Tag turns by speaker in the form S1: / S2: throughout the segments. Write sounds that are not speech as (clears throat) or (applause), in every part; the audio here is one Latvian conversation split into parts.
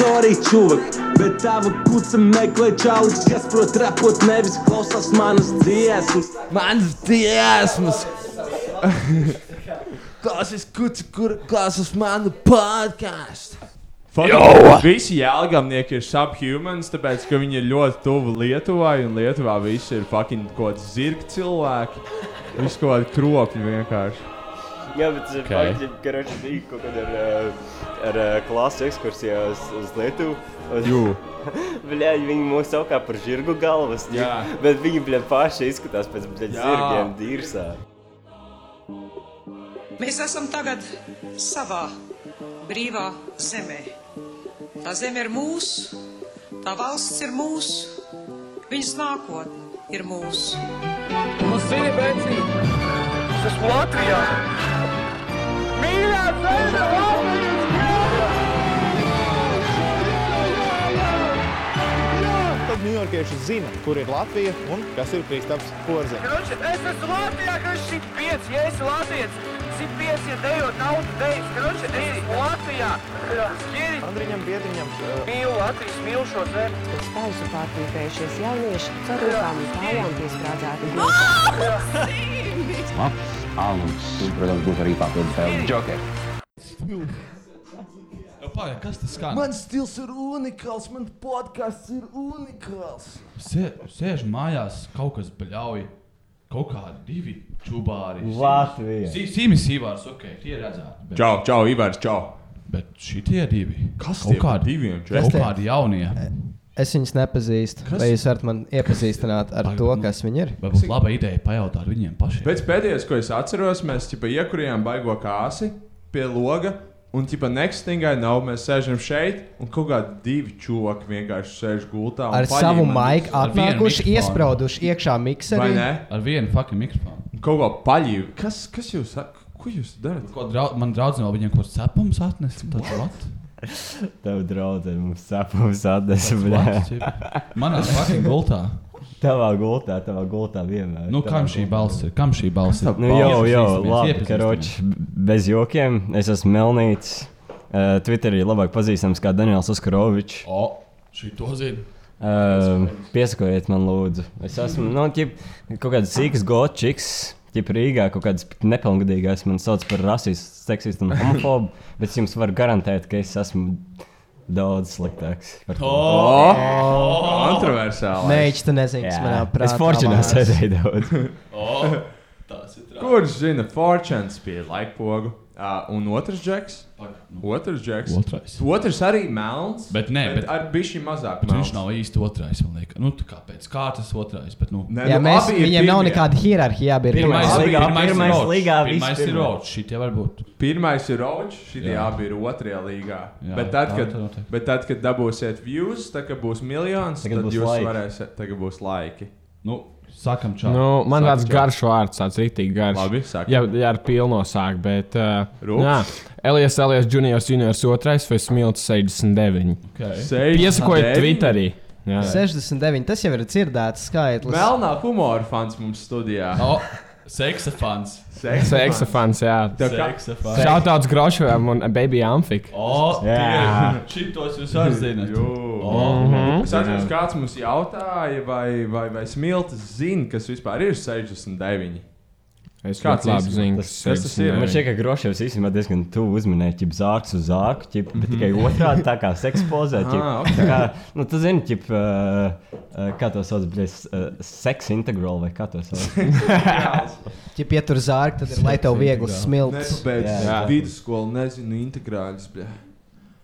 S1: Sorry, čuvak, bet tava kuca meklē čalis, kas prot rapot, nevis klausās manas dziesmas.
S2: Mans
S3: (laughs)
S2: dziesmas! Klausies, kuci, kur klausās manu podkāstu!
S3: Faktiski visi jēlgamnieki ir subhumans, tāpēc ka viņi ir ļoti tuvu Lietuvai, un Lietuvā visi ir fucking kaut kāds zirga cilvēki. Viss kaut kādi kropļi vienkārši.
S4: Jā, bet okay. faktiski, garāžā bija kaut kāda ar, ā, ar ā, klasu ekskursijā uz, uz Lietuvu.
S3: Jū.
S4: (laughs) Bļā, viņi mūs sauc par žirgu galvas, ģi.
S3: Jā.
S4: (laughs) bet viņi bļā, paši izskatās pēc bļā, zirgiem, dīrsā.
S5: Mēs esam tagad savā brīvā zemē. Tā zeme ir mūsu, tā valsts ir mūsu, viņas nākotne ir mūsu.
S6: Uz zini, Benci, es Nu, esmu Latvijā. Mīļā zeme, Latvijas krāsa!
S7: Tad ņujorkieši zina, kur ir Latvija un kas ir Kristaps Porziņš.
S6: Kruči, Nu, es esmu Latvijā, kas 105, ja esi Latvijas. 105, ja dejot naudu dejas, kruči, es esmu Latvijā. Skiri,
S7: Andriņam Biedriņam uh,
S6: mīlu Latvijas, mīlu šo zemi.
S8: Spēļu pārpīpējušies jaunieši, cerībām un kājām piesprādzēti.
S9: Pārējā, kas tas skan? Man...
S2: Mans stils ir unikāls, mans podkāsts ir unikāls!
S9: Sē, sēž mājās, kaut kas bļauj. Kaut kādi divi čubāri.
S4: Latvija!
S9: Sī- Sīmis Ivārs, ok, tie redzētu. Bet,
S3: Čau, čau, Ivars, čau!
S9: bet šitie divi.
S3: Kas
S9: kaut
S3: tie par
S9: kādi
S3: diviem, čau?
S9: Kaut kādi jaunie.
S10: Es viņus nepazīstu. Kas? Vai jūs varat man iepazīstināt ar to, kas viņi
S3: Nu,
S10: ir?
S9: Vai būtu laba ideja pajautāt viņiem pašiem?
S3: Pēc pēdējais, ko es atceros, mēs ķipa, iekurījām baigo kāsi pie loga. Un, tipā, next thing I know, mēs sēžam šeit, un kaut kādi divi čūlaki vienkārši sēž gultā. un
S10: Ar
S3: paņem
S10: savu
S3: man
S10: maiku
S9: ar vienu
S10: atnākuši,
S9: mikrofonu.
S10: iesprāduši
S3: visu.
S10: iekšā
S3: Vai
S10: mikserī.
S3: ne?
S9: Ar vienu fucking mikrofonu.
S3: Un Kaut ko paļīju. Kas, kas jūs, sa- ko jūs darat?
S9: Ko drau, man draudzene vēl viņiem kaut kāds cepums atnesa. un tāds what?
S4: Tava draudzene mums sapums atnesa, bļā.
S9: What? Cip. Manā fucking gultā.
S4: Tavā gultā, tavā gultā vienmēr.
S9: Nu, kam šī balss ir? Kam šī balss ir?
S4: eh, Nu, jau, jau,
S9: Iepazīstamies,
S4: labi,
S9: iepazīstamies.
S4: karoči, bez jokiem. Es esmu Melnīts. Uh, Twitterī labāk pazīstams kā Daniels Oskarovičs.
S9: O, šī to zina.
S4: Uh, piesakojiet man, lūdzu. Es esmu nu, ķip, kaut kāds sīgs gočiks. Ja Rīgā kaut kādas nepilngadīgās man sauc par rasistu, seksistu un homofobu, bet es jums varu garantēt, ka es esmu daudz sliktāks. par to.
S3: Oh! Kontroversāli.
S10: Nē, viņš to nezina. kas manā prātā
S4: es fortunā
S10: lavās.
S4: sēdēju daudz.
S3: Kurš zina, Fortunes bija laikpogu? Uh, un otrs džeks. Otrs džeks.
S9: Otrais.
S3: Otrs arī melns.
S9: Bet nē, bet-
S3: ar bišķi mazāk.
S9: Bet viņš nav īsti otrais, man liekas. Nu, tā kā pēc kārtas otrais, bet nu.
S3: Nē,
S10: Jā,
S3: nu,
S10: mēs,
S3: abi ir
S10: viņiem nav
S3: pirmie.
S10: nekāda hierarhija, jābūt
S9: Pirmais,
S4: Pirmais
S9: bija-
S4: līgā,
S9: pirmais,
S4: pirmais
S9: ir Roach.
S4: līgā,
S9: pirmais ir
S4: vispirmais.
S9: rodas. Šitie var būt.
S3: Pirmais ir Roach, šitie
S9: Jā.
S3: abi ir otrajā līgā.
S9: Jā,
S3: Jā, bet, tad,
S9: tā,
S3: kad,
S9: tā notiek.
S3: bet tad, kad dabūsiet views, tad, kad būs miljons,
S4: Tagad
S3: tad
S4: būs
S3: būs jūs
S4: laiki.
S3: laiki. varēsiet, tagad būs laiki.
S9: Nu, sakam, čau.
S11: Nu, man
S9: Saka
S11: tāds (laughs)
S9: čau.
S11: garš vārds, tāds rītīgi garš.
S3: Labi, saka.
S11: Jā, jā, ar pilno sāk, bet. Uh,
S3: Rūks.
S11: jā, Elijas, Elijas Juniors, Juniors 2, vai Smilts 69.
S9: Okay.
S3: Seiž-
S11: Iesakojiet
S3: Deviņi.
S11: Twitterī. Jā,
S10: 69. Tas jau ir dzirdēts skaitlis.
S3: Melnā humora fans mums studijā.
S9: O, seksafons.
S3: Seksa
S11: seksafons, jā.
S3: Tā kā-
S9: Seksafons.
S11: Šautauts Grošovam un Baby Amfik.
S9: O,
S4: Jā.
S9: tie- šitos jūs arī zinat.
S3: Jū.
S9: O,
S3: Es atceros, kāds mums jautāja, vai, vai, vai Smilts zina, kas vispār ir 69.
S11: Es
S3: Kāds
S11: kāds labi
S3: īsti-
S11: zinu,
S4: tas-
S11: kas
S3: kas tas ir?
S4: Man šķiet, ka Groševs īstenībā diezgan tuvu uzminēja, ķip zārks uz zārku, ķip, bet tikai otrādi tā kā sekspozē. Ķip,
S3: Mhm. (laughs) Ah,
S4: tā kā, nu, tu zini, ķip, uh, uh, kā to sauc, bļies, uh, seks integral vai kā to
S3: (laughs)
S4: sauc?
S10: Ja pietur zārka, tad ir lai tev viegli smilts.
S3: Nepabeigts
S11: Jā.
S3: vidusskolu, nezinu, integrāļus. bļa.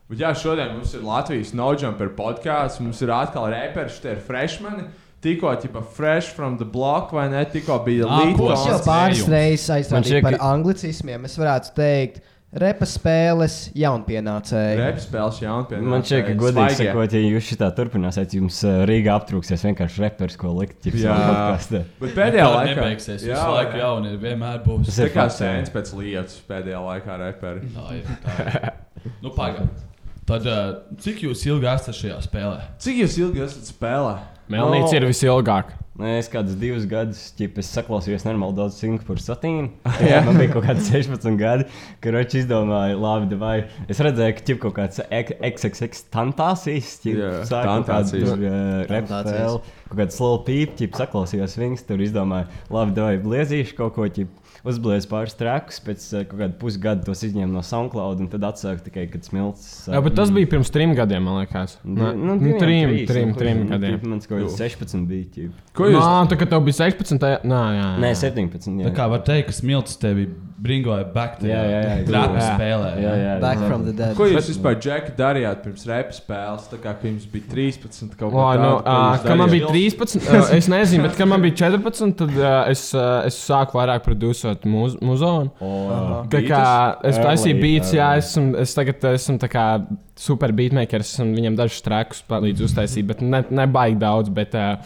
S3: Bet jā, šodien mums ir Latvijas Nojumper podkāsts, mums ir atkal reperis, tie ir freshmeni. Tikko, tipā, fresh from the block, vai ne? Tikko bija
S9: Ā, ko
S10: Es jau
S3: Līta.
S9: sauc?
S10: pāris
S9: Sējums.
S10: reizes
S4: Man
S10: aizstāju
S4: šķiet,
S10: par
S4: ka-
S10: anglicismiem. Es varētu teikt, repa spēles jaunpienācēji.
S3: Reps spēles jaunpienā.
S4: Man šķiet, ka godīgi sakot, ja jūs šitā turpināsiet, jums uh, Rīgā aptrūksies vienkārši repers, ko likt, ķip,
S3: Jā.
S4: savā podkastā.
S3: Bet
S9: tā
S3: pēdējā laikā
S9: nebeigsies. Visu jā, laiku
S3: jā.
S9: jauni ir, vienmēr būs.
S4: Tas
S3: Tā
S4: ir
S3: kā
S4: fakts, jā.
S3: sēns pēc lietas pēdējā laikā reperi.
S9: Tā ir. Tā ir. Nu, pagaid. Tad, eh, uh, cik jūs ilgi esat šajā spēlē?
S3: Cik jūs ilgi esat spēlē?
S11: Melnīts ir visilgāk.
S4: Nē, Nu, es kādus divus gadus ķip, es saklausījos normāli daudz Singapūras
S10: (laughs)
S4: satīnu.
S3: Jā.
S4: Jā, man bija kaut kādi 16 gadi, kad Ročs izdomāja, labi, vai es redzēju, ka ķip kaut kāds ek- XXX tantāsīs, ķip,
S3: Jā,
S4: sāka kaut kādu
S3: tantāsīs.
S4: tur, ā, rap
S12: Tantāsīs.
S4: spēli, kaut kāds slow peep, ķip, saklausījos viņus, tur izdomāja, labi, vai bliezīšu kaut ko, ķip, uzblies pāris trakus, pēc ā, kaut kāda pusgada tos izņēma no SoundCloud un tad atsāka tikai, kad smilts.
S10: Jā, bet tas bija pirms trim gadiem, man liekas. Nē,
S4: Nu,
S10: nu,
S4: diviem,
S10: trim,
S4: trīs,
S10: trim,
S4: nu, ko
S10: trim
S4: zinu,
S10: gadiem.
S4: ķip, Mans kaut kāds 16 bija, ķip.
S10: Ko jūs? Nā, tā kā tev bija 16, tā, nā, jā, jā.
S4: Nē, 17.
S9: Tā
S4: Jā.
S9: Nu kā var teikt, ka smilts tevi bringoja back to
S4: Jā, jā, jā, jā.
S9: rap
S4: Jā.
S9: spēlē.
S4: Jā, jā, Back jā. from the dead.
S3: Ko jūs vispār džeki, darījāt pirms repa spēles? Tā kā ka jums bija 13 kaut kā.
S10: Lai,
S3: tāda,
S10: nu,
S3: ko
S10: ā,
S3: jūs
S10: kad man bija
S3: darījāt?
S10: 13, ā, (laughs) es nezinu, bet kad man bija 14, tad ā, es, ā, es sāku vairāk producēt muz- muzonu.
S4: Oh.
S10: Tā kā es
S4: Beatus?
S10: taisīju
S4: Early,
S10: beats, jā,
S4: early.
S10: es, es tagad esmu tā kā super beatmakers, esmu viņam dažus trakus palīdz uztaisīt, bet ne, ne baigi daudz. Bet, ā,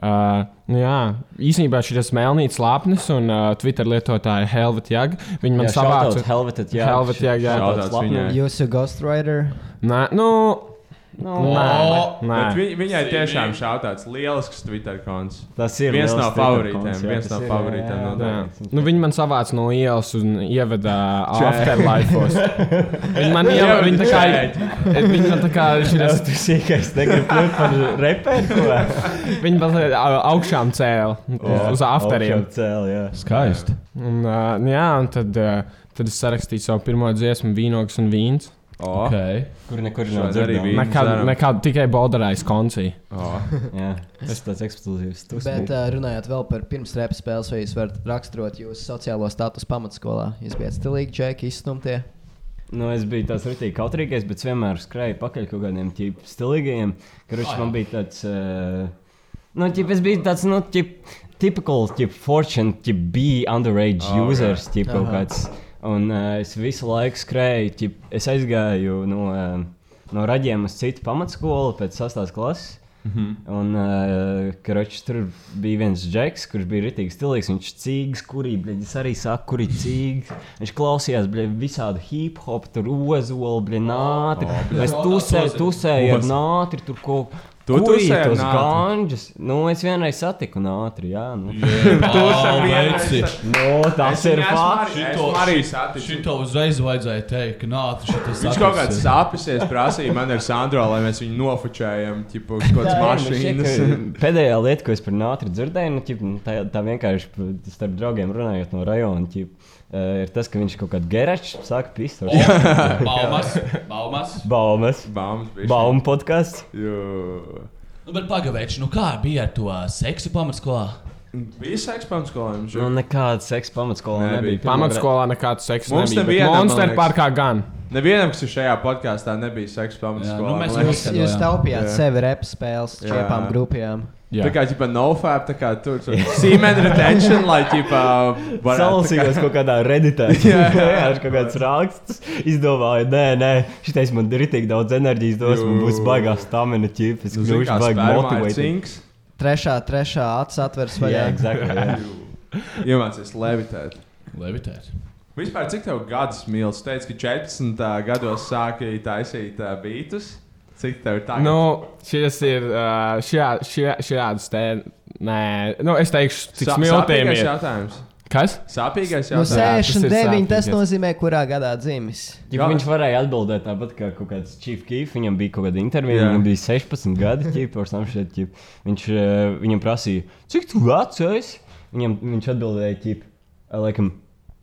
S10: Uh, nu jā, īsnībā šis melnīts lapnis un uh, Twitter lietotāja Helveta Jaga. Viņa man
S4: Jā,
S10: savāca
S4: shoutouts Helvetet Jaga.
S10: Helveta Jaga. jā.
S3: Shoutouts Shoutouts viņai.
S12: Jūs esat ghostwriter.
S10: Nē, nu.
S4: Nu,
S10: nē, nē.
S3: Bet vi- Viņai tiešām šāda tāds lielisks Twitter konts.
S4: Tas ir
S3: viens
S4: liels
S3: no
S4: Twitter konts,
S3: favorītiem.
S4: jā,
S3: Viens
S4: tas
S3: no
S4: ir, jā,
S3: favorītiem.
S4: jā,
S3: noteikti.
S10: Jā. Nu, viņi man savāca no ielas un ievada
S3: Čē. (laughs)
S10: afterlifos. Viņi man
S3: Jā,
S10: ievada, viņi tā kā,
S3: čē.
S10: viņi man tā kā, šitas,
S4: (laughs) tas ir īkais. Negribu kļūt par reperu.
S10: viņi mazliet ā, augšām cēla uz afteriem.
S4: Cēl, jā.
S9: Skaisti.
S10: Un, ā, nu jā, un tad, ā, tad es sarakstīju savu pirmo dziesmu, vīnogs un vīns.
S3: O,
S9: Okay.
S4: Kur nekur nav
S3: Šodien arī
S4: dzirdama.
S3: bija. Vīns
S10: Nekad,
S3: dzeram.
S10: nekad tikai Bolderais koncī.
S3: o.
S4: Jā, tas ir tāds eksplozīvs. tas
S12: Bet
S10: eh,
S4: bija.
S12: uh, runājot vēl par pirms repa spēles, vai jūs varat raksturot jūsu sociālo statusu pamatskolā? Jūs bijat stilīgi, džeki, izstumtie.
S4: Nu, es biju tāds rītīgi kautrīgais, bet es vienmēr skrēju pakaļ kaut kādiem ķip, stilīgiem. Kurš man bija tāds. Uh, nu, ķip, es biju tāds, nu, tip, typical, tip, fortune, tip, be underage oh, users, tip, kaut kāds. Un uh, es visu laiku skrēju, tip, es aizgāju no, uh, no raģiem uz citu pamatskolu pēc 8. klases. Mm -hmm. Un uh, karoči, tur bija viens džeks, kurš bija rītīgs stilīgs. Viņš cīgs, kurī, bļaļ, es arī saku, kurī cīgs. Viņš klausījās, bļaļ, visādi hip hop, tur ozolu, Oh, bļaļ, nātri. Es tusēju, tusēju ar nātri, tur kaut
S3: Tu
S4: kurī
S3: tusēji ar
S4: tos
S3: nātri?
S4: ganģus. Nu, es vienreiz satiku nātri, jā. Nu. (laughs)
S9: Tur
S3: vienreiz-
S4: Nu, tas ir fakts.
S3: Šito arī satiku.
S9: Šito uzreiz vajadzēja teikt, ka nā, tas ir tas
S3: Viņš kaut kāds sāpēsies, prasīja man ar Sandro, lai mēs viņu nofočējam, tipo, kaut
S10: (laughs)
S3: kādas
S10: nu,
S3: mašīnas.
S4: Nu, Pēdējā lieta, ko es par nātri dzirdēju, nu, ķip, tā, tā vienkārši p- starp draugiem runājot no rajona, ķip, eh, ir tas, ka viņš kaut kādā garažā sāka pistoli.
S9: Baumas, baumas.
S4: Baumas,
S3: Bams, bija.
S4: baumu podkāsts.
S3: Jo.
S9: Nu, bet pagaidiet, nu kā bija ar to ā, seksu pamatskolā?
S3: Bija seks pamatskolējums.
S4: Nu, nekāda seksa pamatskolā
S3: Nebija.
S4: nebija.
S10: Pamatskolā nekāds seks
S3: Mums
S10: nebija. bet
S3: nevienam, man
S10: Monster
S3: liekas.
S10: parkā gan.
S3: Nevienam, kas ir šajā podkāstā, nebija seks pamatskolā.
S9: nu, mēs
S3: man liekas.
S9: visi-
S12: Jūs
S9: jā.
S12: taupījāt
S3: Jā.
S12: sevi repa spēles
S3: Jā.
S12: čepām grupām.
S10: Jā.
S3: Tā kā jau nofab, tā kā tur tur sīmenis retention, lai ģipā varētu.
S4: Salasījos kaut kādā
S3: (laughs)
S4: redītā. Jā, jā, kaut kāds raksts. Izdomāju, nē, nē, šitais man ir tik daudz enerģijas, dos man būs
S3: Jū.
S4: baigā stamina ķīpa. Es
S3: Nu, zini,
S4: kļūšu
S3: kā
S4: baigā
S3: sperma ir
S4: motivēts.
S3: cinks.
S12: Trešā, trešā acis atvers vaļā.
S4: Jā,
S3: (laughs)
S4: exactly.
S3: Iemācies levitēt.
S9: Levitēt.
S3: Vispār, cik tev gadus mīl? Tu teici, ka 14 gados sāki taisīt uh, beatus. Cik tev ir tā?
S10: Nu, šis ir. ā, šā- šā- Šādas te. Nē, nu, es teikšu, cik smiltīm
S3: sāpīgais
S10: ir.
S3: jautājums.
S10: Kas?
S3: Sāpīgais
S12: No
S3: jautājums.
S10: sē- tas ir
S12: 69 Nu, tas
S10: sāpīgais.
S12: nozīmē, kurā gadā dzimis.
S4: Ja viņš varēja atbildēt tāpat kā kaut kāds Chief Keef, viņam bija kaut kāda intervija,
S3: Jā.
S4: viņam bija 16 gadi, ķip, or some shit, ķip. viņš eh, viņam prasīja, cik tu vecs esi? Viņam, viņš atbildēja, ķip, eh, laikam,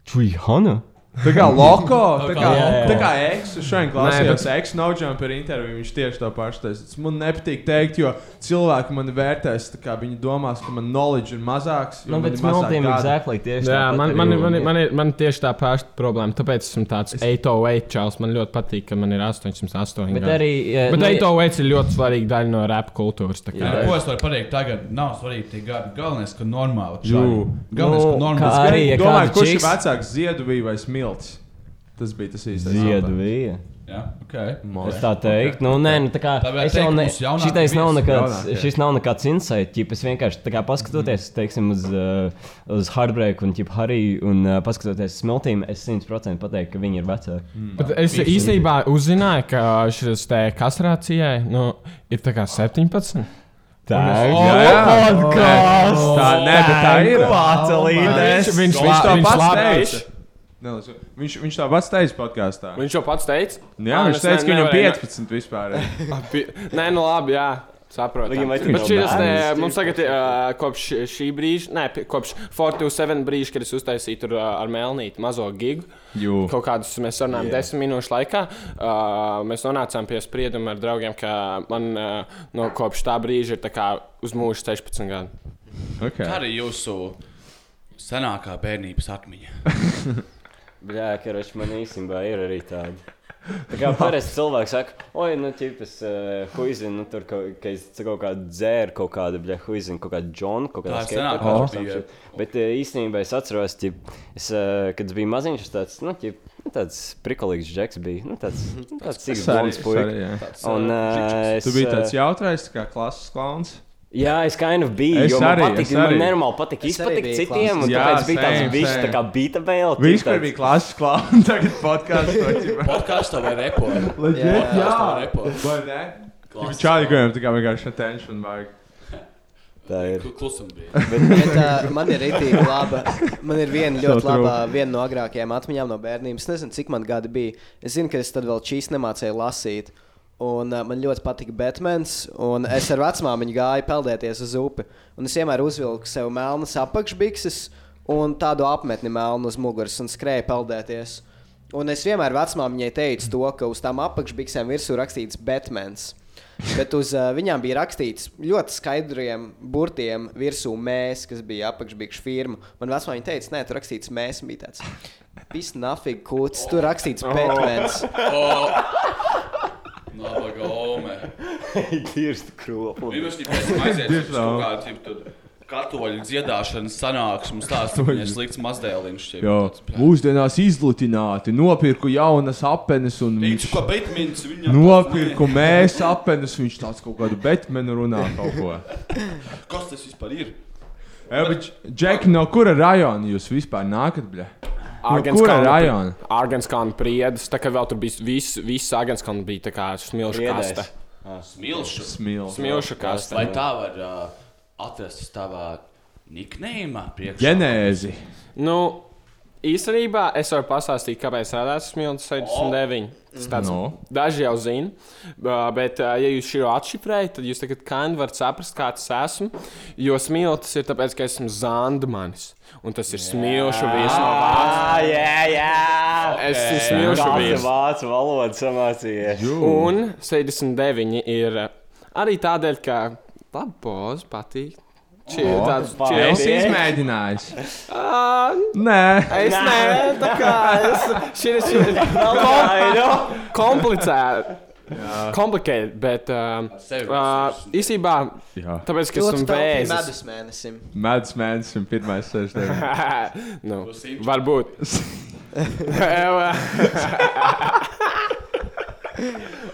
S4: Trihana.
S3: Tā kā loko, tā kā,
S4: Jā, jā, jā.
S3: tā kā eksu šodien klausījās,
S10: bet-
S3: eksu naudžām par interviju, viņš tieši to pašu teica. Tas Man nepatīk teikt, jo cilvēki man vērtēs, tā kā viņi domās, ka man knowledge ir mazāks. jo
S4: Nu,
S3: man
S4: bet
S3: ir mazāk
S4: smeltiem ir
S3: gadu.
S4: zēklīgi tieši
S10: Jā,
S4: tāpat
S10: man,
S4: arī
S10: man, ir- man, ir-
S4: un-
S10: man, ir- man ir tieši tā paša problēma. Tāpēc esmu tāds 808 čels. Man ļoti patīk, ka man ir 808.
S4: Bet
S10: gadi.
S4: arī, eh,
S10: Bet
S4: nu, ja-
S10: 808 ir ļoti svarīga daļa no rap kultūras. tā kā.
S9: Jā, ko es varu pateikt tagad? Nav svarīgi tie gadi. Galvenais, ka normāli.
S3: Jū.
S9: čaļi. Galvenais,
S4: Nu,
S9: ka normāli.
S4: kā- Arī, ja
S3: Domāju,
S4: kāda
S3: kurš ir
S4: čiks-
S3: vecāks, Zieduvī vai Smilts? Tas bija tas īstais.
S4: Ziedvija.
S9: Jā, ok.
S4: Es tā teiktu, nu, nē, nu, tā kā
S9: Tā var
S4: es jau
S9: teikt,
S4: ne,
S9: mūsu jaunākie
S4: šitais nav
S9: visi
S4: nekāds,
S3: jaunākie.
S4: šis nav nekāds insight, ķip, es vienkārši, tā kā paskatoties, teiksim, uz, uh, uz Heartbreak un, ķip, Harry un uh, paskatoties uz Smiltīm, es 100% pateiktu, ka viņi ir vecāki.
S10: Bet es uh, īstenībā uzzināju, ka šis te kastrācijai nu, ir tā kā 17.
S4: Tā ir
S11: O,
S4: Oh,
S11: podcasts!
S3: Tā, nē, bet tā ir.
S11: Vācelītes! Viņš- viņš-
S3: viņš to
S11: viņš
S3: pats
S11: labi
S3: teica.
S11: teica.
S3: Nelasi- Viņš, viņš tā pats teica podkāstā.
S11: Viņš jau pats teica?
S3: Jā,
S11: Ā,
S3: viņš
S11: es ne-
S3: teica, ka viņam
S11: nevarēju-
S3: 15 vispār. ir.
S11: Pie- Nē, nu labi, jā. Saprotu.
S4: Viņam vajag
S11: Bet
S4: vēl
S11: šis te,
S4: bērns.
S11: mums tagad ir uh, kopš šī brīža, nē, pi- kopš 427 brīža, kad es uztaisīju tur uh, ar Melnīti mazo gigu.
S3: Jū.
S11: Kaut kādus mēs runājām yeah. desmit minūšu laikā. Uh, mēs nonācām pie sprieduma ar draugiem, ka man uh, no kopš tā brīža ir tā kā uz mūžu 16 gadu.
S3: Okay.
S9: Tā arī jūsu senākā bērnības atmiņa.
S4: Jā, Keroč, man īstenībā ir arī tāda. Tā kā parasti cilvēki saka, oi, nu, tipis, uh, huizina, nu, tur kaut, ka es ca- kaut kādu dzēru, kaut kādu, bļa, huizina, kaut kādu džonu, kaut kādu
S9: Tā ir senāka
S4: kādu
S9: darbība.
S4: šit. Bet eh, īstenībā es atceros, ka, uh, kad es biju maziņš, es tāds, nu, ķip, nu, tāds prikolīgs džeks bija. Nu, tāds, nu,
S3: Mhm.
S4: tāds
S3: Es
S4: cik
S3: arī-
S4: blonds
S3: es arī, jā.
S4: puika. Un, eh,
S3: Tu biji
S4: eh,
S3: tāds jautrais, kā klases klauns.
S4: Jā, es kind of biju.
S3: Es
S4: jo man
S3: arī,
S4: patika,
S3: es
S4: man
S3: arī.
S4: nenormāli patika
S10: Es arī
S4: izpatikt
S10: biju
S4: citiem, un
S3: Jā,
S4: tāpēc bija tāds
S3: same,
S4: bišķi, tā
S3: same.
S4: kā bīta vēl.
S3: Vispār bija klases klauns, (laughs) tagad podkāsts.
S9: Podkāstā vai repo?
S3: Legit, jā.
S9: Podkastā repo.
S3: Vai ne?
S9: Klases
S3: Viņš čādi gājām, tā kā vienkārši attention vajag.
S4: Tā ir.
S9: Klusums bija.
S10: Bet, uh, man ir rītīgi laba. Man ir viena ļoti
S3: Satrauc.
S10: laba, viena no agrākajām atmiņām no bērnības. Es nezinu, cik man gadi bija. Es zinu, ka es tad vēl čīs nemācīju lasīt. Un uh, man ļoti patika Batmans. un Es ar vecmāmiņu gāju peldēties uz upi. Un es vienmēr uzvilku sev melnas apakšbikses un tādu apmetni melnu uz muguras un skrēju peldēties. Un es vienmēr vecmāmiņai teicu to, ka uz tām apakšbiksēm virsū rakstīts Batmans. Bet uz uh, viņiem bija rakstīts ļoti skaidriem burtiem virsū mēs, kas bija apakšbikšu firma. Man vecmāmiņa teica, nē, tur rakstīts mēs, un bija tāds. Viss nafīgi kūts, tur rakstīts Batmans.
S9: Nāba gaume.
S4: Tīrsta kropa.
S9: Viņa mums tikai aizies uz
S4: Tieši tā.
S9: kaut kādu tipu tur katoļu dziedāšanas sanāksmu stāstu. Viņai ir slikts mazdēliņš. tipu,
S3: Jā,
S9: tāds.
S3: mūsdienās izlutināti. Nopirku jaunas apenes un
S9: Teicu,
S3: viņš
S9: ka Batmans viņam
S3: nopirku mēs apenes. Viņš tāds kaut kādu betmenu runā kaut
S9: (laughs)
S3: ko.
S9: Kas tas vispār ir?
S3: Jā, bet Džeki, no kura rajona jūs vispār nākat? Bļa? No kura rajona?
S11: Arganskāna priedes, tā kā vēl tur bija viss, viss Arganskāna bija tā kā smilšu
S4: Priedēs.
S11: kaste.
S9: Smilšu.
S3: Smilšu.
S11: Smilšu kaste.
S9: Vai tā var uh, atrast savā niknējumā priekšā?
S3: Ģenēzi.
S11: Nu, īstenībā es varu pastāstīt, kāpēc radās smilts 69. Tas Tāds, no.
S3: No.
S11: Daži jau zina, bā, bet, ā, ja jūs šo atšifrējat, tad jūs tagad kā nu varat saprast, kāds es esmu. Jo smilts ir tāpēc, ka esmu zandmanis. Un tas ir smilšu vīrs no
S4: Ah,
S11: vājas.
S4: jā, jā.
S11: Es esmu smilšu
S4: Kāda
S11: vīrs.
S4: vācu valoda samācījies?
S11: Un 79 ir ā, arī tādēļ, ka labos patīk. Čie,
S3: O,
S11: tāds, čie,
S3: Es
S11: (laughs)
S3: izmēģināju.
S11: Ah. Nē, es nē, tā kā es. Šī ir šī ir kom komplicēta. Komplicēta, bet. Um, uh, īsībā,
S3: Jā.
S11: tāpēc, ka
S10: Ļoti
S11: esmu
S10: taupi
S11: vēzis.
S10: medus mēnesim.
S3: Mēdz mēnesis un
S11: (laughs)
S3: pirmais sešdien.
S11: nu,
S3: (laughs)
S11: varbūt.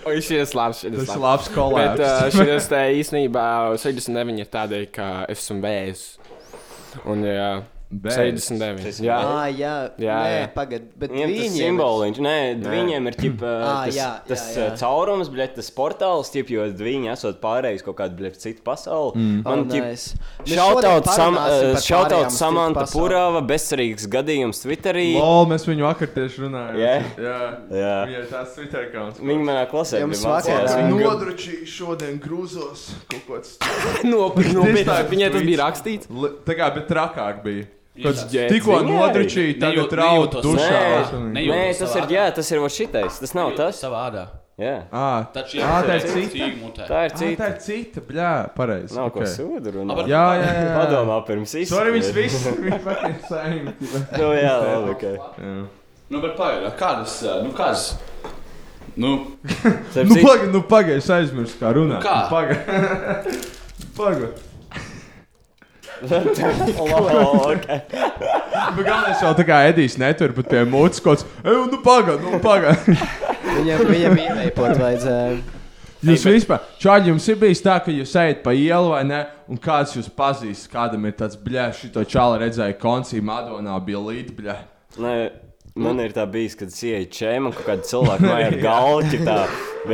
S11: Oi, šis ir labs. šis
S3: Tas ir labs kolēbs.
S11: Bet uh, šis te īstenībā 69 ir tādēļ, ka es esmu vēzis. Un jā,
S4: Bēzis.
S11: 69.
S4: Jā.
S10: Ah, jā, jā,
S11: Jā,
S10: nē,
S11: jā.
S10: pagaidi. Bet
S4: Viņam tas
S10: viņiem ir-
S4: simboliņš, nē,
S10: Nē.
S4: viņiem ir
S10: (clears throat)
S4: ķip, uh,
S10: Ā,
S4: tas,
S10: jā, jā,
S4: tas
S10: jā.
S4: uh, caurums, bļet, tas portāls, ķip, jo viņi esot pārējis kaut kādu bļet, citu pasauli.
S10: Mm.
S4: Man
S10: Oh,
S4: ķip,
S10: nice. Mēs šodien
S4: Šautaut sam,
S10: parunāsim par pārējām
S4: šautaut
S10: citu
S4: Samanta
S10: pasauli.
S4: Purava, bezcerīgs gadījums Twitterī.
S3: Lol, mēs viņu vakar tieši runājām.
S4: Jā.
S3: jā.
S4: Jā.
S3: Viņai tās Twitter accounts.
S4: Viņi manā klasē
S10: Jums
S4: bija
S10: vakar
S4: mācījās.
S10: bija
S4: Viņi-
S3: Nodručīju šodien grūzos kaut kāds.
S11: Nopietni, nopietni. Nu,
S3: Distāk
S11: Viņai tas bija
S3: tweets.
S11: rakstīts.
S3: Li- Tā kā, bet trakāk bija. Kāds
S11: Jā.
S3: tikko
S4: Viņai.
S3: nodručīja, tagad
S9: Nejūt-
S3: raud
S9: nejūtos
S3: dušā.
S9: savā.
S3: Nē.
S9: Nejūtas
S4: Nē, tas ir,
S9: savā.
S4: jā, tas ir vēl šitais, tas nav tas.
S9: Savādā.
S4: Jā.
S3: Ā,
S9: Taču jā,
S3: ā, tā ir
S9: tas ir
S3: cita.
S9: cīņa mutē.
S4: Tā ir
S10: Ah,
S3: Ā,
S4: cita.
S3: Tā ir cita, bļā, pareizi.
S4: Nav ko
S3: ok.
S4: sūdu runāt.
S9: Labi.
S3: Jā, jā, jā. jā.
S4: Padomā pirms izsaka.
S3: Sorry, viņas
S4: (laughs)
S3: viss. Viņas fucking saimniecība.
S4: Nu, jā, labi, ok.
S3: Jā.
S9: Nu, bet pagaidi, kādas, ā, nu, kādas, nu,
S4: Starp
S3: Nu,
S4: citu-
S3: pagaidi, nu, pagaidi, es aizmirsu, kā runāt. Nu,
S9: kā?
S3: Pagaidi. (laughs) Pagaidi.
S4: (laughs) Labi,
S3: Bet galvenais jau tā kā Edijs netur pat pie mūcas kaut kāds. Ej, nu, pagaidi, nu,
S4: (laughs)
S3: pagaidi.
S10: Viņiem, viņiem ielēpot vajadzēja.
S3: Jūs vispār, čāļi, jums ir bijis tā, ka jūs ejat pa ielu vai ne, un kāds jūs pazīst, kādam ir tāds, bļē, šito čāli redzēja koncī Madonā, bija līdzi, bļē.
S4: Nē, man ir tā bijis, kad es ienāku čēmu un kaut kāda cilvēka māja ar galvu, tā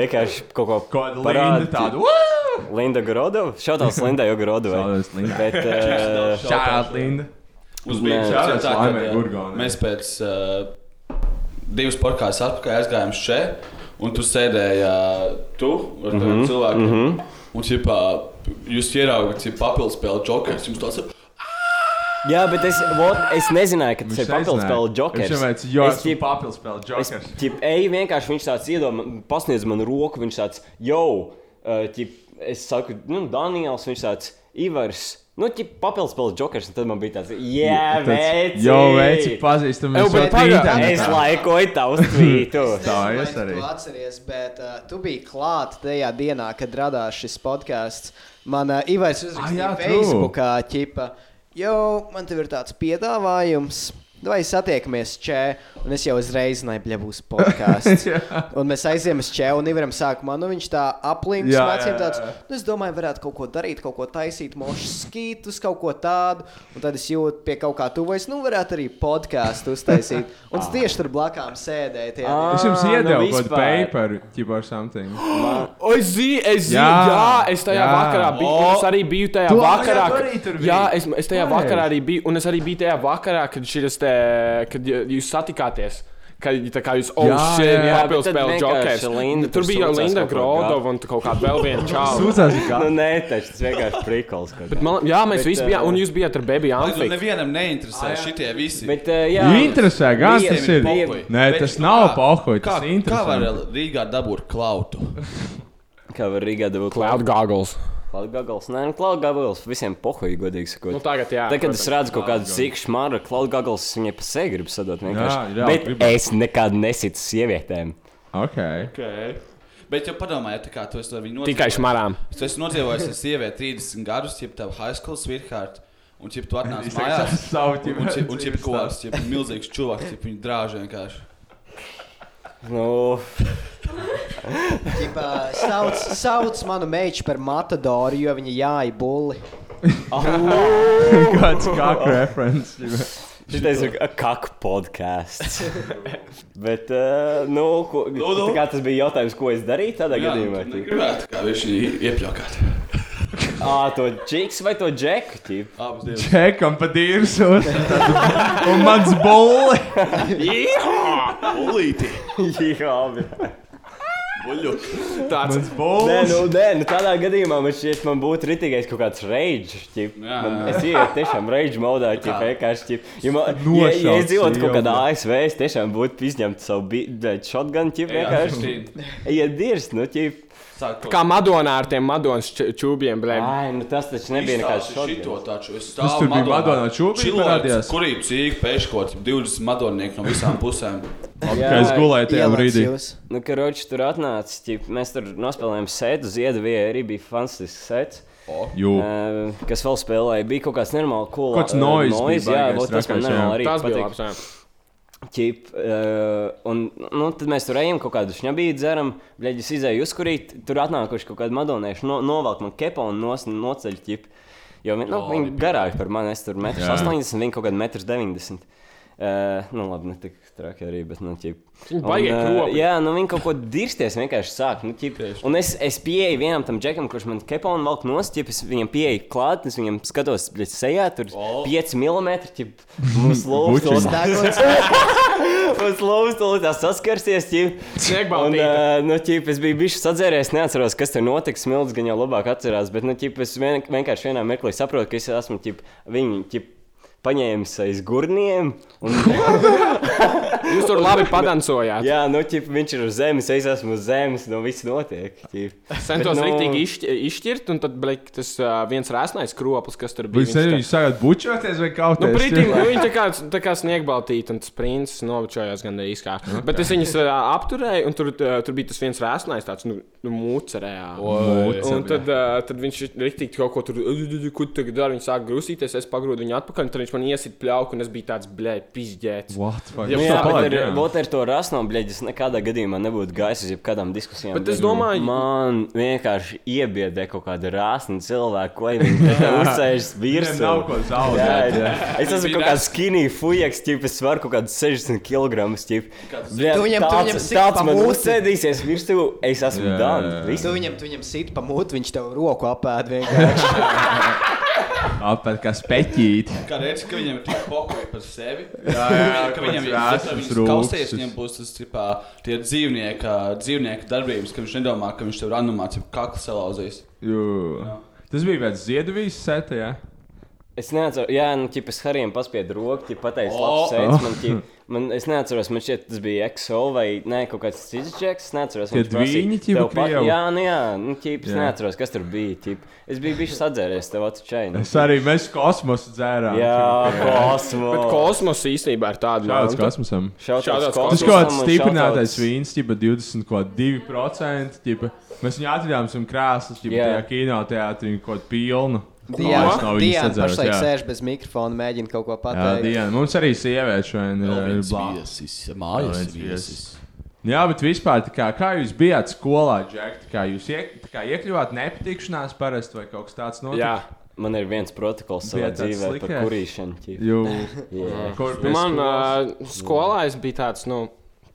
S4: vienkārši kaut ko
S3: Kāda līnija tāda. "Uā!"
S4: Linda Grodova. Šautās Linda Jogrodova.
S3: Šautauts Lindai. (laughs)
S4: Bet, eh,
S3: Šautauts. Šautauts Linda.
S9: Uz
S4: Nē,
S9: Bībeles
S4: šautauts
S9: jau tā, ka,
S4: Laimai
S9: jā,
S4: Gurgonai.
S9: Mēs pēc uh, divas podkāstas atpakaļ aizgājām šeit, un tur sēdēja eh, tu ar mm
S4: Mhm,
S9: -hmm. cilvēkiem. Mm
S4: mhm.
S9: -hmm. Un, ķipā, jūs ieraugat, ka papildus spēle jokers jums tas ir.
S4: Jā, bet es, vot, es nezināju, ka tas
S9: Viņš
S4: ir papildus
S9: nezināja.
S4: spēle jokers.
S9: Viņš jau teica, jo, esmu
S4: ķip-
S3: papildus spēle jokers.
S4: Es ķip, eju vienkārši, viņš tāds iedomā, pasniedz man roku, viņš tāds, jau, ķip, es saku, nu, Daniels, viņš tāds, Ivars. Nu, ķip, papildus spēle jokers, un tad man bija tāds, jā,
S3: Jā, tāds,
S4: veici!
S3: "Jau, veci, pazīstam mēs jau tītā."
S4: Es laikoju tavus tvītus.
S3: Tā,
S10: Vai
S3: es
S10: tu
S3: arī.
S10: atceries, bet uh, tu biji klāt tajā dienā, kad radās šis podkāsts. Man uh, Ivars uzrakstīja
S3: Ah, jā,
S10: ah,
S3: tu.
S10: Facebookā, ķipa, jo man te ir tāds piedāvājums. Vai satiekamies čē, un es jau uzreiz zināju, ka būs
S3: (laughs)
S10: podkāsts. un mēs aizjām uz čē, un Ivaram sāk man, nu viņš tā aplinks,
S3: Jā,
S10: mācīja
S3: jā,
S10: tāds,
S3: jā.
S10: nu es domāju, varētu kaut ko darīt, kaut ko taisīt, mošas skītus, kaut ko tādu. Un tad es jūtu pie kaut kā tuvojas, nu varētu arī podkāstu uztaisīt. Un
S3: Ah.
S10: es tieši tur blakām sēdēju. tajā dienā.
S3: Es jums
S10: Ā,
S3: iedevu kaut
S10: nu
S3: kādu
S10: vispār.
S3: paperu, ķipa ar something.
S11: O, es zinu, es zinu, jā,
S3: Jā,
S11: jā, es tajā
S3: jā.
S11: jā. vakarā biju.
S3: O.
S11: Oh. Es arī biju tajā
S3: Tu arī-
S11: vakarā.
S3: tu
S11: kad-
S3: arī tur
S11: jā,
S3: biji.
S11: es, es tajā
S3: Pareizi.
S11: vakarā arī biju, un es arī biju tajā vakarā, kad, šitas te, kad j- jūs satikāties. Kad tā kā jūs oh,
S3: Jā, jā, jā,
S11: apgājāt,
S3: bet tad
S11: spēlējāt
S3: vienkārši
S11: jokeru.
S3: Linda
S11: Tur
S3: tur
S11: bija jau
S3: sūcās
S11: Linda
S3: kaut ko ar
S11: Grodova un kaut kā vēl viena čāla.
S3: Sūcās kā?
S4: Nu, nē, taču tas vienkārši prikols. kaut
S11: Bet
S4: kā.
S11: man, jā, mēs
S4: Bet,
S11: bet, visi bijām,
S4: eh,
S11: un jūs bijāt ar bērnu
S9: Tur
S11: Anfiku.
S9: nevienam neinteresē šitie visi.
S4: Bet, eh, jā.
S3: Viņu Nu, interesē, gan
S9: Visiem
S3: tas
S9: ir
S3: ir.
S9: pohuj.
S3: Nē,
S9: Bet
S3: tas
S9: nu
S3: nav
S9: kā-
S3: pohoja,
S9: Kā,
S3: tas ir
S9: kā var
S3: interesanti.
S9: Rīgā dabūt klautu?
S4: Kā var Rīgā dabūt
S11: Cloud goggles.
S4: Cloud goggles. Nē, nu, cloud goggles visiem pohuj, godīgi sakot.
S11: Nu, tagad, jā,
S4: Tagad es
S11: protams,
S4: redzu kaut
S11: cloud
S4: kādu sīku šmāru, cloud goggles es viņai pa seju gribu sadot vienkārši.
S9: Jā, jā,
S4: Bet
S9: gribu.
S4: es nekad nesitu sievietēm.
S3: Ok.
S9: Okay. Bet, ja padomājiet, tā kā tu esi ar viņu
S11: Tikai
S9: nodzīvojis-
S11: šmarām.
S9: Tu esi nodzīvojis ar sievieti 30 gadus, jeb tev high school sweetheart. Un, ja tu atnāc
S3: Es teikšu,
S9: mājās,
S3: es savu
S9: un- un,
S3: ķipa-
S9: un, ja kaut
S3: (laughs)
S9: kāds jeb milzīgs čuvaks, ja viņu drāž vienkārši.
S4: Nu,
S10: Ķipā, Sauc, sauc mmanu meitu par matadoru, jo viņa jāja bulli.
S3: Kāds kak reference.
S4: Šitais ir kak podkāsts. Bet, eh, nu, ko, tā kā tas bija jautājums, ko es darīju tādā
S9: Jā,
S4: gadījumā?
S9: tu
S4: ķip?
S9: negribētu, kā viņš viņu iepļaukāt.
S4: (laughs) Ā, Ah, to džiks vai to džeku? ķip?
S9: (laughs)
S3: Čekam pa dīvs un, un mans bulli.
S9: Jā, bulīti.
S4: Jā, bet.
S9: Buļļuk.
S3: Mans
S4: Nē,
S3: bulls.
S4: nu, nē, nu tādā gadījumā man šķiet, man būtu ritīgais kaut kāds rage. Ķip,
S9: Jā.
S4: man, es ietu tiešām rage modā, ķip,
S9: Kā?
S4: vienkārši. Ķip, jo man, ja, ja es
S3: Nošauts
S4: dzīvotu kaut kādā
S3: jau.
S4: ASV, es tiešām būtu izņemts savu bi- bļaļ, shotgun, ķip,
S9: Jā, (laughs)
S4: vienkārši.
S9: šķiet.
S4: Ja dirs, nu, ķip.
S9: Sāk
S11: Kā Madonā ar tiem Madonas ču- čūbiem, blēm.
S4: Ai, nu tas taču nebija nekāds
S9: Izstāsti šito
S4: shotgun.
S9: taču. Es
S3: Kas tur bija Madonā čūpī parādījās?
S9: Kurī cīk, peškots, 20 madonnieku no visām pusēm.
S3: Jā, es gulēju tajā brīdī.
S4: Nu, ka Roči tur atnāca, ķip, mēs tur nospēlējām setu, Ziedavijai arī bija fantastisks sets.
S3: Jū.
S4: Uh, kas vēl spēlēja? Bija kaut kāds normāls, ko
S3: Kāds noise bija
S4: Jā,
S3: baigais
S4: vot tas man
S3: trakais, jā.
S4: normāli arī
S11: Tas bija
S4: patika.
S11: labs. jā.
S4: Čip, uh, un nu, tad mēs tur ejam, kaut kādu šņabīdu dzeram, bļaļ, es izēju uzkurīt, tur atnākuši kaut kādi madonieši, no, novelk man kepa un nos, noceļ, ķip. Jo viņi, nu, viņi garāki par mani, es tur metrs
S3: Jā.
S4: 80, viņi kaut kādi metrs 90. Uh, nu, labi, ne tik traki arī, bet, nu, ķip.
S11: Viņi
S4: Un,
S11: baigi
S4: eh,
S11: kropi.
S4: Jā, nu viņi kaut ko dirsties vienkārši sāk. Nu, ķip, un es, es pieeju vienam tam džekam, kurš man kepa un valk nostip, es viņam pieeju klāt, es viņam skatos, bļaļ, sejā, tur 5 mm, ķip, mums
S3: Bučiņ.
S4: lūdzu.
S6: (laughs)
S4: Uz lūpas tur tā saskarsies. Un,
S11: Sniegbaldīte.
S4: uh, nu, ķip, es biju bijis sadzēries, neatceros, kas tur notiks. Smilts gan jau labāk atcerās, bet nu, ķip, es vien, vienkārši vienā mirklī saprotu, ka es esmu ķip, viņu ķip, paņēmis aiz gurniem. Un,
S11: Jūs tur labi padancojāt.
S4: jā, nu, ķip, viņš ir uz zemes, es esmu uz zemes, nu viss notiek. ķip.
S11: Centos nu...
S4: Bet, nu,
S11: rītīgi izšķi- izšķirt, un tad bija tas uh, viens rēsnais kroplis, kas tur bija.
S3: Jūs nezinu, jūs sākat bučoties vai kaut
S11: Nu,
S3: kā
S11: Brīdīgi nu, viņa tā kā, tā kā sniegbaltīja, un tas princis novačojās gandrīz kā.
S3: Nu,
S11: Okay. Bet es viņas uh, apturēju, un tur, uh, tur bija tas viens rēsnais, tāds nu, nu, mūcerējā.
S3: Oi.
S11: Un tad, uh, tad viņš rīktīgi kaut ko tur, kur tur dara, viņš sāk grūstīties, es pagrūdu viņu atpakaļ, un tad viņš man iesit pļauku, un es biju tāds, blē, pizģēts.
S3: What? fuck?
S11: Jā,
S4: Nu, jā,
S11: jā,
S4: bet Water,
S3: jā.
S4: water to rasno, bļaģis nekādā gadījumā nebūtu gājis uz jebkādām diskusijām.
S6: Bet es domāju-
S4: man vienkārši iebiedē kaut kāda rāsna cilvēka, ko viņi tā uzsēžas virsū.
S3: Viņiem nav ko zaudēt.
S4: Jā, jā. Es esmu
S3: Viņi
S4: kaut
S3: rast-
S4: kāds skinny fujaks, ķip, es varu kaut kādus 60 kg.
S10: Tu viņam- tu viņam
S4: tāds,
S10: siksi
S4: tāds
S10: pa
S4: man
S10: muti.
S4: uzsēdīsies virsū, es esmu dāns.
S10: Tu viņam, tu viņam sit pa mutu, viņš tev roku apēd vienkārši.
S3: Apēd kā speķīt.
S9: Kā redzi, ka viņam ir tik pokoji par sevi.
S3: (laughs) Jā, jā,
S9: ka viņam ir
S3: kāds
S9: jāsaka,
S3: rāsas,
S9: ka
S3: rūksis.
S9: kausēs viņam būs tas tipā, tie dzīvnieka, dzīvnieka darbības, ka viņš nedomā, ka viņš tev randomā cip kaklu salauzīs.
S3: Jū. Tas bija viens Ziedavijas seta, jā.
S4: Es neatceros, jā, nu, tipā es Harijam paspiedu roku, tipā pateicu,
S9: O!
S4: labi, sēdz man, ķip,
S3: (laughs)
S4: man, es neatceros, man šķiet, tas bija XO vai nē, kaut kāds cits čeks, es neatceros.
S3: Tie
S4: viņš prasīja,
S3: dviņi, ķipa,
S4: "Tev pa-
S3: Krievu?"
S4: Jā, nu jā, nu, ķip, es
S3: Jā.
S4: neatceros, kas tur bija, ķip. Es biju bijis sadzēries tev atčai.
S3: Es arī mēs kosmosu dzērām.
S4: Jā, kosmos.
S6: Bet kosmos īstenībā ir tāda
S3: Šāds
S6: lanta.
S3: kosmosam.
S4: Shoutouts
S6: Shoutouts
S4: kosmosam.
S3: Tas kaut kāds
S4: un
S3: stiprinātais
S4: shoutouts-
S3: vīns, tipa 20,2%. Ķipa. Mēs viņu atradām zem krēslas, ja
S4: Jā.
S3: tajā kinoteātrī kaut ko pilnu.
S10: Diana,
S3: Kāds nav viņas
S10: Diana
S3: sadzērusi,
S10: pašlaik
S3: jā.
S10: sēž bez mikrofona, mēģina kaut ko
S3: Jā,
S10: pateikt.
S3: Diana. Mums arī sieviete šodien ir ir blāva.
S9: viesis,
S3: Vēl
S9: mājas
S3: viens
S9: viesis.
S3: Jā, bet vispār, tā kā, kā jūs bijāt skolā, Džek, tā kā jūs iek, tā kā iekļuvāt nepatikšanās parasti vai kaut kas tāds notic?
S4: Jā. Man ir viens protokols savā
S3: Bija tāds
S4: dzīvē par
S3: sliktais?
S4: kurīšanu. ķip.
S3: Jū.
S4: Jā.
S3: Kur
S6: Nu,
S3: pie
S6: man
S3: skolas?
S6: uh, skolā es biju tāds, nu,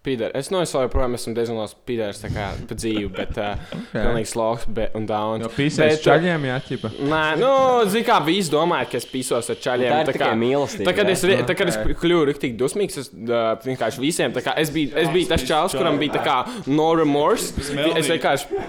S6: pīdērs. Es no es vēl joprojām esmu diezgan labs pīdērs, tā kā pa dzīvi, bet uh, pilnīgi sloks be, un downs.
S3: No pīsēs čaļiem, jā, tipa.
S6: Nē, nu, zini, kā visi domāja, ka es pīsos ar čaļiem.
S4: Tā ir
S6: kā,
S4: tikai mīlestība,
S6: Tā, kad
S4: jā?
S6: es, rie- tā, kad es
S3: Ok.
S6: kļuvu rīktīgi dusmīgs, es ā, vienkārši visiem, tā kā es biju, es biju tas čalis, kuram bija tā kā no remorse. Es vienkārši,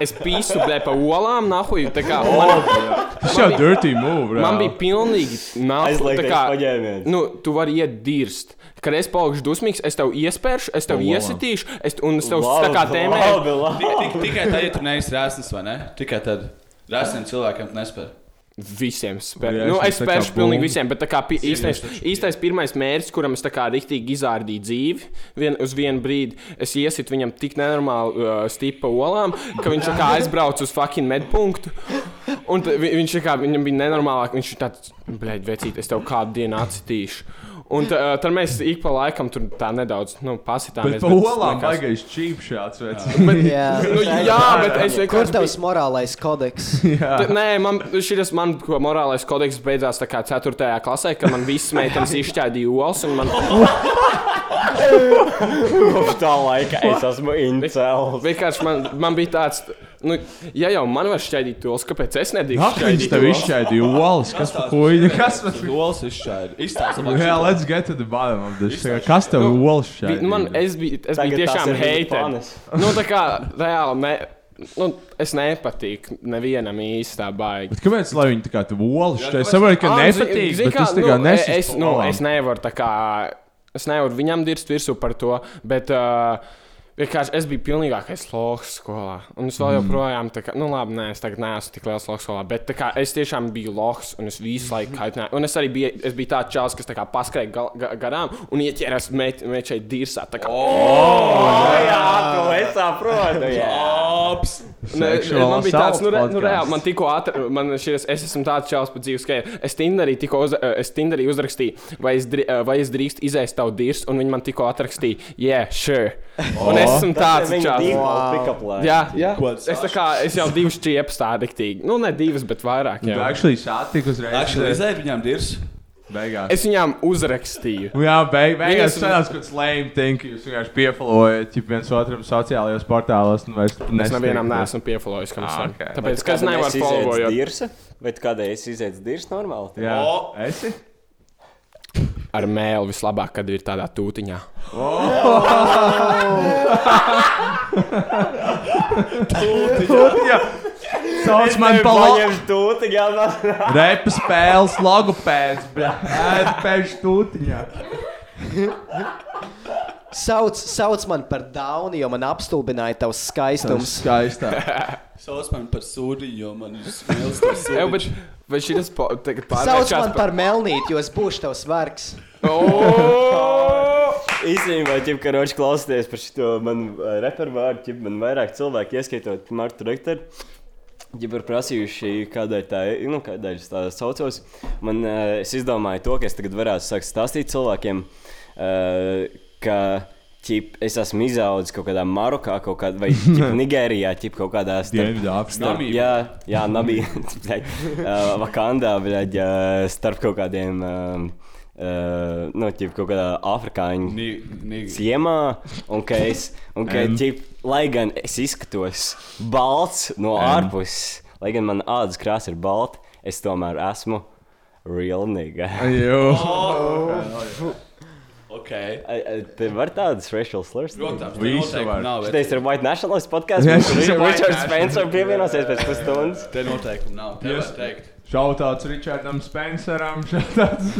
S6: es pīsu, blē, pa olām, nahuju, tā kā. Man,
S3: Tas jau dirty move, bro.
S6: Man bija pilnīgi
S4: Aizliegtais
S6: nākamais.
S4: paņēmiens.
S6: Nu, tu vari iet dirst. Kad es paaugšu dusmīgs, es tev iespēršu, es tev
S4: Wow.
S6: iesitīšu, es, un es tev
S4: Labi,
S6: tā kā tēmēju.
S4: labi, labi.
S9: Tik- Tikai tad, ja tu neesi rēsnis, vai ne? Tikai tad. Rēsniem cilvēkiem tu nespēr.
S6: Visiem spēr.
S3: Jā,
S6: Nu,
S3: es
S6: es
S3: tā kā
S6: spēršu
S3: bumbu.
S6: pilnīgi visiem, bet tā kā pi-
S9: Sirius
S6: īstais,
S9: taču.
S6: īstais pirmais mērķis, kuram es tā kā riktīgi izārdīju dzīvi, vien, uz vienu brīdi es iesitu viņam tik nenormāli uh, stipa olām, ka viņš tā kā aizbrauc uz fucking medpunktu. Un t- vi- viņš tā kā, viņam bija nenormālāk, viņš ir tāds, blēģi, vecīt, es tev kādu dienu atsitīšu. Un tā, tad mēs ik pa laikam tur tā nedaudz, nu,
S3: Bet
S6: pasitāmies.
S3: pa
S6: tas
S3: olām
S6: nekas-
S3: baigais čīp šāds veids. (laughs)
S10: Jā.
S6: Nu, jā, bet es vienkārši.
S10: Kur tavs morālais kodeks?
S6: T- Nē, man šis man, ko morālais kodeks beidzās tā kā 4. klasē, kad man visas meitenes izšķēdīja olas un man
S4: Kopš tā laika es esmu incels.
S6: vienkārši man, man bija tāds, nu, ja jau man var šķēdīt olas, kāpēc es nedrīkstu?
S3: Ak, viņš tev izšķēdīja olas, kas pa kuļi, kas pa
S9: Dols izšķēra. Izstāsta labāk.
S3: Jā, let's get to the bottom of this. Tā kā, Kas tev olas
S6: Nu, Bi-
S3: šķēdīja?
S6: Man, es biju, es
S4: Tagad
S6: biju
S4: tās
S6: tiešām
S4: ir viņa
S6: heiters.
S4: panes.
S6: Nu, tā kā reāli, ne, nu, es nepatīku nevienam īstā baigā.
S3: Bet kāpēc lai viņi tā kā tev olas
S9: Jā,
S3: šķēdīja? Es
S9: kāpēc-
S3: saprotu, ka
S6: Ah, nu,
S3: nepatīk,
S6: zini- zini
S3: bet
S6: kā,
S3: tas tā kā
S6: nu,
S3: nesis.
S6: Es, nu, es nevaru tā kā. Es nevaru viņam dirzt virsū par to, bet. Uh, Vienkārši es biju pilnīgākais loks skolā. Un es
S3: Mhm.
S6: vēl joprojām, tā kā, nu, labi, nē, es tagad neesmu tik liels loks skolā, bet tā kā, es tiešām biju loks un es visu laiku
S3: Mhm.
S6: kaitināju. Un es arī biju, es biju tāds čels, kas tā kā paskrēja gal, ga, garām un ieķērās mečai dirsā. Tā kā,
S3: Oh!
S4: Jā, tu es saprotu. Jā.
S9: Ops!
S6: Ne,
S3: Sexual
S6: man bija tāds,
S3: assault
S6: nu, re, nu
S3: podcast.
S6: reāli, man tikko atradās, man šis, es esmu tāds čels pa dzīves, ka es Tinderī tikko uz, eh, es Tinderī uzrakstīju, vai es, dri, eh, vai es drīkst izēst tavu dirstu, un viņi man tikko atrakstīja, yeah, sure. Oh. Un es esmu tāds čels. Jā, jā. Es tā kā, es jau divas čiepas tā riktīgi. Nu, ne divas, bet vairāk.
S3: Tu
S6: Jā.
S3: actually sātik uzreiz.
S9: Akšļi izēja viņām dirs.
S3: Beigās.
S6: Es viņām uzrakstīju.
S3: Nu Jā, beig, beigās
S6: Viņas-
S3: tas ir tāds lame thing, ka jūs vienkārši piefalojat ja viens otram sociālajos portālos. Nu, vairs
S6: Es
S3: nesatiekaties.
S6: nevienam neesmu piefalojis, kam
S3: Ah,
S6: esam.
S3: ok.
S6: Tāpēc, kas nevar followot
S4: dirsa? Vai tu kādai es izietu dirsa normāli? tad?
S3: Jā, esi?
S6: ar mēlu vislabāk, kad ir tādā tūtiņā.
S3: Jā. Sauc man par labu.
S4: Paņemšu tūti, jā, man.
S3: Repa spēles logopēds, bļa. Ēd pēc tūtiņā.
S10: Sauc, sauc man par Dauni, jo man apstulbināja tavs
S3: Tas
S10: skaistums.
S3: skaistā.
S9: Sauc man par sūdiņu, jo man ir smilts par
S6: Eju, bet
S9: sūdiņu.
S6: vai šis tagad
S10: Sauc
S6: pārvēršās
S10: man par Melnīti, jo es būšu tavs vargs.
S4: Īstenībā, ja karoči klausāties par eh, šo manu ā, repervāru, tad man vairāk cilvēki, ieskaitot Martu Rektoru, ja ir prasījuši, kādai tā, nu, kādai es tā saucos, eh, man ā, es izdomāju to, ka es tagad varētu sākt stāstīt cilvēkiem. ā, eh, ka ķip, es esmu izaudzis kaut kādā Marokā, kaut kādā, vai ķip, Nigērijā, ķip, kaut kādā starp-
S3: Dienvidāfrikā.
S4: starp-
S3: Namībijā.
S4: Jā, jā (laughs) Nabija, uh, Vakandā, bļaģ, uh, starp kaut kādiem. Um, Uh, nu, ķip, kaut kādā afrikāņu ciemā, un ka es, un ka,
S3: Em.
S4: ķip, lai gan es izskatos balts no
S3: Em.
S4: ārpuses, lai gan mana ādas krāsa ir balta, es tomēr esmu real nigga.
S9: Jū. Okay.
S4: Tev var tādas racial slurs?
S9: Protams, Visu noteikti var. nav, bet-
S4: Šitais ir White Nationalist podkāsts,
S3: Jā,
S4: kurš
S3: šis ir White
S4: Richards
S3: Nationalist.
S4: Spencer pievienosies pēc pusstundas.
S9: Te noteikumi nav. Te
S3: Jūs-
S9: var teikt.
S3: Šautauts Richardam Spenceram, (laughs) šautauts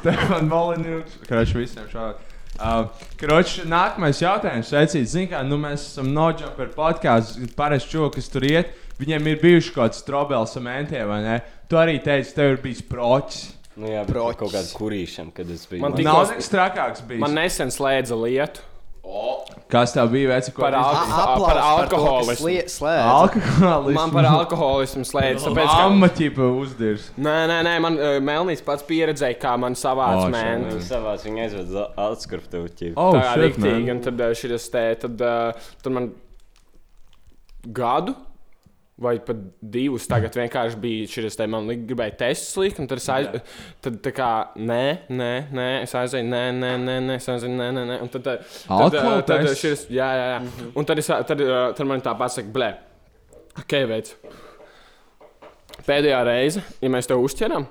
S3: Stefanam Valinjūks. Kroč, visiem šādi. Uh, Kroč, nākamais jautājums. Sveicīt, zini, kā nu, mēs esam noģēluši podkāstu. Parasti čūlis, kas tur iet, viņiem ir bijuši kaut kāds trobels ar mentiem, vai ne? Tu arī teici, tev ir bijis proķis.
S4: Nu jā, proķis. Kaut kāda kurīšana, kad es biju.
S3: Man nav nekas trakāks bijis.
S6: Man nesen slēdza lietu.
S3: Kas tev bija vecs?
S6: Par, al
S10: Aplausi
S6: par
S10: par to, ka
S6: alkoholismu.
S10: slie- slēdz.
S3: Alkoholismu.
S6: Man
S3: (laughs)
S6: par alkoholismu slēdz. Tāpēc, ka...
S3: Mamma ķipa uzdirs.
S6: Nē, nē, nē, man uh, Melnijas pats pieredzēja, kā man
S4: Ā,
S6: savāca oh,
S4: šeit
S6: mēnesis.
S4: Savāds viņa aizved atskraptu.
S3: Oh,
S6: tā ir rīktīgi, un tad šī tas te, tad, uh, tad man gadu. Vai pat divus tagad vienkārši bija šis te, man li- gribēja testus likt, un tad es aizēju, tad tā kā, nē, nē, nē, es aizēju, nē, nē, nē, nē, es aizēju, nē, nē, nē, un tad, eh, tad, tad,
S3: Alkohola
S6: tad, tad
S3: tests?
S6: šis, jā, jā, jā, un tad, es, tad, uh, tad man tā pasaka, blē, ok, veids, pēdējā reize, ja mēs tev uzķeram,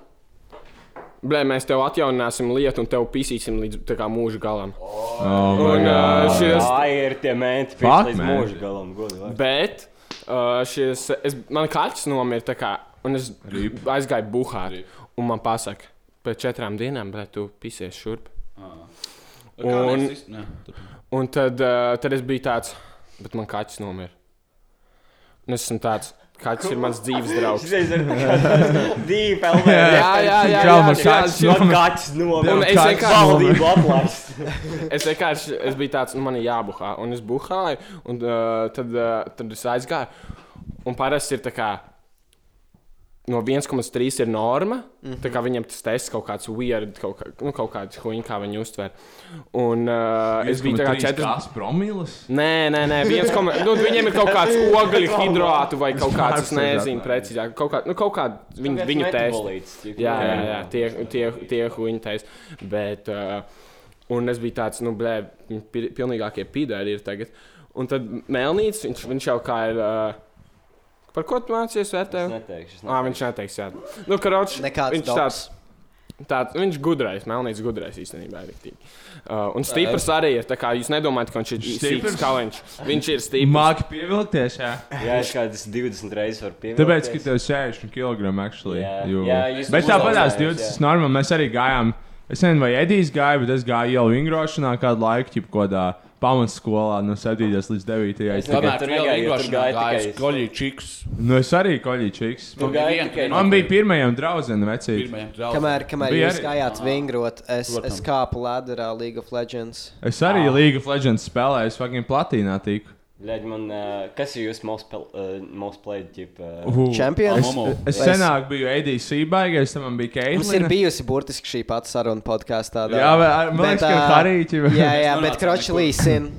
S6: blē, mēs tev atjaunināsim lietu un tev pisīsim līdz tā kā mūža galam.
S4: Oh my God.
S6: un uh, šis,
S4: Tā ir tie menti, pirms
S6: Fuck,
S4: līdz
S6: man.
S4: mūža galam, godi. vai?
S6: Bet uh, šis, es, man kaķis nomira, tā kā, un es Rip. aizgāju buhāri. Un man pasaka, pēc četrām dienām, bet tu pisies šurp.
S9: Kā
S6: Un,
S9: mēs iz- nē, turpini.
S6: un tad, uh, tad es biju tāds, bet man kaķis nomira. Un es esmu tāds, kaķis ir mans dzīves draugs.
S4: Šitais ir tā kā divi pelnēji.
S6: Jā, jā, jā, jā,
S4: Kalma
S6: jā,
S4: kaķis
S6: jā.
S4: nomira. Kaķis nomira.
S6: Un es
S4: Kaķis
S6: vienkārši-
S4: valdību atlaist.
S6: Es vienkārši es biju tāds, nu, man ir jābuhā. Un es buhāju, un uh, tad, uh, tad es aizgāju. Un parasti ir tā kā. No 1,3 ir norma. Mm -hmm. Tā kā
S4: Mhm.
S6: viņam tas tests kaut kāds weird, kaut, kā, nu, kaut kāds huņķis, kā viņi uztver. Un uh, es biju tāds
S3: 4
S6: četras.
S3: promilus.
S6: Nē, nē, nē, viens komentārs. Nu, viņiem ir kaut kāds
S4: (laughs)
S6: ogļu hidrātu vai kaut kāds, es nezinu, precīzāk. Kaut kā, nu, kaut kā viņu,
S4: Kaut kāds
S6: viņu
S4: metabolīts,
S6: tēsti.
S4: tipa.
S6: Jā, jā, jā, tie, tie, tie huņi tēsti. Bet, uh, un es biju tāds, nu, blē, viņi pi- pilnīgākie pīdēri ir tagad. Un tad Melnīts, viņš, viņš jau kā ir. Uh, Par ko tu mācījies vērtēt?
S4: neteikšu, es
S6: Ā, viņš neteiks, jā. Nu, karoči,
S10: Nekāds
S6: viņš tāds.
S10: doks.
S6: Tāds, viņš gudrais, melnīgs gudrais īstenībā ir. riktīgi. Uh, un stiprs arī ir. tā Kā, jūs nedomājat, ka viņš ir
S3: Stiprs?
S6: stiprs kā viņš. Viņš ir stiprs.
S3: Māki pievilkties, jā.
S4: Jā, es kādas 20 reizes varu pieminēt.
S3: Tāpēc, ka tev ir 60 kg. Actually,
S4: Jā.
S3: jo...
S4: Jā, jūs
S3: bet tāpat tās 20
S4: uzaudzējāt, jā.
S3: ir normāli. Mēs arī gājām, es nezinu, vai Edijs gāja, bet es gāju jau vingrošanā kādu laiku, jau kādā pamatskolā no 7. līdz 9.
S4: Es
S3: Tā kā-
S4: Tomēr
S9: Tomēr
S4: tur
S9: tur jau
S4: negāja,
S9: vienkārši
S4: tur gāja
S9: gāja
S4: tikai-
S9: skoļīgi čiks.
S3: Nu, es arī koļīčīgs.
S9: Tu gāji tikai-
S3: Man bija pirmajam draugam, vecīt.
S9: Pirmajam
S10: Kamēr, kamēr
S3: Bija
S10: jūs
S3: arī-
S10: gājāt vingrot, es, es
S3: Protams.
S10: kāpu ledurā League of Legends.
S3: Es arī League of Legends spēlēju, es fucking platīnā tiku.
S4: Ļaģi man, uh, kas ir jūsu most, pel, uh, most played tip? Uh,
S10: Champions?
S3: Es, es senāk biju ADC baigais, tam man bija Keitlina.
S10: Mums ir bijusi burtiski šī pati saruna podkāstā.
S3: Jā, vai- ar- man liekas, ka ar Hariju, ķipa.
S10: Jā, jā,
S3: Mēs
S10: bet
S3: nonācām
S10: kroči
S3: nekur.
S10: līsin.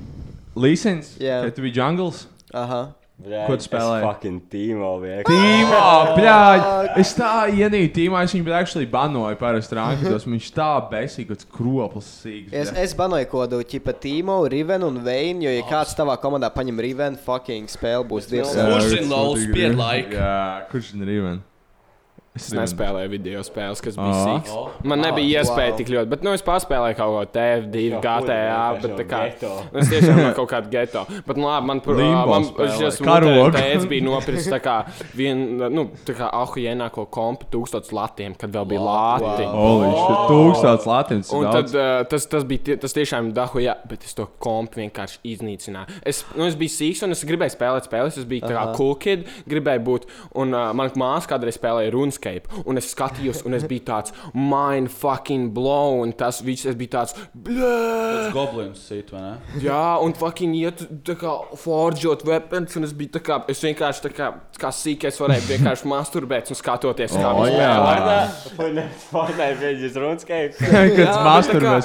S3: Līsens?
S10: Jā.
S3: Kad tu biji jungles?
S10: Aha.
S4: Bļaģ,
S3: Ko tu spēlēji?
S4: Es fucking tīmo vienkārši.
S3: Tīmā, plāj! Es tā ienīdu tīmā, es viņu actually banoju parasti rankitos. Viņš tā besīgi, kāds kroplis sīgs.
S10: Es,
S3: bļa.
S10: es banoju kodu tipa Timo, Rivenu un Veinu, jo, ja kāds tavā komandā paņem Rivenu, fucking spēle būs diezgan
S3: Jā,
S9: Kurš
S3: viņš
S9: zina, Lauls,
S3: noteikti
S9: spied
S3: ir.
S9: laiku?
S3: Jā, kurš zina Riven?
S6: Es nespēlēju video spēles, kas bija
S3: Ā.
S6: sīgs. Man nebija iespēja tik ļoti, bet nu, es paspēlēju kaut ko TF2,
S4: Šo
S6: GTA.
S4: kuri,
S6: Bet,
S4: šo
S6: tā kā,
S4: geto.
S6: nu, es tiešām biju kaut kādā geto. Bet, nu, labi, man, pro-
S3: Limbo
S6: man
S3: spēlē.
S6: šis
S3: Karogu.
S6: tēvs bija nopircis tā kā vienu, nu, tā kā ahujienāko kompu tūkstots latiem, kad vēl bija lāti.
S3: Holy shit,
S9: Oh!
S3: tūkstots latins.
S6: Un tad, uh, tas, tas bija tie, tas tiešām dahu, jā, bet es to kompu vienkārši iznīcināju. Es, nu, es biju sīgs un es gribēju spēlēt spēles. Es biju tā kā
S10: Aha.
S6: cool kid, gribēju būt. Un uh, manā māsā kādreiz spēlēja runas landscape. Un es skatījos, un es biju tāds mind fucking blow, un tas viss es biju tāds blēd.
S9: Tas goblins sit, vai ne?
S6: Jā, un fucking iet, tā kā forģot weapons, un es biju tā kā, es vienkārši tā kā, kā sīkais varēju vienkārši masturbēt un skatoties, kā
S3: O,
S6: viņi
S3: jā.
S6: uh,
S3: (laughs)
S6: spēlē.
S4: Fortnite beidzas RuneScape.
S6: Jā, bet tā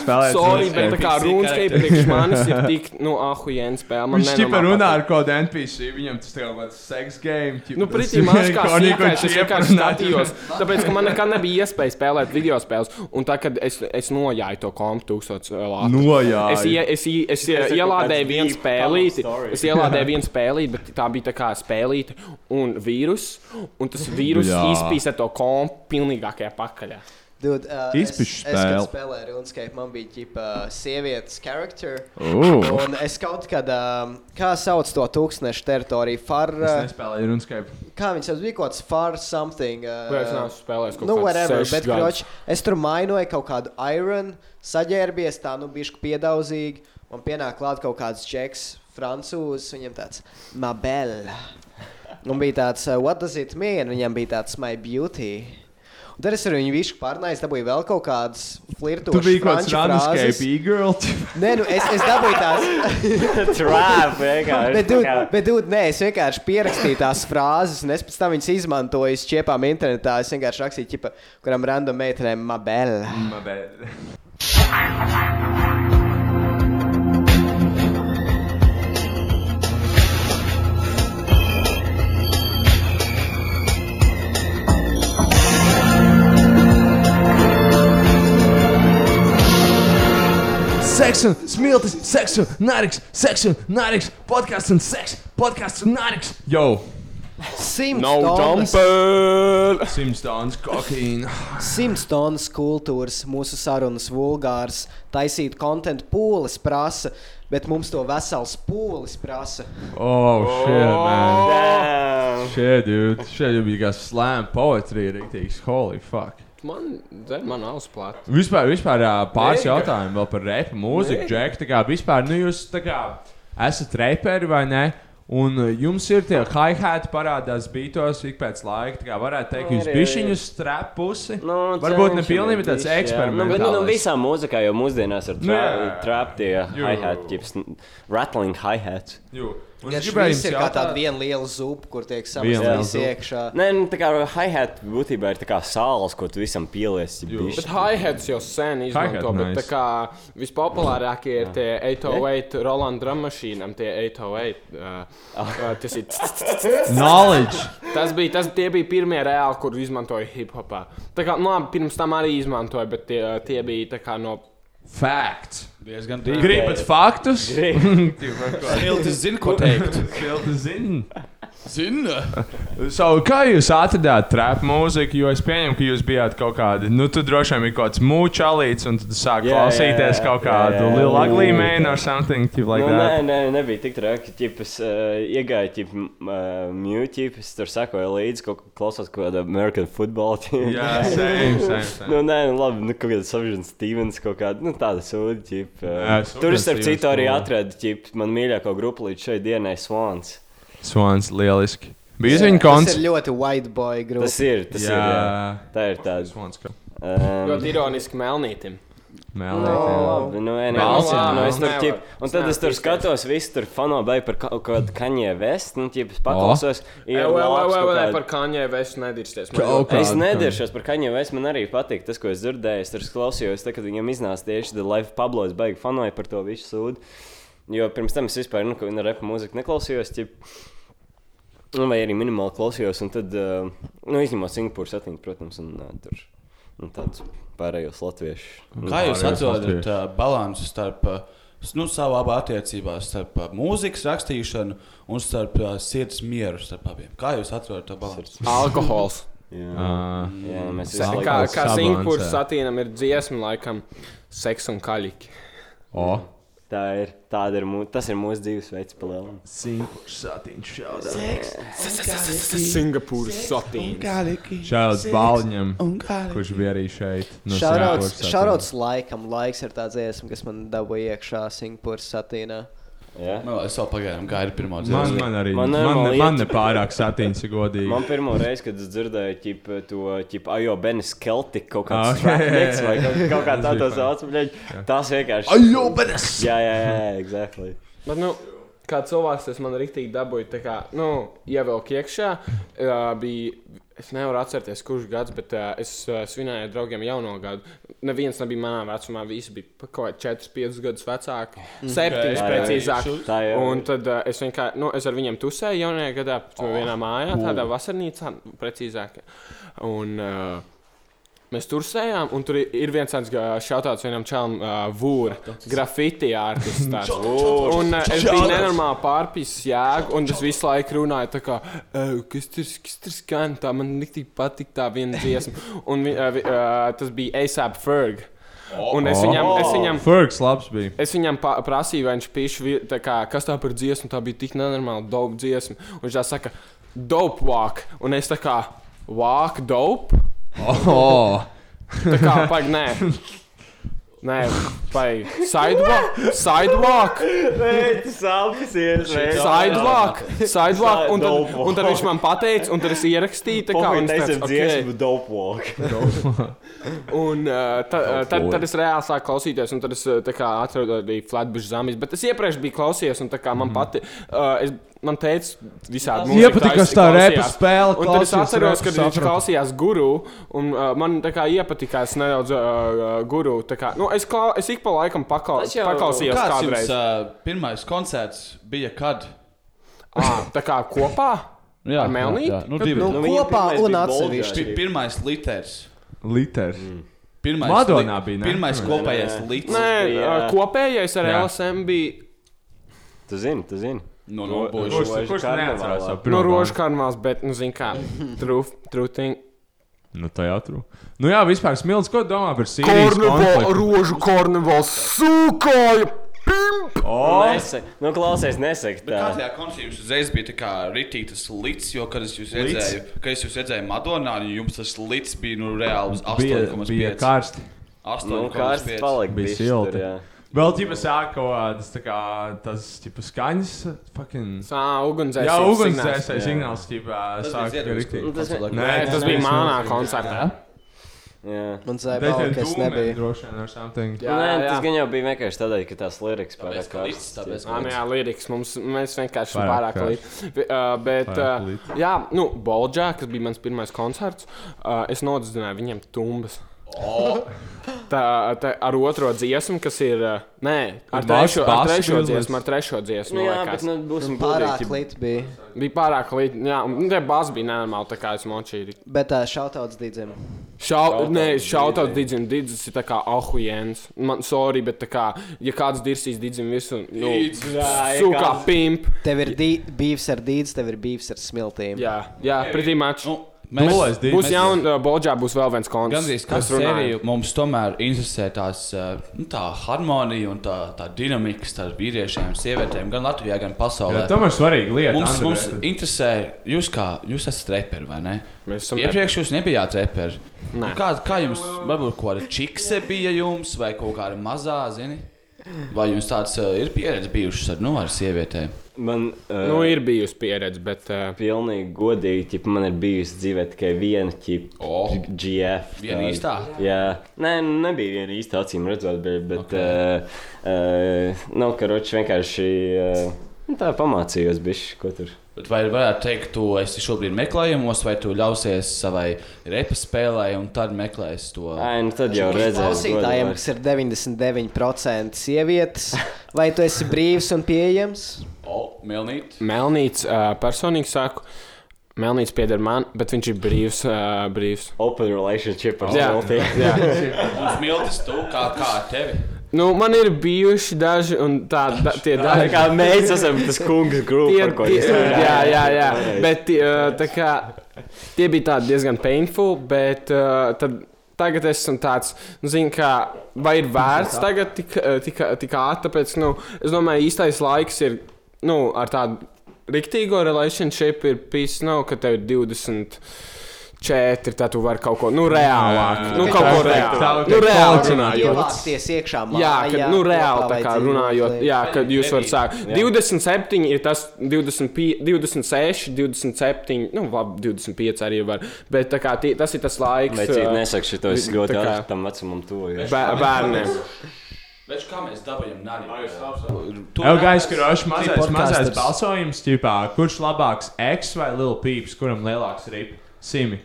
S6: kā- Sorry, bet tā kā RuneScape priekš manis ir tik, nu, ahujēna spēle. man
S3: Viņš
S6: nenormāli
S3: tikai
S6: patīk.
S3: runā ar kaut kādu NPC, viņam tas tā kā seks game.
S6: Nu, pretī
S3: (laughs)
S6: maz kā sīkais, es vienkārši skatījos. Tāpēc, ka man nekad nebija iespēja spēlēt video spēles. Un tā, kad es, es nojāju to kompu tūkstots lātu.
S3: Nu, Nojāju.
S6: Es, ie, es, ie, es
S3: Tas
S6: ie,
S3: ir kaut kāds
S6: ielādēju vienu
S3: deep
S6: spēlīti.
S3: tunnel story.
S6: Es ielādēju vienu spēlīti, bet tā bija tā kā spēlīte un vīrus. Un tas vīrus
S3: Jā.
S6: izpīsa to kompu pilnīgākajā pakaļā.
S10: Dude, uh, es, es,
S6: Izpišķi
S10: kad
S6: spēli.
S10: spēlēju RuneScape, man bija ģipa sievietes charakter.
S3: Ooh.
S10: Un es kaut kad, um, kā sauc to tūkstnešu teritoriju, far... uh,
S3: Es nespēlēju RuneScape.
S10: Kā viņš sauc, bija kaut kāds far something. Uh,
S6: Vai es neesmu spēlējis kaut
S10: nu,
S6: kāds
S10: whatever,
S6: sešus
S10: bet,
S6: gadus?
S10: kroč, es tur mainoju kaut kādu iron, saģērbies tā, nu, bišku piedaudzīgi. Man pienāk klāt kaut kāds džeks, francūzs, viņam tāds - mabel. Un bija tāds, uh, what does it mean? Viņam bija tāds, my beauty. Un tad es ar viņu višu pārnāju, dabūju vēl kaut kādas
S3: Tu
S10: flirtošanas.
S3: biji kaut kāds RuneScape e-girl.
S4: (laughs)
S10: Nē, nu es, es dabūju tās
S4: Trap, vienkārši,
S10: Bet,
S4: tā
S10: dude,
S4: kā-
S10: bet dude, nē, es vienkārši pierakstīju tās frāzes, un es pēc tam viņas izmantoju čiepām internetā. Es vienkārši rakstīju, ķipa, kuram random meitenēm mabel.
S3: Mabel.
S2: Seks un smiltis, seks un nariks, seks un nariks, podkāsts un seks, podkāsts un nariks.
S3: Yo!
S10: Simts
S2: No
S10: tonnas-
S3: jumper! Simts tons cocaine.
S10: Simts tonnas kultūras, mūsu sarunas vulgārs, taisīt kontentu pūles prasa, bet mums to vesels pūles prasa.
S3: Oh, shit, man.
S4: Oh.
S10: nu. Damn.
S3: Shit, dude. Shit, you bija kā slam poetry, rīktīgs. Holy fuck.
S6: Man, dzer, man nav splāt.
S3: Vispār, vispār ā, pāris
S6: Nē, ka-
S3: jautājumu vēl par repu mūziku,
S6: Nē.
S3: Džek. Tā kā vispār, nu jūs tā kā esat reperi vai ne? Un uh, jums ir tie hi-hat parādās beatos ik pēc laika. Tā kā varētu teikt, jūs
S4: Ir, ir,
S3: bišķiņu
S4: ir.
S3: strapusi.
S4: Nu,
S3: Varbūt ne
S4: cenšamies
S3: pilnīgi tāds
S4: bišķi, jā. Nu, bet, nu, nu,
S3: eksperiments.
S4: visā mūzikā jau mūsdienās ir
S3: Nu, jā.
S4: traptie
S3: Jū.
S4: hi-hat, ķips, n- rattling hi-hat.
S3: Jū. Un
S10: Tas
S3: es
S10: ir
S3: gribēju jums
S10: kā tāda
S3: jautāt-
S10: viena liela zupa, kur tiek
S4: Viena liela
S10: samazināts
S4: zupa.
S10: iekšā.
S4: Nē, nu, tā kā hi-hat būtībā ir tā kā sāls, ko tu visam pieliesi.
S6: Bet hi-hats jau sen izmanto,
S4: Hi-hat
S6: bet
S4: nice.
S6: tā kā vispopulārākie ir tie 808 Roland drum mašīnām, tie 808. Uh,
S4: Ah.
S6: uh, tas ir
S3: Knowledge.
S6: Tas bija, tas tie bija pirmie reāli, kur izmantoja hip-hopā. Tā kā, nu labi, pirms tam arī izmantoja, bet tie, uh, tie bija tā kā no...
S3: Facts.
S9: Diezgan
S3: Gribat faktus? (laughs)
S9: Siltis zina, ko teikt.
S3: Siltis zina.
S9: Zina.
S3: So, kā jūs atradāt trap mūziku? Jo es pieņemu, ka jūs bijāt kaut kādi, nu, tur droši vien bija kaut kāds mūčalīts, un tad sāk
S4: Jā, jā,
S3: klausīties
S4: jā,
S3: kaut
S4: jā,
S3: kādu
S4: jā.
S3: Lil Ugly Man or something like
S4: nu,
S3: that.
S4: nē, nē, nebija tik traki. Ķipas, uh, iegāja ķip, uh, mute, tur sakoja līdzi, kaut kā klausās kaut kādu American football. team.
S3: Jā, same, same,
S4: (laughs)
S3: same.
S4: nu, nē, nu, labi, nu, kaut kāda Savžina Stevens, kaut kāda, nu, tāda sūdi, ķip.
S3: Jā,
S4: Uh,
S3: Savžins
S4: tur, es, starp
S3: Stevens,
S4: citu, arī
S3: cool.
S4: atradu, ķip, man mīļāko grupu līdz šai dienai Swans.
S3: Svans, lieliski. Bija
S10: Jā,
S3: viņa
S10: Tas
S3: koncerts.
S10: ir ļoti white boy grupa.
S4: Tas ir, tas jā. ir, jā.
S3: Jā.
S4: tā ir tāda.
S3: Swans, ka.
S6: Ļoti ironiski melnītim.
S3: Oh,
S4: Labi, nu, nē, nē,
S6: Melnītim.
S4: jā, nu, es tur
S6: Nevar.
S4: ķip, un tad
S6: nevar
S4: es tur
S6: ticēt.
S4: skatos, visi tur fano beig par kaut kādu kaņē vestu, un ķip, es paklausos. ir
S6: Ei, vai, vai,
S4: labs
S6: vai,
S4: kaut
S6: vai,
S4: kāda-
S6: par Kanye West nedirsties.
S4: Es nediršos par Kaņģu, es man arī patīk tas, ko es dzirdēju. Es tur klausījos, tā, kad viņam iznāca tieši The Life Pablo. Es baigi fanoju par to visu sūdu. Jo pirms tam es vispār nu, ko- nu, repu mūziku neklausījos. Ķip, nu, vai arī minimāli klausījos. Un tad, uh, nu, izņemot Singapūru satiņu, protams, un uh, tur un tāds pārējos latviešu.
S9: Kā jūs atrodat uh, līdzsvaru starp uh, s- nu, savām attiecībām, starp uh, mūzikas rakstīšanu un starp uh, sirds mieru starp abiem? Kā jūs atrodat to līdzsvaru?
S6: Alkohols.
S3: Jā.
S4: Jā, mēs
S6: Sa-
S4: visu
S6: Kā,
S4: laiku-
S6: kā Singapūrā
S4: sabalansē.
S6: satīnam ir dziesma, laikam, seks un kaļķi.
S3: O.
S4: Tā ir, tāda ir, mū, tas ir mūsu dzīvesveids palielinājums.
S3: Singapūrs satiņš šādā.
S6: Singapūras
S1: Oh,
S6: satīns.
S3: Šāds Balņam,
S10: un galīgi.
S3: kurš bija arī šeit. no Singapūras
S10: Šāds
S3: satiņa.
S10: šāds laikam, laiks ir tāds dziesma, kas man dabūja iekšā Singapūras satīnā.
S9: Yeah. Man liekas, Nu, vēl pagaidām gaida pirmā
S3: Man, man arī man, man, man, man ne pārāk satīns, ja godīgi.
S13: Man pirmo reizi, kad es dzirdēju, ķip, to ķip, ajo, Benis Celtic kaut
S3: Ah,
S13: (laughs) kāds fragments vai
S3: jā, jā,
S13: kaut,
S3: jā.
S13: kaut kā
S3: Tas
S13: tā
S3: bija
S13: to
S3: fajn.
S13: sauc, bļaļ, tas vienkārši.
S3: Ajo, Benis!
S13: Jā, jā, jā, exactly.
S6: Bet, nu, kā cilvēks, tas man rīktīgi dabūja, tā kā, nu, ievelk iekšā. Uh, bija, es nevaru atcerēties, kurš gads, bet uh, es uh, svinēju ar draugiem jauno gadu. Neviens nebija manā vecumā, visi bija pa kaut kā 4, 5 gadus vecāki.
S13: Mm.
S6: 7
S13: Tā
S6: okay.
S13: jau
S6: precīzāk.
S13: ir. Tā jau ir.
S6: Un tad uh, es vienkārši, nu, es ar viņiem tusēju jaunajā gadā, oh. vienā mājā, tādā vasarnīcā, precīzāk. Un, uh, Mēs tur sējām, un tur i- ir viens tāds šautāts vienam čalam, uh, Vūra, grafiti ārpus tāds. Un uh, es biju
S14: Čautauts.
S6: nenormāli pārpīs jēgu, un es visu laiku runāju tā kā, "Ej, kas tur, kas tur skan, tā man tik patīk tā viena dziesma. Un vi- uh, vi- uh, tas bija ASAP Ferg. Un es viņam, es viņam
S3: Fergs labs bija.
S6: Es viņam pa- prasīju, vai viņš pišķi, kā, kas tā par dziesmu, tā bija tik nenormāla dope dziesma. Un viņš tā saka, dope walk. Un es tā kā, walk dope.
S3: Oh.
S6: tā kā, pag, nē. Nē, vai sidewalk? Sidewalk!
S13: Nē, tas apsies, nē.
S6: Sidewalk! Sidewalk! Un tad,
S13: Dope walk.
S6: un tad viņš man pateica, un tad es ierakstīju, tā kā
S13: Pagaid,
S6: viņš
S13: taisam dziesmu dope walk.
S6: Un uh, ta, uh, tad,
S13: Lord.
S6: tad es reāli sāku klausīties, un tad es uh, tā kā atradu arī Flatbush zāmis. Bet es iepriekš biju klausījies, un tā kā man pati. Uh, es, Man teica, visādi mūziku
S3: Iepatika,
S6: taisi-
S3: kas tā
S6: klausījās.
S3: repa spēle,
S6: Un tad es
S3: klausījos
S6: atceros,
S3: repu,
S6: kad viņš
S3: sapratu.
S6: klausījās guru, un uh, man tā kā iepatikās nedaudz uh, uh, guru. tā Kā, nu, es, klau, es ik pa laikam paklau,
S9: Tas jau-
S6: paklausījos
S9: Kāds
S6: kādreiz.
S9: Jums, uh, pirmais koncerts bija kad?
S6: Ah, tā kā kopā?
S9: Jā,
S6: Ar Melnīti?
S9: jā, jā. Nu,
S6: Kad-
S9: divi.
S6: nu, Nu, viņa kopā pirmais un bija
S9: atsevišķi.
S6: Bolgārija.
S9: Pi- Pirmais liters.
S3: Liters.
S9: Pirmais
S3: Madonā
S9: li-
S3: bija, ne?
S9: Pirmais
S3: Nē,
S9: kopējais
S3: nē.
S9: liters.
S6: Nē, uh,
S9: Jā.
S6: kopējais ar
S9: Jā.
S6: LSM bija.
S13: Tu zini, tu zini.
S9: No,
S13: no,
S9: būs.
S13: rožu
S9: Kurš- kurš
S13: karnevālā.
S9: neatcerās savu
S6: No rožu karmās, bet, nu, zini kā, trūting.
S3: Nu, tā jau tur. Nu, jā, vispār smilts, ko tu domā par Sīrijas
S6: Kornevāla,
S3: konfliktu?
S6: rožu kornevāla, sūkāja!
S13: Nesek, nu, klausies, nesek
S9: Bet
S13: tā.
S9: Kādējā koncertā jums uzreiz bija tā kā rītītas līcis, jo, kad es jūs
S13: Lids?
S9: redzēju, kad es jūs redzēju Madonā, nu, jums tas līcis bija nu reāli uz
S3: Bija-
S9: 8,5.
S3: bija karsti.
S13: Nu, karsts
S9: 8,5.
S13: palika
S3: Bija
S13: bišķi tur,
S3: silti.
S13: jā.
S3: Vēl tīpa sāk kaut kādas, tā kā, tas, tīpa, skaņas, fucking...
S6: Sā, ugunsdzēsēji
S3: Jā,
S6: signāls.
S3: ugunsdzēsēji signāls, tīpa,
S9: Tas bija
S3: sāk
S9: Ziedonijas
S3: rīktīgi.
S9: Nu, tas bija-
S3: Nē,
S6: Nē, tas bija
S3: bija
S6: manā
S3: smilts.
S6: koncertā.
S13: Un
S3: Bet ir Doom Man droši vien ar something.
S13: Jā, nē, jā. tas gan jau bija vienkārši tādēļ, ka tās lirikas pārāk
S9: ka līdz- tāpēc,
S6: Ah, nu jā, liriks mums mēs vienkārši esam
S13: Pārāk
S6: pārāk līdzi. Uh, bet,
S13: Pārāk
S6: uh,
S13: līdz.
S6: jā, nu, Bolģā, kas bija mans pirmais koncerts, uh, es nodedzināju viņiem tumbas.
S13: Oh.
S6: Tā, tā ar otro dziesmu, kas ir. uh, Nē, ar
S13: Bas-
S6: trešo, ar
S13: bass
S6: trešo
S13: izlies.
S6: dziesmu, ar trešo dziesmu.
S13: Nu jā,
S6: man liekas.
S13: bet, nu, būsim Pārāk godīgi. līt
S10: bija.
S6: Bija pārāk līdzi. Jā, un tā bāze bija nenormāla, tā kā es močīju.
S10: Bet uh, šautauts dīdzim.
S6: Šau, nē, šautauts Digim, Digis ir tā kā ahujens. Man, sorry, bet tā kā, ja kāds dirsīs Digim visu, nu,
S10: Dīdz.
S6: sūkā pimp.
S10: Tev ir dī- beefs ar dīdzi, tev ir beefs ar smiltīm.
S6: Jā, jā pretī maču.
S9: Nu,
S13: Nu,
S9: mēs- Nulais Digis.
S6: būs
S9: mēs-
S6: jauna, uh, Bolģā būs vēl viens koncerts.
S9: Gan arī
S6: kas
S9: skatās sēriju. Mums tomēr interesē tās, eh, nu, tā harmonija un tā, tā dinamika starp vīriešiem un sievietēm gan Latvijā, gan pasaulē.
S3: Jā, tomēr svarīga lieta,
S9: Mums,
S3: Andrej.
S9: mums interesē, jūs, kā, jūs esat reperi vai ne?
S6: Mēs esam
S9: Iepriekš jūs nebijāt reperi.
S6: Nē.
S9: Kā, kā jums, varbūt kaut kāda čikse bija jums vai kaut kāda mazā, zini? Vai jums tāds eh, ir pieredze bijušas ar, nu, ar sievietēm?
S13: Man, uh,
S6: Nu, ir bijusi pieredze, bet. Uh,
S13: pilnīgi godīgi, ķip, man ir bijusi dzīvē tikai viena ķip, oh. GF.
S9: Viena
S13: tāda.
S9: īstā?
S13: Jā, nē, nu, nebija viena īsta, acīm redzot, bet. bet okay. uh, uh, nu, karoči vienkārši. Uh, nu, tā pamācījos, bišķi, ko tur.
S9: Bet vai varētu teikt, tu esi šobrīd meklējumos, vai tu ļausies savai repa spēlē, un tad meklēsi to?
S13: Ai, nu tad jau
S10: Klausītājiem, kas ir 99% sievietes, vai tu esi brīvs un pieejams?
S9: O, Melnīt.
S6: Melnīts, uh, personīgi saku, Melnīts pieder man, bet viņš ir brīvs. Uh, brīvs.
S13: Open relationship ar
S6: Jā,
S13: Smilti. (laughs)
S6: jā.
S9: Un smiltis tu, kā, kā ar tevi?
S6: Nu, man ir bijuši daži, un tā, da, tie
S13: Tā
S6: daži.
S13: kā mēs esam tas kungs grupa,
S6: Tie-
S13: par ko
S6: tie-
S13: jūs
S6: Jā, jā, jā.
S13: Pareizi.
S6: Bet tie, uh, tā kā, tie bija tādi diezgan painful, bet uh, tad, tagad es esmu tāds, nu, zinu, kā, vai ir vērts tagad tik, uh, tik, tik ātri, tāpēc, nu, es domāju, īstais laiks ir, nu, nu, ar tādu riktīgo relationship ir pīs, nav, ka tev ir 20. četri, tad tu vari kaut ko nu, reālāk.
S10: Jā,
S6: Nu,
S10: jā,
S6: kaut
S10: jā.
S6: ko
S10: Tā, tā,
S6: reālāk.
S10: tā,
S6: Nu,
S10: tā,
S6: reāli
S10: tā,
S6: runājot.
S10: ievākties iekšā
S6: Jā,
S10: mājā,
S6: kad, nu,
S10: kopā
S6: reāli tā
S10: vai
S6: kā
S10: dzīvot
S6: runājot,
S10: liet-
S6: jā, kad jūs varat sākt.
S10: Jā.
S6: 27 ir tas 25, 26, 27, nu, labi, 25 arī var. Bet tā kā, tie, tas ir tas laiks.
S4: Bet cik
S6: ā,
S4: nesaka šito, es
S6: tā
S4: ļoti
S6: kā-
S4: ātri tam vecumam tuvoju.
S6: Bē- bērniem.
S9: Bet kā mēs dabūjām nāri?
S3: Tev gais, ka roši mazais, mazais balsojums, ķipā, kurš labāks X vai Lil Peeps, kuram lielāks rip? Simi.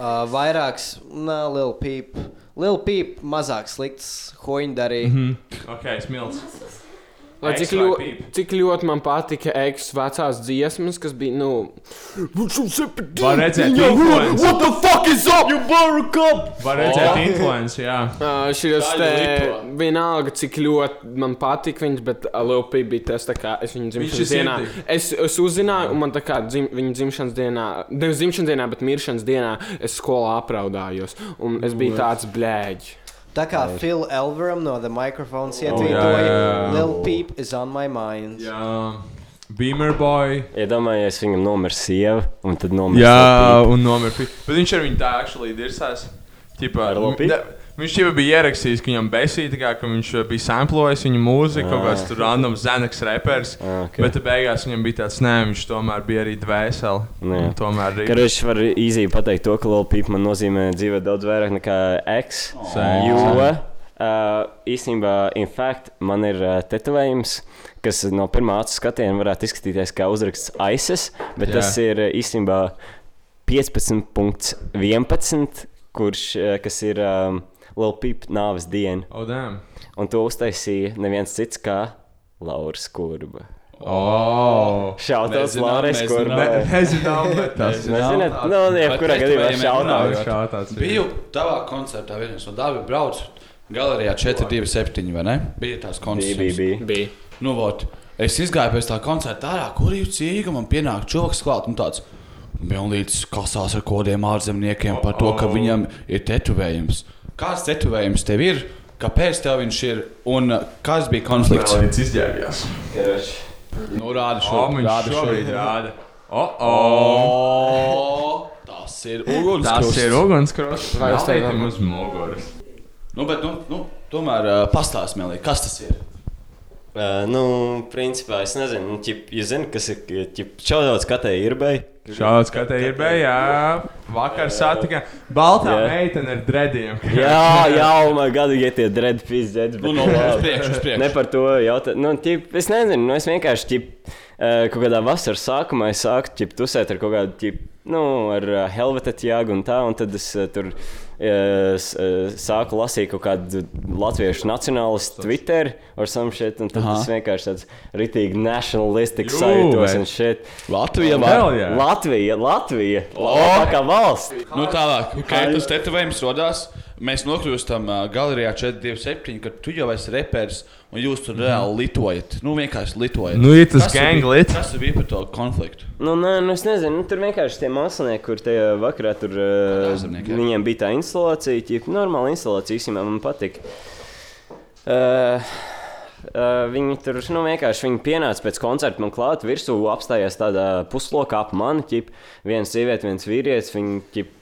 S10: Uh, vairāks, nā, Lil Peep. Lil Peep mazāk slikts, hoņdarī.
S3: Mhm. Ok, smilts.
S6: Lai cik, ļo, cik ļoti man patika ekslibra vecās dziesmas, kas bija, nu,
S3: Var redzēt,
S6: Yo,
S3: influence.
S6: What the fuck is up? Oh. You borrow cup!
S3: Var redzēt influenci, jā.
S6: Šis te
S3: Daļa
S6: vienalga, cik ļoti man patika viņas, bet Leopī bija tas, tā kā es viņu
S3: ir
S6: dzimšanas dienā.
S3: sirdī.
S6: Es, es uzzināju, un man tā kā dzim, viņa dzimšanas dienā, nevis dzimšanas dienā, bet miršanas dienā, es skolā apraudājos. Un es biju tāds blēģis.
S10: Tā kā Phil Elveram no The Microphones
S6: jā,
S10: ietvītoja,
S6: jā.
S10: Lil Peep is on my mind.
S3: Jā. Beamer boy.
S4: Iedomājies, viņam nomira sieva, un tad nomira.
S3: Jā, un nomira pīpa. Bet viņš ar viņu tā actually dirsās. Tipā, ne- viņš jau bija ierakstījis, ka viņam besīja, tā kā, ka viņš eh, bija samplojis viņa mūziku, kaut kāds
S4: Ah.
S3: tur random zeneks reperis.
S4: ok.
S3: Bet te beigās viņam bija tāds, nē, viņš tomēr bija arī dvēseli. Un Tomēr arī.
S4: Karš var īsi pateikt, to, ka Lil Peep man nozīmē dzīvē daudz vairāk nekā X.
S3: Same.
S4: Jo
S3: Same.
S4: uh, īstenībā, in fact, man ir uh, tetovējums, kas no pirmā acu skatiena varētu izskatīties kā uzraksts ISIS, bet
S3: Jā.
S4: Jā. tas ir uh, īstenībā 15.11, kurš uh, kas ir um, Lil Peep nāves diena.
S3: Oh, damn.
S4: Un to uztaisīja neviens cits kā Lauris Kurba.
S3: Oh.
S4: Šautavs
S3: Nezinām,
S4: Lauris
S3: nezinām,
S4: Kurba.
S3: ne- (laughs) nezinām, bet tas-
S4: Nezināt,
S3: Šautauts.
S4: nu,
S3: Bet
S4: jebkurā gadījumā šautavs.
S3: Šautauts, jā.
S9: Biju tavā koncertā vienreiz, un Dāvi braucu galerijā 427, vai ne? Bija tās koncerts.
S4: Bija, bija, bija.
S6: bija.
S9: Nu, vot, es izgāju pēc tā koncerta ārā, kur jau cīga man pienāk čoks klāt, un tāds. Milnīts kasās ar kodiem ārzemniekiem par to, ka viņam ir tetovējums. Kāds tetovējums tev ir? Kāpēc tev viņš ir? Un uh, kas bija konflikts?
S3: Melnīts izģērbjās.
S9: Nu, rāda šo.
S3: O, Oh, viņš
S9: rāda Oh, šo.
S3: šobrīd rāda. O,
S9: o. Tas ir uguns.
S3: Tas ir ugunskrots.
S9: Vai jūs teikt,
S3: uz muguras?
S9: Nu, bet, nu, nu, tomēr uh, pastāsti, Melī, kas tas ir?
S4: Uh, nu, principā es nezinu, nu, ķip, jūs zināt, kas ir čaudauts katē irbei.
S3: Šāds katē irbei, jā. Vakar satika. Baltā
S4: Jā.
S3: meitene ar drediem.
S4: Jā, jau man gadu iet tie dread pizdēļ.
S3: Nu, nu, uz priekšu, uz priekšu.
S4: Ne par to jautāt. Nu, ķip, es nezinu, nu, es vienkārši ķip, eh, kaut kādā vasaras sākumā es sāku ķip, tusēt ar kaut kādu ķip, nu, ar eh, Helvetet jāgu un tā, un tad es eh, tur eh, s- eh, sāku lasīt kaut kādu latviešu nacionālistu Twitter or some shit, un tad
S9: Aha.
S4: Aha. es vienkārši tāds ritīgi nationalistic
S9: Jū,
S4: sajūtos
S9: vai-
S4: un shit.
S9: Latvija
S4: Un-
S9: var? Vēl, jā.
S4: Latvija, Latvija.
S9: O!
S4: Labākā valsts.
S9: Nu, tālāk, kad tas tetovējums radās, mēs nokļūstam uh, galerijā 427, kad tu jau esi reperis un jūs tur
S6: Mhm.
S9: reāli litojat. Nu, vienkārši litojat.
S3: Nu, ir tas
S9: Kas
S3: gang
S9: bija-
S3: lit.
S9: Kas bija par to konfliktu?
S4: Nu, nē, nu es nezinu, nu, tur vienkārši tie mākslinieki, kur tajā vakarā tur uh, viņiem bija tā instalācija, jau normāla instalācija, īstenībā man patika. Uh, Uh, viņi tur nu, vienkārši viņi pienāca pēc koncerta, man klāta virsū, apstājās tādā puslokā ap mani. Ķip, viena sieviete, viens vīrietis, viņi ķip,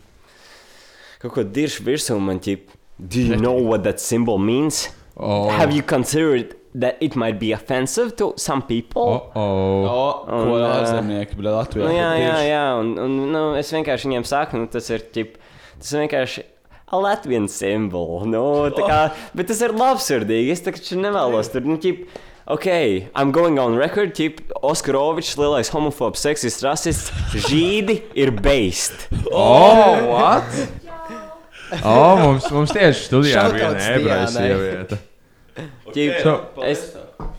S4: kaut ko dirž virsū un man ķip, Do you know what that symbol means?
S3: Oh.
S4: Have you considered that it might be offensive to some people?
S3: Oh, oh.
S9: O,
S4: Un,
S9: ko
S4: eh,
S9: ārzemnieki, bet Latvijā.
S4: Nu, jā,
S9: ir
S4: jā,
S9: tieši-
S4: jā, un, un nu, es vienkārši viņiem saku, nu, tas ir tip, tas ir vienkārši. Latvijas simbols. Nu, tā kā, bet tas ir labsirdīgi. Es taču nevēlos tur, nu, ķip, ok, I'm going on record, ķip, Oskarovičs, lielais homofobs, seksists, rasists, žīdi ir based.
S3: Oh, what? O, mums, mums tieši studijā ir viena
S4: Shoutouts
S3: ebreja
S4: Dianai.
S3: sieviete.
S4: Ķip,
S3: So-
S4: es,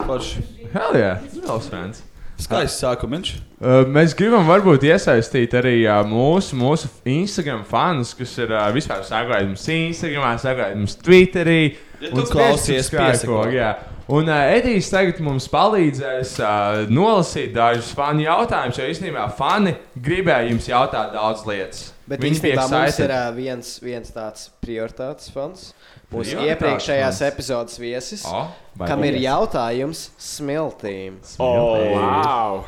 S9: Forši.
S3: Hell yeah, no sense.
S9: Skaists sākums.
S3: Uh, Mēs gribam varbūt iesaistīt arī uh, mūsu, mūsu Instagram fanus, kas ir uh, vispār sekojot mums Instagram, sekojot mums Twitterī.
S9: Ja
S3: un
S9: tu klausies,
S3: subscribe,
S9: piesako.
S3: jā. Un uh, Edijs tagad mums palīdzēs uh, nolasīt dažus fanu jautājumus, jo īstenībā fani gribēja jums jautāt daudz lietas.
S10: Bet
S3: Viņi
S10: viņš
S3: bija
S10: bija tas
S3: excited.
S10: uh, viens, viens tāds prioritātes fans. Mūsu
S3: Prioritātes
S10: iepriekšējās
S3: fans.
S10: epizodes viesis,
S3: O, vai
S10: kam ir
S3: viesis?
S10: jautājums smiltīm.
S4: Smiltīm. O, wow.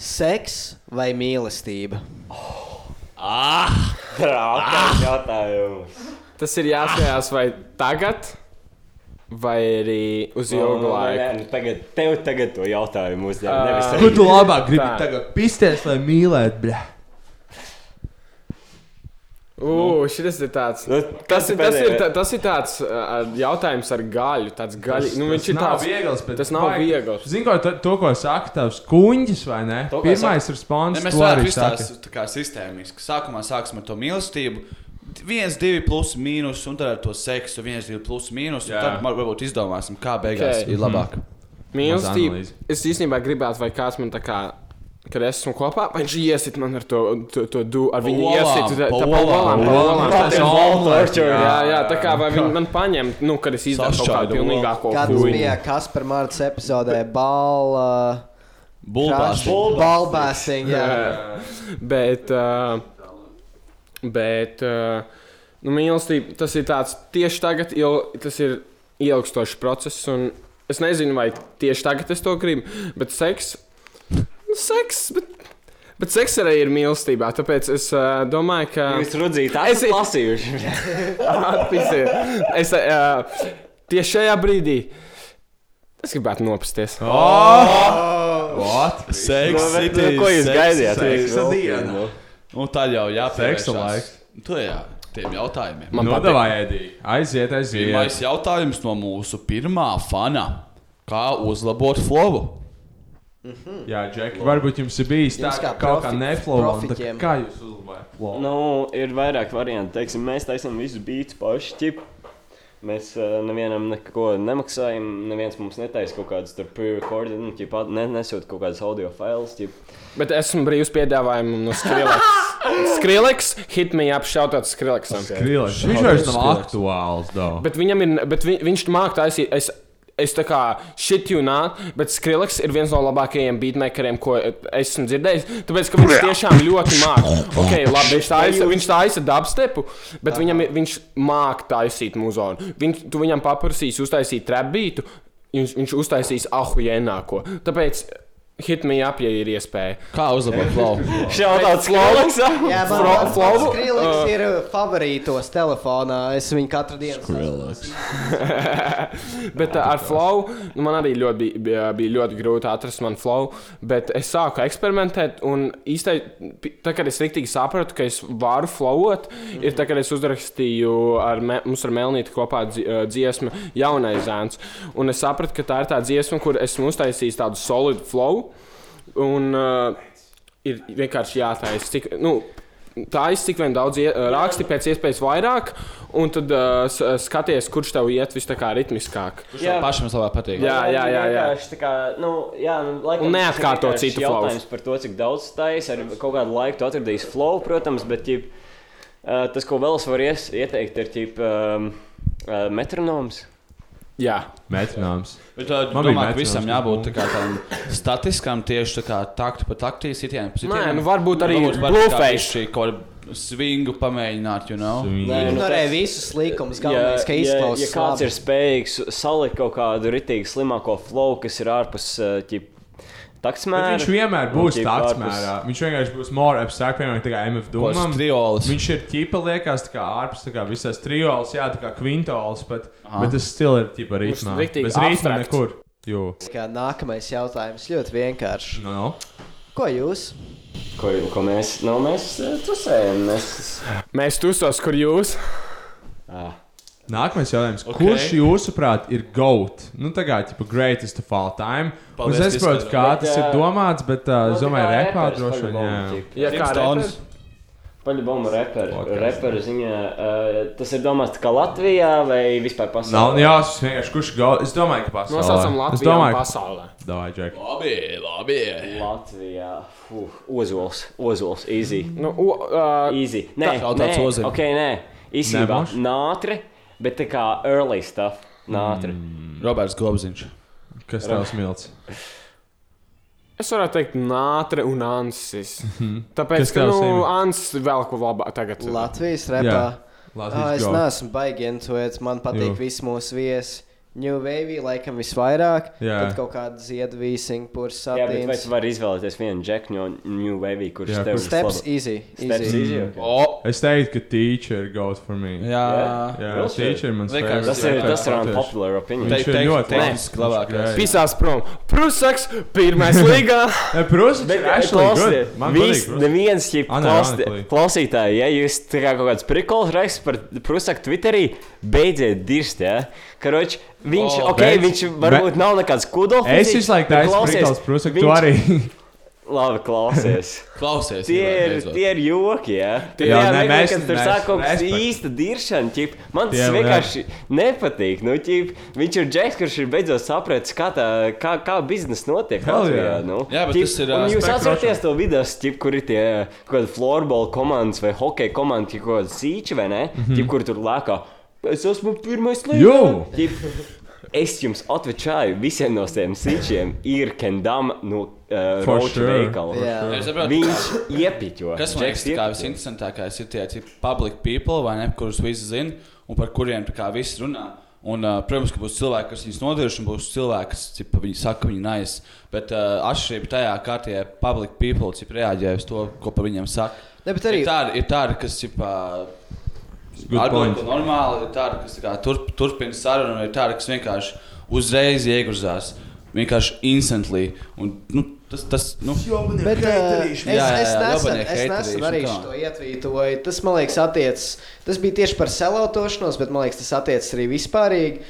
S10: Seks vai mīlestība?
S4: Ah! Rāpās jautājums.
S6: Tas ir jāskatās, vai tagad, vai arī uz ilgu laiku.
S4: Nē, nu tagad, tev tagad to jautājumu uzdev.
S6: Ā,
S4: Nevis
S3: Ko tu labāk gribi
S4: Tā.
S3: tagad? Pisties, lai mīlētu, bļa.
S6: Ugh, šis ir tāds.
S4: Nu,
S6: Tas ir, tas ir, tā- tas ir tāds uh, jautājums ar gaļu. Tāds gaļi, nu, viņš ir tāds
S3: viegls, bet
S6: tas nav viegls.
S3: Zini, ko to, to ko saka tavs kuņģis, vai ne?
S9: To, ko
S3: Pirmais
S9: saka-
S3: respons.
S9: Ne, Mēs
S3: to
S9: varam
S3: arī
S9: izstāstīt
S3: saka.
S9: tā kā sistēmiski. Sākumā sāksim ar to mīlestību. Viens, divi plus, mīnus, un tad ar to seksu. Viens, divi plus, mīnus. un
S6: Jā.
S9: Tad var- varbūt izdomāsim, kā
S6: Ok.
S9: beigās
S6: Mhm.
S9: okay. ir labāk.
S6: Mīlestība. Es īstenībā gribētu, vai kāds man tā kā. Kad es esmu kopā, vai viņš iesit man ar to, to, to du, ar viņu
S9: olām,
S6: iesit, tā
S9: pa
S6: tā
S9: olām,
S6: olām,
S9: pa
S6: pa
S9: olām.
S6: olām,
S9: Tā
S6: tas
S9: ir
S6: ir
S9: wall
S6: torture.
S9: torture,
S6: Jā,
S9: jā,
S6: jā, tā kā
S9: jā.
S6: vai viņi man paņem, nu, kad es izdaru kaut kādu pilnīgāko
S10: Kad tas bija Kaspar Mārcis epizodē, balā.
S6: Bulbasting. (laughs)
S10: Bulbasting, jā.
S6: bet, uh, bet uh, nu, mīlestība tas ir tāds tieši tagad, il, tas ir ilgstošs process. un Es nezinu, vai tieši tagad es to gribu, bet seks. nu, Seks, bet, bet seks arī ir mīlestībā. Tāpēc es uh, domāju, ka.
S4: Jūs
S6: (laughs)
S4: rudzīt, es esmu lasījuši.
S6: Atpisiet. Es uh, tieši šajā brīdī es gribētu nopasties.
S9: Oh!
S3: What?
S9: Seks,
S6: Nu, bet, nu, ko jūs gaidījāt?
S9: Seksa
S6: Seksa
S9: diena.
S4: nu.
S6: diena.
S9: Un tā Nu, jau jāpievēršas.
S3: Seksa laiks.
S9: Tu jā, tiem jautājumiem.
S3: Man Nodavā ēdī. Nu, Aiziet, aiziet.
S9: Pirmais jautājums no mūsu pirmā fana. Kā uzlabot flowu?
S3: Jā, Džek, varbūt jums ir bijis tā,
S9: Jums
S3: ka
S9: kā
S3: kaut kā
S9: profi-
S3: neflowanta.
S9: profiķiem.
S3: Kā jūs uzlabājat? flow?
S4: Nu, ir vairāk variantu. Teiksim, mēs taisām visu beidzu paši. Ķip. Mēs uh, nevienam neko nemaksājam. Neviens mums netaisa kaut kādas tur pre-recorded, nu, ķip, at- ne- nesūt kaut kādas audio failus. Ķip.
S6: Bet esmu brīvs piedāvājumam no Skrillex. Skrillex hit me up, šautot Skrillexam.
S3: Skrillex. Viņš vairs nav aktuāls, daudz.
S6: Bet viņam ir, bet vi, viņš māk taisīt. Es, es tā kā šit jūnā, bet Skrillex ir viens no labākajiem beatmakeriem, ko esmu dzirdējis. Tāpēc, ka viņš tiešām ļoti māk. Okay, labi, viņš taisa, viņš taisa dubstepu, bet viņam, ir- viņš māk taisīt muzonu. Viņš, tu viņam paprasīs uztaisīt trapbītu, viņš, viņš uztaisīs ahujēnāko. Tāpēc hit me up, ja ir iespēja.
S9: Kā uzlabot flow?
S4: Šautauts
S10: Jā, man
S6: Fro-
S10: liekas,
S6: flow-
S10: Skrillex
S6: uh,
S10: ir favorītos telefonā. Es viņu katru dienu. Skrillex.
S6: (laughs) bet uh, ar flow nu, man arī ļoti bija, bija, bija ļoti grūti atrast man flow. Bet es sāku eksperimentēt, un īstenībā, tā kā es rīktīgi sapratu, ka es varu flowot, mm -hmm. ir tā, ka es uzrakstīju ar me, mums ar Melnīti kopā dzi, uh, dziesmu jaunais zēns. Un es sapratu, ka tā ir tā dziesma, kur esmu uztaisījis tādu solidu flow. Un, uh, ir vienkārši jātaisa. Cik, nu, Tā ir cik vien daudz ie- raksti, pēc iespējas vairāk, un tad uh, s- skaties, kurš tev iet vis tā kā ritmiskāk.
S9: Kurš tev pašam vislabāk patīk?
S6: Jā, jā, jā. jā.
S4: Vienkārši tā Kā, nu, jā, nu, laikam,
S6: Un
S4: tas ir
S6: neatkārto
S4: vienkārši
S6: citu
S4: jautājums
S6: flaus.
S4: par to, cik daudz stājas. Ar kaut kādu laiku tu atradīsi flow, protams, bet ķip, uh, tas, ko vēl es varu ies, ieteikt, ir ķip, um, uh, metronoms.
S6: Jā.
S3: Metrināms.
S9: Bet, uh,
S3: Man bija
S9: man domāju, ka
S3: metrināms,
S9: visam
S3: tas
S9: jābūt tā kā tādam statiskam, tieši tā kā taktu pa taktī, sitienam pa sitienam.
S6: nu varbūt arī
S9: var
S6: blueface.
S9: tā kā bišķi kaut kādu svingu pamēģināt, you know?
S10: Nē, nu, Ignorē visus līkumus, galvenais, ka
S4: ja, ja
S10: izklausās.
S4: kāds
S10: labi.
S4: ir spējīgs salikt kaut kādu ritīgi slimāko flow, kas ir ārpus uh, ķip, taksmēra.
S3: Bet viņš vienmēr
S9: nu,
S3: būs
S4: ķip,
S3: tāds
S4: ārpus-
S3: mērā. Viņš vienkārši būs more abstrakt, piemēram, tā kā MF domām.
S9: Triolis.
S3: Viņš ir ķipa liekas, tā kā ārpus, tā kā visās trijols, jā, tā kā kvintols, bet,
S10: Aha.
S3: bet tas stila ir ķipa rītmā.
S10: Mums riktīgi
S3: Bez rītmā
S10: abstrakts.
S3: nekur. Jū.
S10: Kā nākamais jautājums ļoti vienkāršs.
S3: No, no.
S10: Ko jūs?
S4: Ko, ko mēs, nu, mēs eh, tusējam. Mēs...
S6: Mēs tusos, kur jūs?
S4: Ah.
S3: Nākamais jautājums. Okay. Kurš jūsuprāt ir GOAT? Nu, tā kā tipa greatest of all time. Un
S4: Paldies,
S3: es saprotu,
S4: Kristaps.
S3: kā
S4: Bet,
S3: tas ir
S4: ā,
S3: domāts, bet uh, es
S4: nu, tā
S3: domāju,
S4: kā
S3: repā
S4: reperis
S3: droši vien.
S4: paļubauma,
S3: jā.
S4: ķip. Paļubauma reperu. Reperu ziņā. Uh, tas ir domāts tā kā Latvijā vai vispār pasaulē?
S3: Nav jāsaka, vienkārši kurš GOAT. Es domāju, ka pasaulē.
S4: Nosaucam
S3: Es
S4: Latviju
S3: domāju,
S4: un pasaulē.
S3: Davai, Džek.
S9: Labi, labi.
S4: Latvijā. Fuh, ozols, ozols, easy.
S6: Nu, o, uh,
S4: easy. Nē,
S9: tā-
S4: nē,
S9: tāds ozols.
S4: ok, nē. Īsībā
S9: Nemoš?
S4: nātre, bet tā kā early stuff. Nātre.
S9: Roberts Globziņš.
S3: Kas
S4: Ra-
S3: tavs milts?
S6: Es varētu teikt, nātre un ansis. Tāpēc,
S3: Mhm. Kas
S6: ka
S3: tev
S6: nu,
S3: simts?
S6: ansis vēl ko labāk tagad.
S10: Latvijas repā.
S6: Jā. Latvijas
S10: Ā, es
S6: go.
S10: neesmu baigi intuēts, man patīk
S6: Jū.
S10: visi mūsu viesi. New Wave laikam visvairāk,
S4: Jā.
S10: tad kaut kāda ziedvīja, Singapūra,
S4: Jā, bet vai
S10: Satīns.
S4: tu vari izvēlēties vienu džeku no New Wave, kurš
S3: Jā,
S4: tev
S3: kurš-
S10: Steps
S4: slab-
S10: easy, Mm.
S4: Steps
S10: easy.
S4: easy. okay.
S3: Oh. Es teiktu, ka teacher goes for me.
S4: Jā.
S3: jā
S4: Really?
S3: teacher man
S4: Vienkārši tas ir- tas ir unpopular opinion.
S3: Viņš
S4: Teikt-
S3: ir
S4: teikt-
S3: ļoti
S4: teikt-
S3: labs.
S4: teikt- labākais.
S3: Viņš ir
S6: Pisās prom. Prūsakas, pirmais līgā.
S3: (laughs) Nē, Prūsakas
S4: Bet,
S3: ir actually
S4: klausiet,
S3: good. Man
S4: vis-
S3: patīk Prūsakas.
S4: Neviens, ja
S3: Ah,
S4: klausti-
S3: Unironically.
S4: klausītāji, ja jūs tā kā kaut kāds prikols raksts par Prusaku Twitterī, beidziet dirst, jā. Karoči, viņš,
S3: O,
S4: oh, ok,
S3: bet-
S4: viņš varbūt
S3: bet-
S4: nav nekāds kudo.
S3: Es visu laiku taisu prikols Prusaku, tu arī.
S4: Labi, klausies.
S3: (laughs)
S9: Klausies,
S4: Tie
S9: Ivan,
S4: ir,
S9: beidzot.
S4: tie ir joki, jā. Tie
S3: Jā,
S4: jā,
S3: ne,
S4: ne,
S3: mēs-
S4: mēs, kad tur
S3: mēs-
S4: sāk kaut kas
S3: mēs pat-
S4: īsta diršana, ķip, man tas
S3: Tiem, jā.
S4: vienkārši nepatīk. Nu, ķip, viņš ir džeks, kurš ir beidzot sapratis, kā, tā, kā, kā biznesa notiek
S9: Hell
S4: Latvijā.
S9: jā.
S4: Nu.
S9: Jā, bet
S4: Ķip,
S9: tas ir,
S4: un
S9: ā,
S4: Jūs
S9: spēku
S4: atceraties to video, ķip, kur ir tie kaut kādi floorbola komandas vai hokeja komandas, ķip, kaut kādi sīči vai ne,
S3: Mhm.
S4: ķip, kur tur lēkā. Es esmu pirmais
S3: Jo!
S4: līmenis. Es jums atveicāju, visiem no tiem sīčiem ir kendama no uh,
S9: For
S4: Roča
S9: sure.
S4: veikala.
S9: For sure. Es saprotu.
S4: Viņš iepiķo.
S9: Kas man liekas, tā kā visinteresantākais ir tie tie public people, vai ne, kurus visi zina un par kuriem tā kā visi runā. Un, uh, protams, ka būs cilvēki, kas viņus nodarīs, un būs cilvēki, kas cipa, viņi saka, ka viņi nais. Bet uh, atšķirība tajā, kā tie public people cip, reaģē uz to, ko par viņiem saka.
S10: Ne, bet
S9: ir
S10: arī-
S9: tādi, ir tādi kas cipa,
S3: good point.
S9: atbild normāli, ir tādi, kas tā kā turp, turpina sarunu, un ir tādi, kas vienkārši uzreiz ieguzās. Vienkārši instantly. Un, nu, tas, tas, nu, (laughs)
S10: Bet, eh, es,
S9: Jā, jā,
S10: es
S9: jā,
S10: nesen,
S9: jobanie
S10: es nesen
S9: haiterīši,
S10: arī
S9: un Nu kā?
S10: to ietvītoju. Tas, man liekas, attiecas. Tas bija tieši par selautošanos, bet man liekas, tas attiecas arī vispārīgi.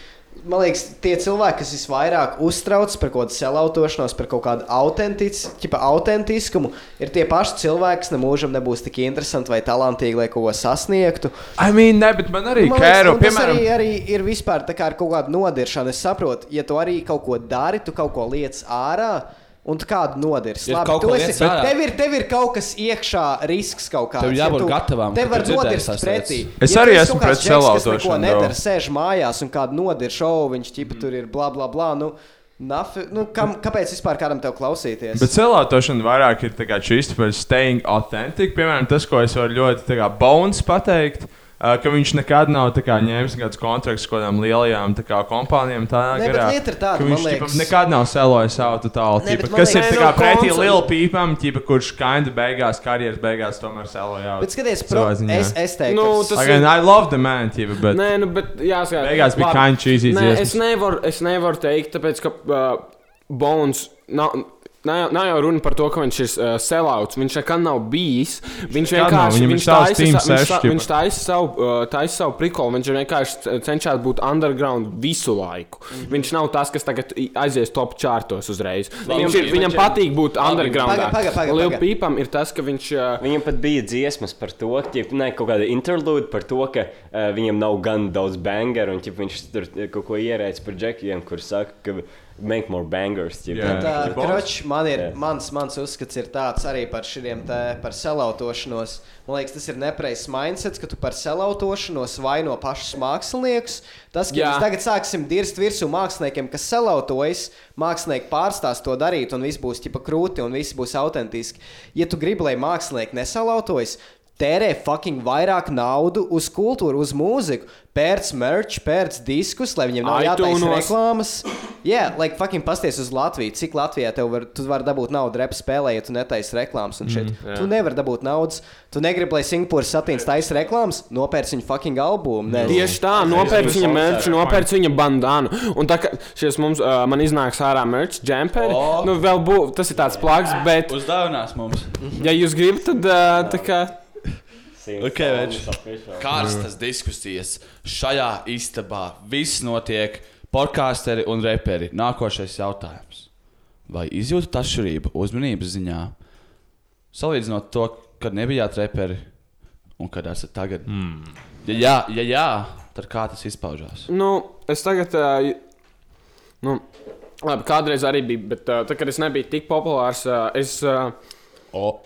S10: Man liekas, tie cilvēki, kas visvairāk uztraucas par kaut kādu selautošanos, par kaut kādu autentic- ķipa autentiskumu, ir tie paši cilvēki, kas nemūžam nebūs tik interesanti vai talantīgi, lai kaut ko sasniegtu.
S3: I mean, ne, bet man arī
S10: Man liekas,
S3: kēro,
S10: un tas
S3: piemēram,
S10: arī, arī ir vispār tā kā ar kaut kādu nodiršanu. Es saprotu, ja tu arī kaut ko dari, tu kaut ko liec ārā. Un tu kādu nodirsi.
S9: Ja
S10: Labi,
S9: kaut
S10: tu
S9: ko
S10: esi,
S9: liec ārā.
S10: tev, ir, tev ir kaut kas iekšā, risks kaut kāds.
S9: Tev jābūt
S10: ja tu-
S9: gatavam,
S10: Tev
S9: ka
S10: var
S9: tu dzirdēsi
S10: nodirst
S9: tās
S10: pretī.
S9: lietas.
S3: Es
S10: tu
S3: arī
S10: esi
S3: esmu
S10: kaut kāds
S3: pret
S10: džeks, kas neko
S3: selautošanu,
S10: Nedara,
S3: bro.
S10: sēž mājās un kādu nodirš, o, viņš ķipa tur ir bla bla bla. Nu, nafi, nu kam, kāpēc vispār kādam tev klausīties?
S3: Bet celātošana vairāk ir tā kā čista par staying authentic. Piemēram, tas, ko es varu ļoti tā kā Bones pateikt. Uh, ka viņš nekad nav tā kā, ņēmis kaut kādus kontraktus ar kādām lielajām tā kā, kompānijām. Tā
S10: Nē, bet
S3: garā,
S10: lieta ir tāda,
S3: ka viņš
S10: man
S3: ķipa,
S10: liekas-
S3: nekad nav selojis savu tālu.
S10: Nē, bet man
S3: Kas ir
S10: liekas-
S3: tā kā,
S10: Nē, no
S3: pretī
S10: koncer-
S3: Lielai Pīpam, ķipa, kurš kaņģa beigās karjeras beigās tomēr selojā.
S10: Bet skaties, pro- es- es teiktu-
S6: Nu, tas
S3: Again,
S6: ir-
S3: I love the man, ķipa, bet
S6: Nē, nu, bet jāsaka,
S3: Beigās bija kind cheesy
S6: Nē,
S3: dziesmas.
S6: es nevaru, es nevaru teikt, tāpēc, ka uh, Bones nav. Nav, nav jau runa par to, ka viņš ir uh, selauts. Viņš nekad nav bijis. Viņš
S3: nekad nav,
S6: vienkārši
S3: viņam ir
S6: viņš
S3: savs
S6: taisa
S3: Team
S6: sa- viņš
S3: Sesh
S6: ta-
S3: ķipa.
S6: viņš taisa savu, uh, taisa savu prikolu. Viņš vienkārši cenšas būt underground visu laiku. Viņš nav tas, kas tagad i- aizies top čārtos uzreiz.
S4: Labi,
S6: Viņam, ir,
S4: viņš-
S6: viņam
S4: viņš-
S6: patīk būt underground.
S4: Paga, paga, paga,
S6: Lil
S4: paga.
S6: Peepam ir tas, ka viņš. Uh,
S4: Viņam pat bija dziesmas par to, ka, ķip, ne, kaut kāda interlude par to, ka uh, viņam nav gan daudz bangeru, un ķip, viņš tur eh, kaut ko ierēdz par džekiem, kurš saka, ka make more bangers. Ķip,
S10: Bet,
S4: Ķip,
S10: ā, kroč, man ir,
S4: Jā.
S10: mans, mans uzskats ir tāds arī par šiem te par selautošanos. Man liekas, tas ir nepareizs mindsets, ka tu par selautošanos vaino pašus māksliniekus. Tas, ka
S6: Jā.
S10: mēs tagad sāksim dirzt virsū māksliniekiem, kas selautojas, mākslinieki pārstās to darīt, un viss būs tipa krūti, un viss būs autentiski. Ja tu gribi, lai mākslinieki nesalautojas, Tērē fucking vairāk naudu uz kultūru, uz mūziku, pērc merch, pērc diskus, lai viņiem nav jātaisa
S6: iTunes.
S10: reklāmas. Jā, yeah, like, fucking pasties uz Latviju. Cik Latvijā tev var, tu vari dabūt naudu rep spēlē, ja tu netaisi reklāmas un šit. Mm,
S6: jā.
S10: tu nevari dabūt naudas. Tu negribi, lai Singapūra satīns taisa reklāmas, nopērc viņu fucking albumu. Nezinu.
S6: Tieši tā, nopērc viņa mērķi, nopērc viņa bandānu. Un tā kā šis mums, uh, man iznāks ārā mērķis, džemperi, oh. nu vēl būs, tas ir tāds plāks, bet,
S9: Uzdāvinās mums.
S6: ja jūs gribat, tad uh, tā kā.
S9: Ok, vērš. Kārstas diskusijas šajā istabā. Viss notiek. Podkāsteri un reperi. Nākošais jautājums. Vai izjūtat atšķirību uzmanības ziņā? Salīdzinot to, kad nebijāt reperi un kad esat tagad. Mm. Ja jā, ja jā, tad kā tas izpaužās?
S6: Nu, es tagad, uh, nu, labi, kādreiz arī bija, bet uh, tad, kad es nebiju tik populārs, uh, es. Uh,
S9: oh.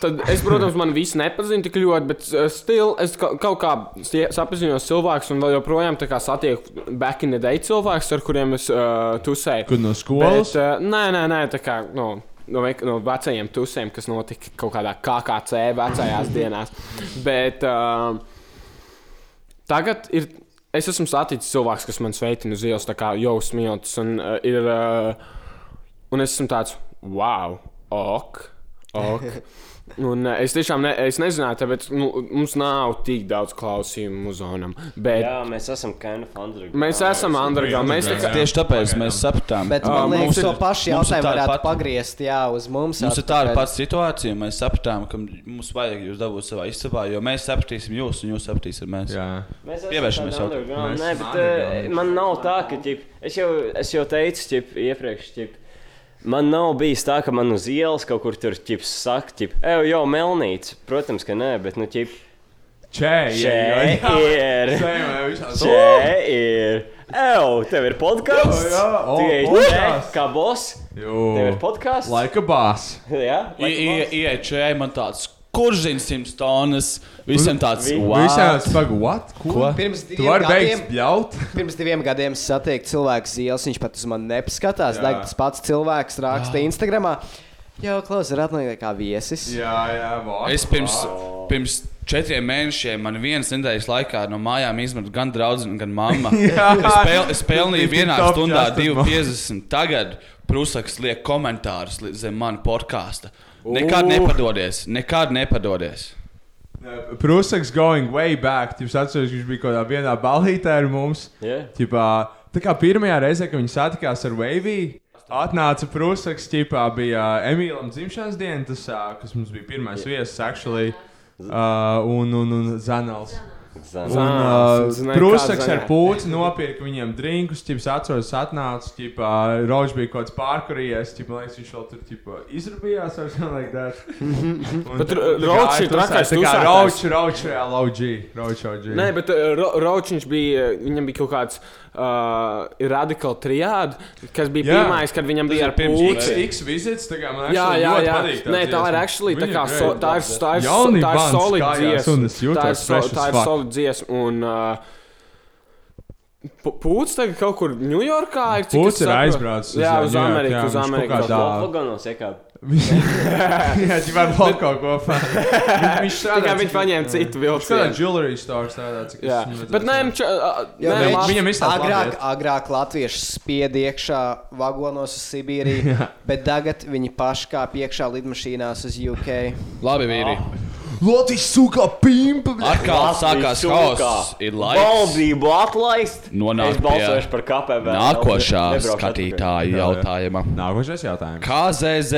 S6: Tad es, protams, man viss nepazinu tik ļoti, bet uh, still es ka- kaut kā sie- sapazinos cilvēkus un vēl joprojām tā kā satieku back in the day cilvēkus, ar kuriem es uh, tusēju.
S3: Kur no skolas?
S6: Bet, uh, nē, nē, nē, tā kā no, no, vek- no vecajiem tusēm, kas notika kaut kādā KKC vecajās dienās. Bet uh, eh, tagad ir Es esmu saticis cilvēks, kas man sveicina uz ielas, tā kā jau smieklīgs. Un, uh, ir, uh, un es esmu tāds, wow, ok. ok.
S3: (laughs)
S6: Un, uh, es tiešām ne, es nezināju, tāpēc nu, mums nav tik daudz klausījumu muzonam. Bet
S4: Jā, mēs esam kind of underground.
S6: Mēs esam underground, mēs tā kā-
S9: Tieši tāpēc mēs sapratām.
S10: Bet
S9: Ā,
S10: man
S9: mums
S10: liekas,
S9: ir-
S10: to pašu
S9: mums ir
S10: jautājumu
S9: tāda
S10: varētu
S9: pat-
S10: pagriezt jā, uz
S9: Mums
S10: mums.
S9: ir
S10: atpakaļ.
S9: tāda pati situācija, mēs sapratām, ka mums vajag jūs dabūt savā istabā, jo mēs sapratīsim jūs, un jūs sapratīsiet mēs.
S4: Mēs esam
S9: Pievēršamies
S4: tādi underground. Nē,
S9: jautājumam.
S4: bet eh, man nav tā, ka ķip, es, jau, es jau teicu ķip, iepriekš. Ķip, Man nav bijis tā, ka man uz ielas kaut kur tur ķips saka, ķip, ej, jau melnīts. Protams, ka nē, bet nu ķip.
S3: Čē,
S4: Čē
S3: jā, jā.
S4: ir.
S3: (laughs)
S4: (laughs)
S3: Čē, jā, visās.
S4: Čē ir. Ew, tev ir podkāsts.
S3: Jā, jā, o, podcasts.
S4: kā boss.
S3: Jū.
S4: Tev ir podkāsts.
S3: Laika bāzes.
S4: Jā,
S9: Iečēja man tāds, kurš zina simt tonnas, visiem
S3: Mm.
S9: tāds
S10: Vi-
S9: "What?"
S10: visiem tāds,
S3: "Pagu, what? Ko?"
S10: Pirms
S9: Tu
S10: diviem,
S9: vari
S10: gadiem,
S9: beigt bļaut?
S10: pirms diviem gadiem es satieku cilvēku zils, viņš pat uz mani nepaskatās.
S3: Jā.
S10: Daig, tas pats cilvēks raksta Instagramā. Jā, Klaus, ir atnākts kā viesis.
S3: Jā, jā, vārds.
S9: Es pirms, pirms četriem mēnešiem, man vienas nedēļas laikā no mājām izmetu gan draugu, gan mammu.
S3: (laughs) Jā.
S9: es, pel, es pelnīju
S3: Tik
S9: vienā
S3: top
S9: stundā
S3: Justin
S9: 2,50. Tagad Prūsakas liek komentārus li- zem manas podkāsta. Nekad
S3: Uh.
S9: nepadodies, nekad nepadodies.
S3: Prūsakas going way back. Jūs atceraties, viņš bija kaut kādā vienā balītē ar mums.
S4: Yeah.
S3: Ķipā, tā kā pirmajā reizē, kad viņi satikās ar Wavy, atnāca Prūsakas, ķipā bija uh, Emīlam dzimšanas diena, tas, ā, kas mums bija pirmais yeah. viesis, actually. Uh, un, un, un Zanels.
S4: Zanels.
S3: Un,
S6: Ah,
S3: ā,
S4: Zināju, kā
S3: Prūsakas ar
S4: Zanels.
S3: pūci nopirka viņiem drinkus, ķips atceros, atnāca, ķipā, Roģis bija kaut kāds pārkurījies, ķipā, man liekas, viņš vēl tur, ķipā, izrabījās ar šādu like that. Un
S6: Bet
S3: tā- tā
S6: Ro-
S3: kā
S6: Roģis ir
S3: tusē-
S6: trakais
S3: tā kā
S6: tusētājs.
S3: Roģis, Roģis, jā, Roģis, Roģis, Roģis.
S6: Nē, bet uh, Ro- Ročiņš bija, eh, viņam bija kaut kāds uh, radikāls trijāds, kas bija
S3: Jā.
S6: pirmais, kad viņam
S3: Tas
S6: bija
S3: ir
S6: ar
S3: pirms
S6: pūci.
S3: X visits, tā kā man
S6: jā,
S3: actually
S6: jā,
S3: ļoti
S6: jā.
S3: patīk tā
S6: Nē, tā ir
S3: dziesma.
S6: actually tā
S3: Viņa
S6: kā
S3: ir
S6: so,
S3: great
S6: tā ir,
S3: dziesma.
S6: tā ir, so,
S3: Jaunība
S6: tā ir
S3: bands
S6: solida
S3: kājās,
S6: dziesma.
S3: un es
S6: tā
S3: jūtos
S6: ir, so,
S3: fresh
S6: tā
S3: as
S6: ir
S3: fuck.
S6: solida dziesma. Un, uh, Pu- Pūcis tagad kaut kur Ņujorkā ir cik
S3: Pūcis
S6: es
S3: ir
S6: saprotu.
S3: aizbraucis uz,
S6: Jā,
S3: uh,
S6: uz
S3: Ņujorku,
S6: Ameriku.
S3: jā,
S6: uz
S3: viņš
S6: Ameriku
S3: kaut
S6: kaut
S3: kādā-
S6: kā.
S4: Vagonos iekāp.
S3: (laughs) Jā, ģimēn vēl kaut ko.
S6: (laughs)
S3: Viņš- Viņš
S6: Tikai
S3: strādā,
S6: viņš paņēma
S3: jā.
S6: citu
S3: Viņš strādā
S6: vilcienu.
S3: jewelry store strādā, cik
S6: Jā,
S3: es
S6: bet nē, viņš, uh,
S10: Jā,
S6: nē,
S10: viņš-
S6: Mārcis-
S10: agrāk, agrāk Latvieši spied iekšā vagonos uz Sibīriju,
S3: Jā.
S10: bet tagad viņi paši kāp iekšā lidmašīnās uz UK.
S9: Labi, vīri.
S3: Ah.
S15: Latvijas sūkā pimpa!
S9: Atkal sākās hauss, ir laiks.
S4: Valdību atlaist.
S9: Nonāk
S4: Es balsošu par KPV.
S9: Nākošā
S4: Nebraukšu atpakaļ.
S9: skatītāja jautājuma.
S3: Nākošais jautājums.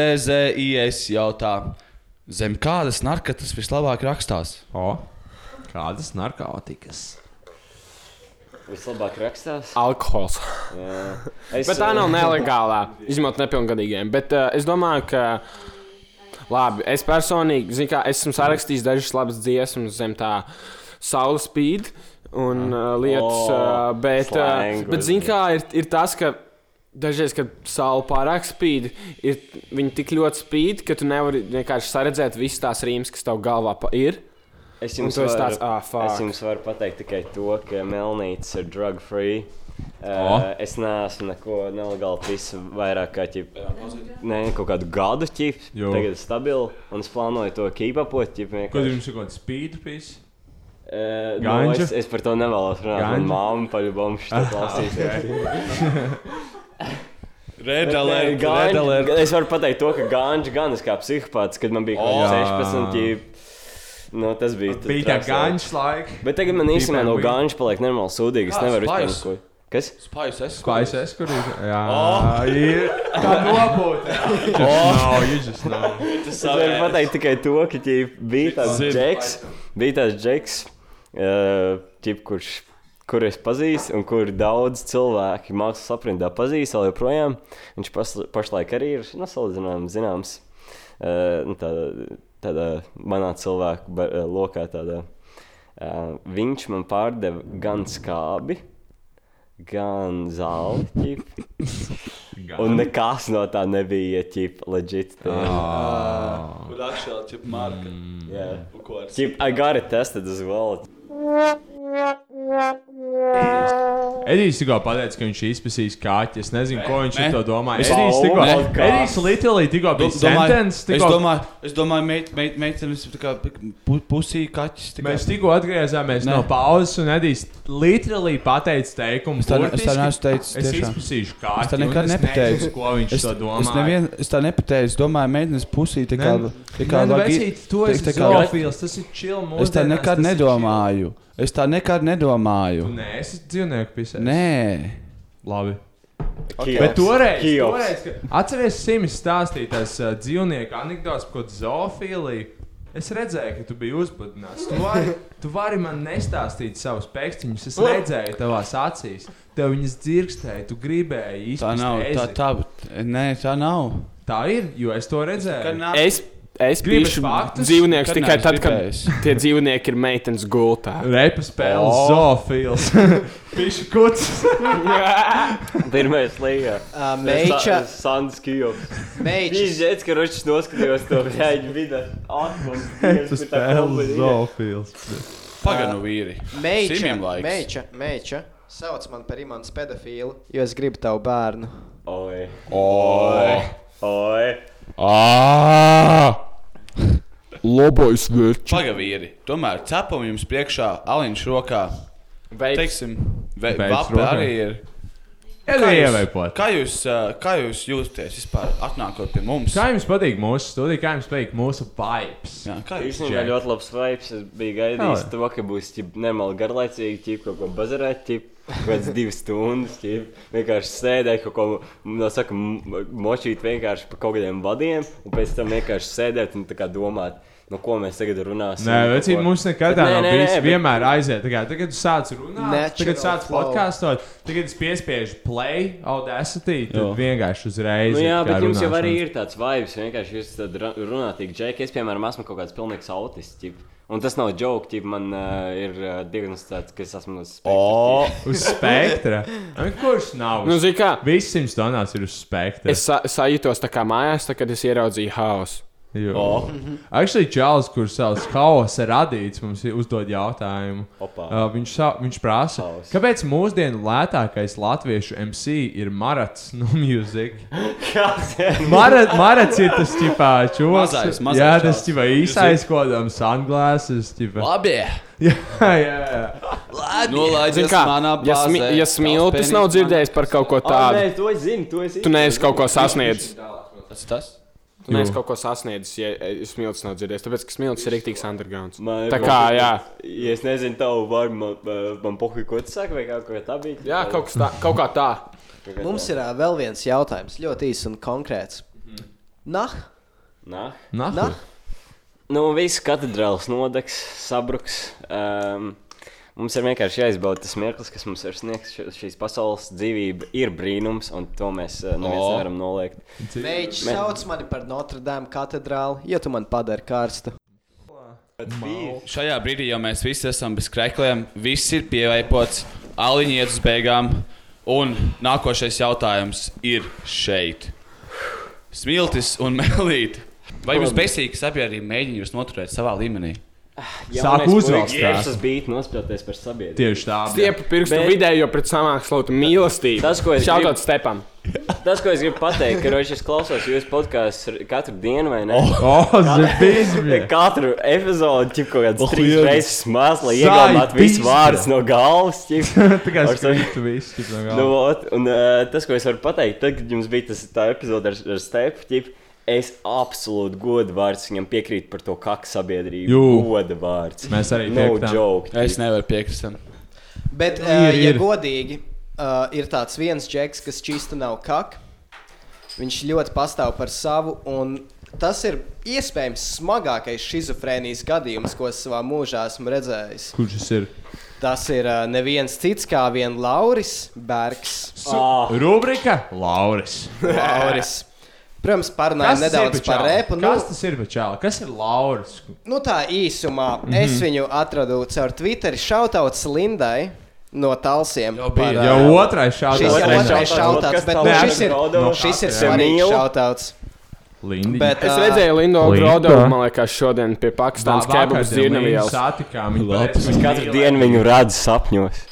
S9: KZZZIS jautā, zem kādas narkotikas vislabāk rakstās?
S3: O, kādas narkotikas?
S4: Vislabāk rakstās.
S6: Alkohols.
S4: Es,
S6: Es, bet tā nav
S4: eh,
S6: nelegālā, izņemot nepilngadīgiem. Bet uh, es domāju, ka. Labi, es personīgi, zinu, kā es esmu sarakstījis dažas labas dziesmas zem tā saules spīd un uh, lietas.
S4: O,
S6: Uh, bet, uh,
S4: slang,
S6: bet zinu, kā ir, ir tas, ka. Dažreiz, kad saule pārāk spīd, ir, viņi tik ļoti spīd, ka tu nevari vienkārši saredzēt visas tās rīmes, kas tev galvā pa- ir.
S4: Es jums,
S6: un tu
S4: varu,
S6: esi tāds, ah,
S4: es
S6: fuck.
S4: jums varu pateikt tikai to, ka Melnītis ir drug free.
S6: O.
S4: Uh, es neesmu neko nelegāli pis vairāk kā ķip, ne, kaut kādu gadu ķip.
S3: Jo.
S4: Tagad ir stabili un es plānoju to keepupot.
S3: Ko jums ir kaut kāds speed pis?
S4: Uh, no,
S3: Ganja?
S4: es, es par to nevēlos runāt.
S3: Ganja?
S4: Manā māte paļubām
S3: Ah,
S4: šo klausīties.
S9: Red
S4: Bet, nē,
S9: alert,
S4: ganja-
S9: red alert.
S4: Es varu pateikt to, ka ganja gan es kā psihopāts, kad man bija kaut
S3: O.
S4: kāds
S3: Jā.
S4: 16. ķip, Nu, tas bija
S3: Bija tā
S4: traks
S3: gančs laika.
S4: laiks. Bet tagad man
S3: Bija
S4: īstenībā
S3: tā
S4: no
S3: weed.
S4: ganča paliek normāli sūdīgi. Es
S9: Kā
S4: nevaru
S9: spice?
S4: izdarīt neko. Kas?
S9: Spājas es.
S3: Spājas es, kur ir. Jā,
S9: O.
S3: ir. Tā
S9: (laughs)
S3: nopūta.
S9: Oh.
S4: O.
S3: No, you just know.
S4: Es varu pateikt tikai to, ka tie bija tāds
S3: Zinu.
S4: džeks, bija tāds džeks, eh, ķip, kurš, kur es pazīstu un kur daudz cilvēki mākslas aprindā pazīst vēl joprojām. Viņš pas, pašlaik arī ir nosalīdzinājums zināms. eh, nu, Tādā, tādā manā cilvēku ba- eh, lokā tādā. Eh, Viņš man pārdeva gan skābi, gan zāli. ķip. Un nekas no tā nebija ķip, legit.
S3: Ah.
S9: Kur akšēl čip marka?
S4: Yeah.
S9: Un ko ar-
S4: Ķip, I got it tested as well.
S3: Es Edijs tikko pateica, ka viņš izpētīs kaķi. Es nezinu, ko viņš
S9: Ne.
S3: ar to domā.
S9: Es-
S3: Edijs tikko
S9: Ne.
S3: Edijs Litlī tikko bija
S9: Do- domāju-
S3: sentence.
S9: Es
S3: tikko-
S9: domāju, es domāju, meit- meit- meitenes tā kā pu- pusī kaķis. tā kā-
S3: Mēs tikko atgriezāmies
S9: Nē.
S3: no pauzes, un Edijs literāli pateica teikumu.
S9: Es tā, ne- es tā neesmu teicis.
S3: Es
S9: tiešām.
S3: izpētīšu
S9: Es tā
S3: kaķi. un
S9: nekad
S3: es
S9: nepateicu.
S3: nezinu, Ko viņš
S9: es,
S3: to domā?
S9: Es, nevien, es tā nepateicu. Es domāju, meitenes pusī tā kā. tā kā
S3: Nē, nu,
S9: vagi-
S3: vecīt, tu
S9: tā-
S3: esi
S9: tā kā-
S3: zoofils, tas ir chill
S9: Es tā
S3: mūsdienās,
S9: nekad
S3: tas ir
S9: nedomāju. Es tā nekad nedomāju.
S3: Tu neesi dzīvnieku pisē.
S9: Nē.
S3: Labi.
S9: Kiops.
S3: Bet toreiz,
S9: Kiops.
S3: toreiz ka... atceries, Sims stāstīja tās uh, dzīvnieku anekdotas par zoofiliju. Es redzēju, ka tu biji uzbudināts. Tu vari, tu vari man nestāstīt savus pēkšņus. Es redzēju tavās acīs. Tev viņas dzirkstēja, tu gribēji
S9: Tā
S3: izspiest.
S9: nav. Tā,
S3: ezi.
S9: tā, nē, tā nav.
S3: Tā ir, jo es to redzēju.
S6: Es, es
S3: Gribi
S6: biju
S3: faktus?
S6: dzīvnieks
S3: Kad
S6: tikai
S3: neesmu
S6: tad, kad
S3: gribējis.
S6: tie dzīvnieki ir meitenes gultā.
S3: Repa spēle oh.
S9: (laughs)
S3: zoofils. Pišu kuts.
S4: Pirmā līga.
S10: Ah, Meiča-
S4: Sands Kjovs.
S10: Meičas.
S4: Viņš zēdz, ka ročs noskatījās to rēģu vidu. Atmums.
S3: Repa spēle zoofils.
S9: Pagaidu vīri.
S10: Meiča,
S9: Simiem laiks.
S10: meiča, meiča. Sauc man par imants pedofilu, jo es gribu tavu bērnu.
S4: Oi.
S9: Oi.
S4: Oi.
S9: Labais vērts. Pagavīri. Tomēr cepam jums priekšā aliņš rokā.
S6: Veips.
S9: Teiksim, ve,
S3: Veips
S9: vape
S3: rokā.
S9: arī ir.
S3: Jā,
S9: Kā jūs-
S3: ievēpot.
S9: Kā jūs, ā, kā jūs jūtaties vispār atnākot pie mums?
S3: Kā jums patīk mūsu studija, kā jums patīk mūsu vibes?
S9: Jā,
S4: Īstenībā ļoti labs vibes. Es biju gaidījis
S3: Jā.
S4: to, ka būs ķip, nemali garlaicīgi, ķip, kaut ko bazarēt, ķip, kaut kāds divas stundas, ķip, vienkārši sēdēt, kaut ko, no saka, m- močīt vienkārši pa kaut kādiem vadiem, un pēc tam vienkārši sēdēt un tā kā domāt, no ko mēs tagad runāsim.
S3: Nē, vecīt, mums nekad tā
S4: Bet nē,
S3: nav
S4: nē,
S3: bijis.
S4: nē, bet-
S3: Vienmēr aiziet. Tagad, tagad tu sāc runāt,
S4: Natural
S3: tagad sāc
S4: flow.
S3: podkāstot, tagad es piespiežu play, audacity, tad
S4: Jo.
S3: vienkārši uzreiz.
S4: Nu, jā,
S3: ir kā
S4: bet jums jau
S3: runāšana.
S4: arī ir tāds vibes. Vienkārši jūs esat ra- runātīgi, Džek. Es, piemēram, esmu kaut kāds pilnīgs autists. Ķip. Un tas nav joke, ķip, man uh, ir uh, diagnosticēts, ka es esmu uz spektra.
S3: O,
S4: ķip.
S3: uz
S4: (laughs)
S3: spektra. Ai, Kurš nav?
S6: Nu, zini kā?
S3: Viss simts tonās ir uz spektra.
S6: Es sa sajūtos tā kā mājās, tā, kad es ieraudzīju hausu.
S3: Jo.
S6: O.
S3: (laughs) Actually, Čāls, kurš savus haosa radīts, mums i- uzdod jautājumu.
S4: Opa.
S3: Uh, viņš, sa- viņš prasa, Haus. kāpēc mūsdienu lētākais latviešu MC ir Marats no Music?
S4: Kas ir?
S3: Mara- Marats ir tas tipā
S9: Mazais,
S3: čūlis.
S9: mazais
S3: Jā, tas
S9: čalis.
S3: tipā īsais kodam, sunglasses. Tipā.
S9: Labi.
S3: (laughs) Jā, jā, jā.
S6: Zini
S9: Nolaidies
S6: kā,
S9: manā
S6: ja, smi
S9: bāzē.
S6: ja smiltis nav dzirdējis par kaut ko
S4: Ah,
S6: tādu,
S4: nē, to es zinu, to es
S6: tu neesi kaut ko sasniedzis.
S9: Tas ir tas.
S6: Tu neesi
S9: Jū.
S6: kaut ko sasniedzis, ja e, smiltis nav dzirdējis, tāpēc ka smiltis ir rīktīgs underground.
S4: Man ir
S6: Tā
S4: kaut
S6: kā,
S4: kas-
S6: jā.
S4: Ja es nezinu, tev var man, ā, man pohi, ko tu saki, vai kaut kā tā bija.
S6: Jā, kaut kas tā, kaut kā tā.
S4: Kaut kā
S10: Mums
S4: tā.
S10: ir ā, vēl viens jautājums, ļoti īss un konkrēts. Nah,
S4: Nā.
S3: Nā.
S10: nah.
S4: Nu, viss katedrāls nodegs, sabruks. Um, mums ir vienkārši jāizbauda tas mirklis, kas mums ir sniegts. Š- Šīs pasaules dzīvība ir brīnums, un to mēs uh, neviens
S10: O.
S4: nevaram noliegt.
S10: Meiķis
S4: Me-
S10: sauc mani par Notre Dame katedrāli, ja tu man padari karstu.
S9: Šajā brīdī jau mēs visi esam bez krēkliem, viss ir pieveipots, aliņi iet uz beigām, un nākošais jautājums ir šeit. Smiltis un melīt. Vai jums besīgi sabiedrība mēģina jūs noturēt savā līmenī?
S3: Sāk uzvilkt
S4: Jēzus,
S3: tā.
S4: tas bija nospēlēties par sabiedrību.
S3: Tieši tā.
S6: Stiepu pirkstu
S4: Bet-
S6: vidējo pret samākslautu mīlestību.
S4: Tas, ko es gribu-
S6: Šautot stepam.
S4: Tas, ko es gribu pateikt, ka Rošs klausos jūsu podkāstu katru dienu, vai ne?
S3: Oh, zibizmi!
S4: (laughs)
S3: (laughs)
S4: Katru epizodi ķip kaut kādas
S3: Oh,
S4: oh, trīs
S3: jā.
S4: reizes smās, lai
S3: Sāj
S4: iegādātu visus
S3: pizda.
S4: vārdus no galvas.
S9: (laughs)
S3: Tā kā
S4: Ar savu-
S3: skribi viss, tipā. no
S4: (laughs) Nu,
S3: galvas.
S4: ot, un, uh, tas, ko es varu pateikt, tad, kad jums bija tas tā epizode ar, ar Stepu, ķip, es absolūti godu vārds viņam piekrītu par to kaku sabiedrību.
S9: Jū.
S4: goda vārds.
S9: Mēs arī
S4: no
S9: piekrītam.
S4: joke. ķip.
S9: Es nevaru piekrist. tam.
S10: Bet,
S9: Ir,
S10: uh, ja
S9: ir.
S10: godīgi, uh, ir tāds viens džeks, kas čīsta nav kak. Viņš ļoti pastāv par savu, un tas ir iespējams smagākais schizofrēnijas gadījums, ko es savā mūžā esmu redzējis.
S3: Kurš tas ir?
S10: Tas ir uh, neviens cits kā vien Lauris Bergs.
S3: Rubrika (laughs) Lauris.
S10: Lauris. Protams,
S3: Kas
S10: parunājām
S3: tas ir
S10: nedaudz
S3: pa
S10: par
S3: čalu?
S10: repu. Nu,
S3: Kas tas ir par čālu? Kas ir Lauris?
S10: nu tā īsumā mm
S3: Mhm.
S10: -hmm. es viņu atradu caur Twitter šautauts Lindai. No talsiem. Jau
S3: bija. Jau otrais shoutouts.
S10: Šis jau
S3: Lindai.
S10: otrais šautauts,
S3: Kas
S10: bet
S3: tā
S10: nu,
S3: Linda
S10: šis ir,
S3: Graudo?
S10: nu, šis ir
S3: Jā.
S10: svarīgs
S3: Mīlu.
S10: šautauts.
S3: Linda.
S10: Bet,
S6: Es
S10: ā,
S6: redzēju Lindo
S3: Linda.
S6: Grodo, man liekas, šodien pie Pakistānas
S3: Vā- vakardien
S6: kebabas
S3: Lindu
S6: dzīvnavielas.
S3: satikām, viņa
S4: Es katru dienu viņu redzu sapņos.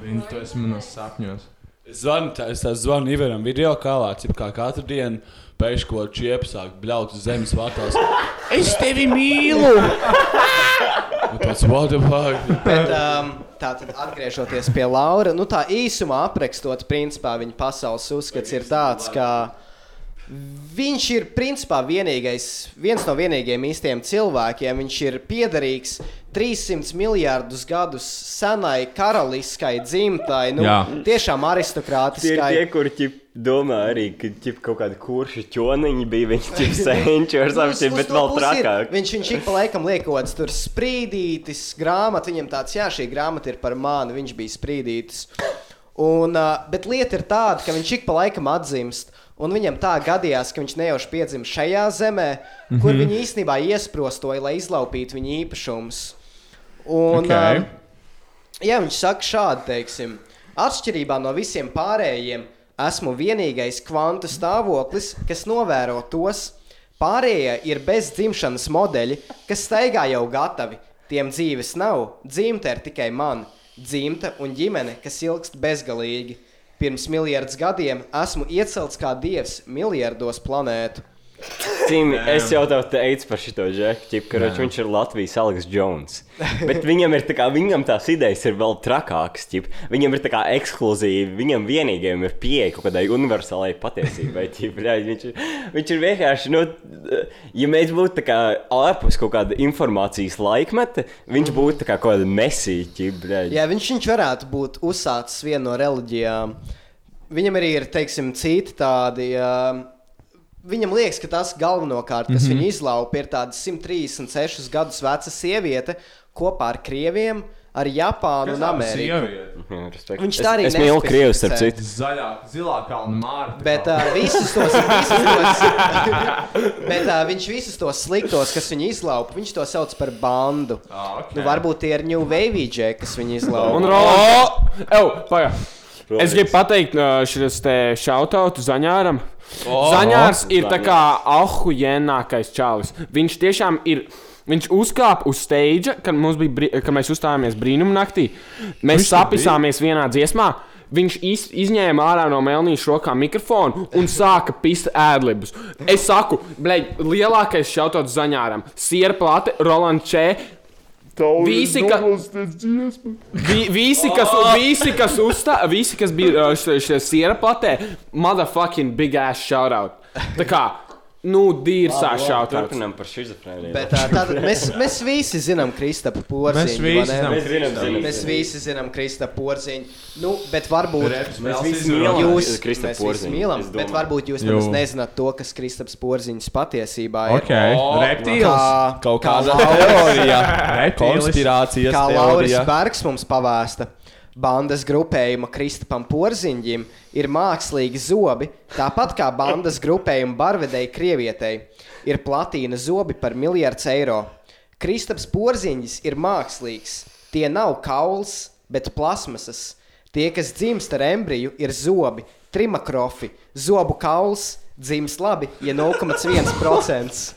S3: Viņa to esmu manos sapņos.
S9: Zvanu, tā, es tā zvanu Ivaram video kālā, cip kā katru dienu. Pēkšņi kaut kā čiep sāk bļaut uz zemes vārtās. Es tevi mīlu! Un tāds, Nu, what the fuck?
S10: Bet, um, tātad, atgriežoties pie Laura, nu tā īsumā aprakstot, principā viņa pasaules uzskats ir tāds, ka viņš ir principā vienīgais, viens no vienīgajiem īstiem cilvēkiem. Viņš ir piederīgs 300 miljardus gadus senai karaliskai dzimtai, nu,
S13: Jā.
S10: tiešām
S13: Tie ir tie,
S10: aristokrātiskai.
S13: kur ķip, domā arī, ka ķip, kaut kāda kurša ķoniņa bija viņa
S10: (laughs)
S13: ķip, senči ar
S10: Uz-
S13: saviem,
S10: uz
S13: bet
S10: to
S13: vēl
S10: pusi ir-
S13: trakāk.
S10: Viņš viņš ik pa laikam liekots tur sprīdītis, grāmata. Viņam tāds, jā, šī grāmata ir par mani, viņš bija sprīdītis. Un, uh, bet lieta ir tāda, ka viņš ik pa laikam atzīst. Un viņam tā gadījās, ka viņš nejauši piedzima šajā zemē, kur mm
S16: Mhm.
S10: -hmm. viņi īstenībā iesprostoja, lai izlaupītu viņa īpašumus. Un,
S16: Okay.
S10: okay. Jā, viņš saka šādi, teiksim, atšķirībā no visiem pārējiem, esmu vienīgais kvantu stāvoklis, kas novēro tos. Pārējie ir bez dzimšanas modeļi, kas staigā jau gatavi. Tiem dzīves nav, dzimta ir tikai man, dzimta un ģimene, kas ilgst bezgalīgi. Pirms miljardus gadiem esmu iecelts kā dievs miljardos planētu.
S13: Cim,
S10: Nē.
S13: es jau tev teicu par šo žeku, ka
S10: Nē.
S13: viņš ir Latvijas Aleks
S10: (laughs)
S13: Jones. Bet viņam ir tā kā, viņam tās idejas ir vēl trakākas, ķip. viņam ir tā kā ekskluzīvi, viņam vienīgajam ir pieeja kaut kādai universālai patiesībai. Ķip, (laughs) jā, viņš, ir- viņš ir vienkārši, nu, ja mēs būtu tā kā ārpus kaut kāda informācijas laikmeta,
S10: Mm.
S13: viņš būtu tā kā kaut kāda mesīķa.
S10: Jā, viņš, viņš varētu būt uzsācis vienu no reliģijām. Viņam arī ir, teiksim, citi tādi. ā, Viņam liekas, ka tas galvenokārt, kas mm
S16: Mhm.
S10: -hmm. viņu izlaupa, ir tāda 136 gadus veca sieviete kopā ar krieviem, ar Japānu un Ameriku. Viņš tā arī
S13: Es mīlu Krievus, starp
S10: nespecificē.
S13: citu.
S3: Zaļā, zilā kalna mārta.
S10: Bet uh, visus tos, visus tos, (laughs) bet, uh, viņš visus tos sliktos, kas viņu izlaupa, viņš to sauc par bandu. Ah, okay. nu, varbūt tie ir New Wave džekļi, kas viņu izlaupa.
S6: Un rolas! Eju, pagaidi! Es gribu pateikt, uh, šis te šautautu Zaņāram.
S9: O!
S6: Oh, Zaņārs ir tā
S9: Zaņārs.
S6: kā ahujienākais čalis. Viņš tiešām ir. Viņš uzkāpa uz stage, kad, mums bija brī- kad mēs uzstājāmies brīnumnaktī. Mēs
S9: Viņš tur bija?
S6: sapņāmies vienā dziesmā. Viņš iz, izņēma ārā no melnijas rokām mikrofonu un sāka pist ēdlibus. Es saku, blēģ, lielākais šautauts Zaņāram - sierplate, Roland Čē. Visi, ka, Vi, visi, kas,
S13: Oh.
S6: visi, kas, uzstā, visi, kas bija šajā siera platē, motherfucking big ass shoutout. Tā kā, nu,
S13: Labi,
S6: dīrsā
S13: labi,
S6: shoutout.
S13: turpinam par šizofrēniju.
S10: Bet, ā,
S13: (laughs)
S10: tātad mēs, mēs visi zinām Kristapā
S13: Mēs
S10: porziņu.
S13: visi
S10: vai ne?
S13: zinām Mēs zinām,
S10: mēs,
S13: zinām.
S10: mēs visi zinām Kristapā porziņu. Nu, bet varbūt
S13: Reps, Mēs mēs visi visi mīlam mīlam
S10: jūs
S13: Kristapu
S10: Kristapu
S13: Porziņu,
S10: porziņu. Mīlam,
S13: es domāju.
S10: bet varbūt jūs
S13: Jū.
S10: nemaz nezināt to, kas Kristaps porziņš patiesībā ir.
S9: Ok. Reptīls?
S10: Kā-
S9: Kaut
S10: kā
S9: kāda
S10: Lauris-
S9: teorija. Reptīlis. Konspirācijas
S10: Kā Lauris
S9: teorija.
S10: Bergs mums pavēsta. Bandas grupējuma Kristapam Porziņģim ir mākslīgi zobi, tāpat kā bandas grupējuma barvedēji Krievietei ir platīna zobi par miljardu eiro. Kristaps Porziņģis ir mākslīgs. Tie nav kauls, bet plasmasas. Tie, kas dzimst ar embriju, ir zobi, trimakrofi, zobu kauls, dzimst labi, ja 0,1%.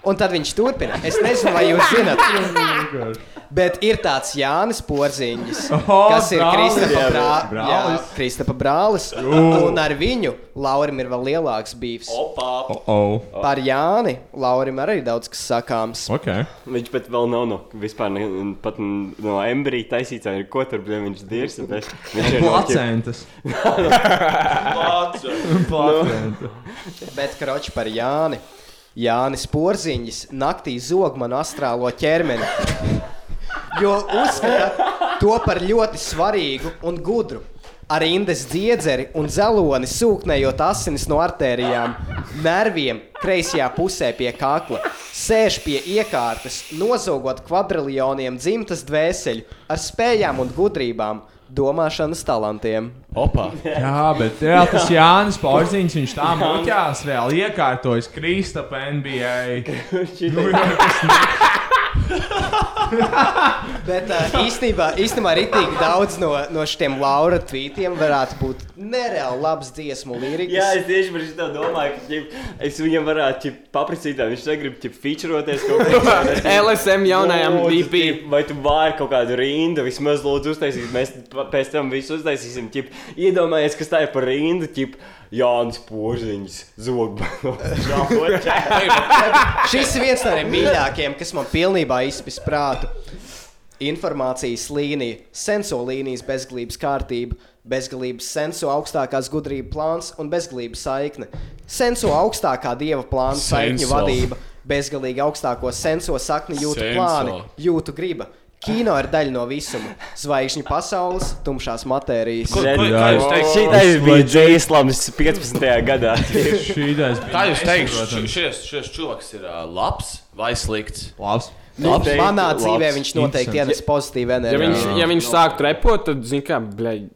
S10: Un tad viņš turpina. Es nezinu, vai jūs zināt, bet ir tāds Jānis Porziņš,
S16: Oho,
S10: kas ir
S16: brālis!
S10: Kristapa
S16: Jā,
S10: brā...
S16: brālis.
S10: jā, Kristapa brālis. Un ar viņu Laurim ir vēl lielāks bijis.
S3: Oh.
S10: Par Jāni Laurim arī daudz kas sakāms.
S3: Okay.
S13: Viņš pat vēl nav no, vispār ne, pat no embrija taisīts, vai ko tur bija viņš dirs. bet Viņš
S10: (laughs)
S13: ir no
S3: Placentas.
S13: Placenta.
S10: Bet kroķis par Jāni. Jānis Porziņš naktī zog man astrālo ķermeni. Jo uzskata to par ļoti svarīgu un gudru. Ar indes diedzeri un zeloni sūknējot asinis no artērijām, nerviem kreisajā pusē pie kakla, sēž pie iekārtas, nozogot kvadriljoniem dzimtas dvēseli ar spējām un gudrībām, domāšanas talantiem.
S9: Opa!
S3: Jā, bet jā, tas Jānis Pauziņš, viņš tā mūķās vēl
S9: (laughs)
S3: iekārtojas Kristapa NBA. Nu, jā, tas ne-
S10: Bet uh, īstenībā, īstenībā ritīgi daudz no, no šiem Laura tvītiem varētu būt nereāli labs dziesmu lirikas.
S4: Jā, es tieši par šo domāju, ka ķip, es viņam varētu ķip, paprasīt, vai viņš negrib ķip, featuroties kaut kādā
S10: (laughs)
S6: LSM jaunajam
S4: DP. Vai tu vari kaut kādu rindu, vismaz lūdzu uztaisīt, mēs pa- pēc tam visu uztaisīsim. Ķip, iedomājies, kas tā ir par rindu, ķip, Jānis Požiņš, (laughs) Zogbanovs.
S10: Šis ir viens no tiem mīļākajiem, kas man pilnībā izspiež prātu. Informācijas līnija, sensoru līnijas bezgalības kārtība, bezgalības sensu augstākās gudrības plāns un bezgalības saikne. Sensu augstākā dieva plāna saikņu
S9: Senso.
S10: vadība, bezgalīgi augstāko senso sakni jūtu
S9: Senso.
S10: plāni, jūtu griba. Kino ir daļa no visuma - zvaigžņu pasaules, tumšās matērijas.
S4: Ko- ko- kā jūs teikt? Šī ideja bija Džeislams 15. (laughs) gadā.
S9: Kā jūs teikt, šis, šis čuvaks ir uh, labs vai slikts?
S3: Labs.
S10: Nu, manā dzīvē viņš noteikti ienes pozitīvu
S6: Ja
S10: enerģiju.
S6: viņš, ja viņš sāktu repot, tad, zini, kā, blēģi.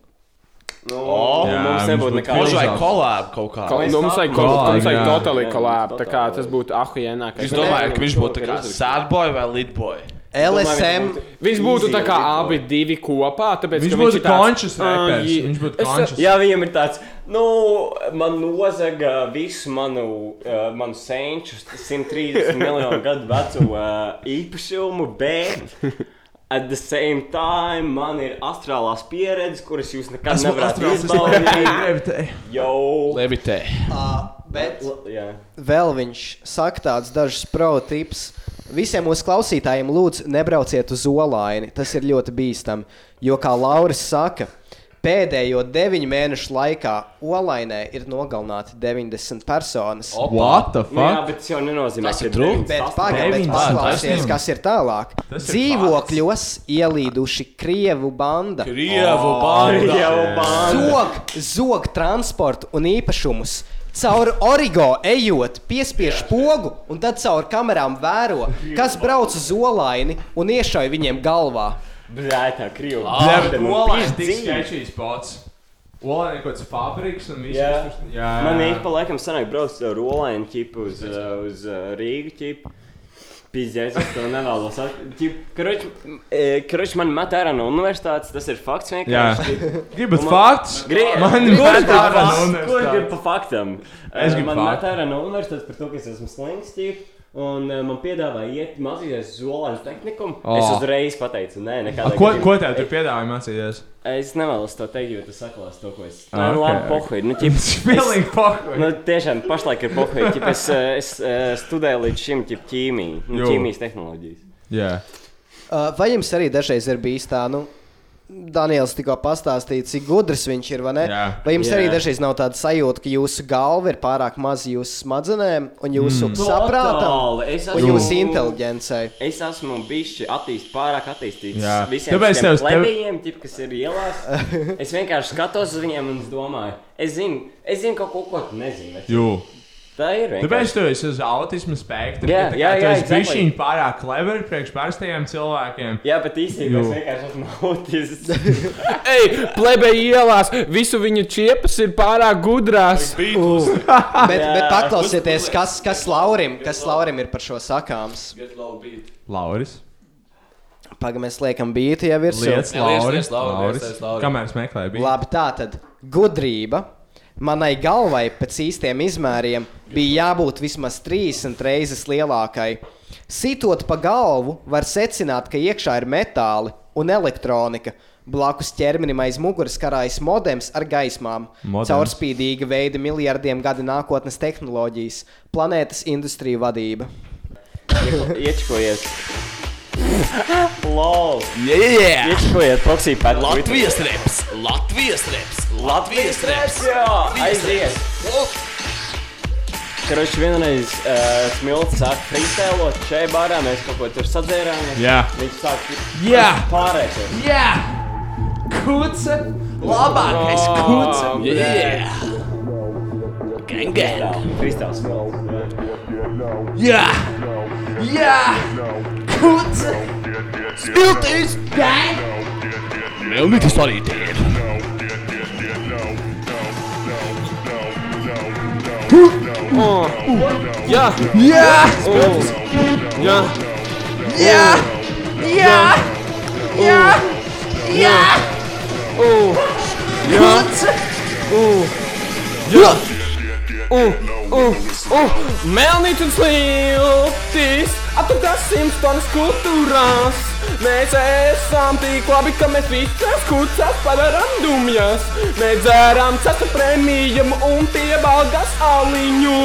S4: No,
S9: O, Jā, mums viņš nebūtu būtu nekā. Mums vajag collab kaut kā.
S6: Ko, nu, mums vajag
S9: Collab,
S6: kolābu, mums vajag
S9: jā.
S6: totally
S9: Jā,
S6: kolābu. Tā kā tas būtu ahujienākais.
S9: Es domāju, ka viņš būtu tā kā sad boy vai lead boy.
S10: LSM.
S6: Viņš būtu tā kā abi divi kopā, tāpēc
S9: Viņš
S6: ka
S9: būtu
S6: ir tāds,
S9: conscious
S6: "Ah,
S9: rappers,
S6: jī-
S9: viņš būtu
S6: es-
S9: conscious.
S4: Jā, viņam ir tāds, nu, man nozaga visu manu, uh, manu senču, 130 miljonu gadu vecu uh, īpašumu, bet at the same time man ir astrālās pieredzes, kuras jūs nekad
S3: Esmu
S4: nevarat
S3: astrāls, esmu
S4: izbaudīt. Jo,
S9: Levitē.
S10: Bet
S4: jā.
S10: vēl viņš saka tāds dažs pro tips. Visiem mūsu klausītājiem lūdzu, nebrauciet uz olaini. Tas ir ļoti bīstami. Jo, kā Lauris saka, pēdējo deviņu mēnešu laikā olainē ir nogalināti 90 personas.
S4: Opa. What the fuck? Nu jā, bet tas jau nenozīmē, Tas ka ir ir true? 90.
S10: Bet pagaidiet,
S4: 90.
S10: paklausieties, kas ir tālāk.
S4: Tas ir
S10: Dzīvokļos ielīduši Krievu banda.
S4: Krievu banda. Krievu banda.
S10: Zog, zog transportu un īpašumus. Caur origo ejot, piespiež pogu un tad caur kamerām vēro, kas brauc uz olaini un iešauj viņiem galvā.
S4: Brētā, Krievu
S3: Olai tik sketčīs pots. Olai ir kaut kāds fabriks un viss.
S4: Jā,
S3: kas tur-
S4: jā. Man īstenībā pa laikam sanāk braukt ar rolēnu ķipu uz, uh, uz uh, Rīgu ķipu. Pizdzēs, es to nevēlos. Kroč, e, man met ārā no universitātes, tas ir fakts vienkārši.
S3: Jā. (laughs)
S4: ķip.
S3: Gribat
S4: Un man-
S3: faktus?
S4: Gri-
S3: Man
S4: Gribat
S3: grib
S4: faktus?
S3: ārā no
S4: Ko
S3: universitātes?
S4: gribi pa faktam?
S3: Es
S4: Eh,
S3: gribu
S4: Man
S3: faktu.
S4: met ārā no universitātes par to, ka es esmu slings ķip. Un uh, man piedāvāja iet mācīties zolāņu tehnikumu. Oh. Es
S3: Oh.
S4: uzreiz pateicu, nē,
S3: A,
S4: nekādā
S3: Ko,
S4: gadījumā.
S3: ko tev tur piedāvāja mācīties?
S4: Es nevēlos to teikt, jo tas saklās to, ko es.
S3: Ah,
S4: Nē,
S3: ok,
S4: labi,
S3: ok.
S4: pohuj. Nu,
S3: (laughs)
S4: ķip, es-
S3: Pilnīgi pohuj.
S4: Nu, tiešām, pašlaik ir pohuj. Ķip, es, eh, es eh, studēju līdz šim ķip, ķīmiju, nu,
S3: Jū.
S4: ķīmijas tehnoloģijas.
S3: Jā.
S10: Uh, Vai jums arī dažreiz ir bijis tā, nu, Daniels tikko pastāstīja, cik gudrs viņš ir? Vai, ne?
S4: Jā.
S10: vai jums
S4: Jā.
S10: jā. arī dažreiz nav tāda sajūta, ka jūsu galva ir pārāk maza jūsu smadzenēm un jūsu mm. saprātam
S4: Totāli, es
S10: un
S4: esmu-
S10: jūsu inteligencei?
S4: Es esmu bijusi attīst, pārāk attīstīts.
S10: Jā.
S4: Visiem
S10: Tāpēc
S4: tiem
S10: tev- tev-
S4: plebējiem, tev... kas ir ielās, es vienkārši skatos uz viņiem un es domāju, es zinu, es zinu kaut ko, ko tu nezini. bet
S3: Jū. Nu,
S4: Tā ir.
S3: Tāpēc tu esi uz autisma spektra.
S4: Jā,
S3: tā kā
S4: jā,
S3: tu
S4: jā,
S3: esi
S4: exactly.
S3: bišķiņ pārāk clever priekš pārstajiem cilvēkiem.
S4: Jā, bet īstenībā es
S3: Jū.
S4: vienkārši esmu (laughs) autists.
S6: Ej, plebe ielās, visu viņu čiepas ir pārāk gudrās.
S10: bet,
S6: bet,
S10: bet paklausieties, kas, kas, Laurim, kas Laurim ir par šo sakāms.
S3: Lauris.
S10: Pagaidām, mēs liekam, bija jau virsū.
S3: Liec, Lauri, Lauris. Kamēr es meklēju, bija.
S10: Labi, tā tad gudrība. Manai galvai pēc īstiem izmēriem bija jābūt vismaz 30 reizes lielākai. Sitot pa galvu, var secināt, ka iekšā ir metāli un elektronika. Blakus ķermenim aiz muguras karājas modems ar gaismām,
S3: Modems.
S10: caurspīdīga veida miljardiem gadu nākotnes tehnoloģijas, planētas industrija vadība.
S4: Iečkojies. (laughs) Lol.
S9: Yeah!
S4: Iečkojiet, proksīpēt.
S9: Latvijas reps! Latvijas reps! Latvijas reps!
S4: Jā, aizies! Kroči, vienreiz
S13: eh,
S4: uh, smilts sāk freestēlot šeit bārā, mēs kaut ko tur sadzērāmies.
S3: Jā.
S4: Viņš sāk
S3: Jā.
S4: pārēt.
S3: Jā! Kuce! Labākais kuce!
S9: Yeah!
S4: Gang, gang! Freestyle smilts.
S3: Jā! Jā! Kuce!
S9: Smiltīs!
S3: Gang!
S9: Melnītis arī tie ir!
S6: Jā!
S3: Jā!
S6: Jā!
S3: Jā!
S14: Jā! Jā! Jā! Jā!
S6: Jā! Melnīt un slīptis, atrastās simts tonnas kultūrās. Mēs esam tik labi, ka mēs visas kucas padaram dumjas. Mēs dzērām cestu prēmijam un piebalgas aliņu.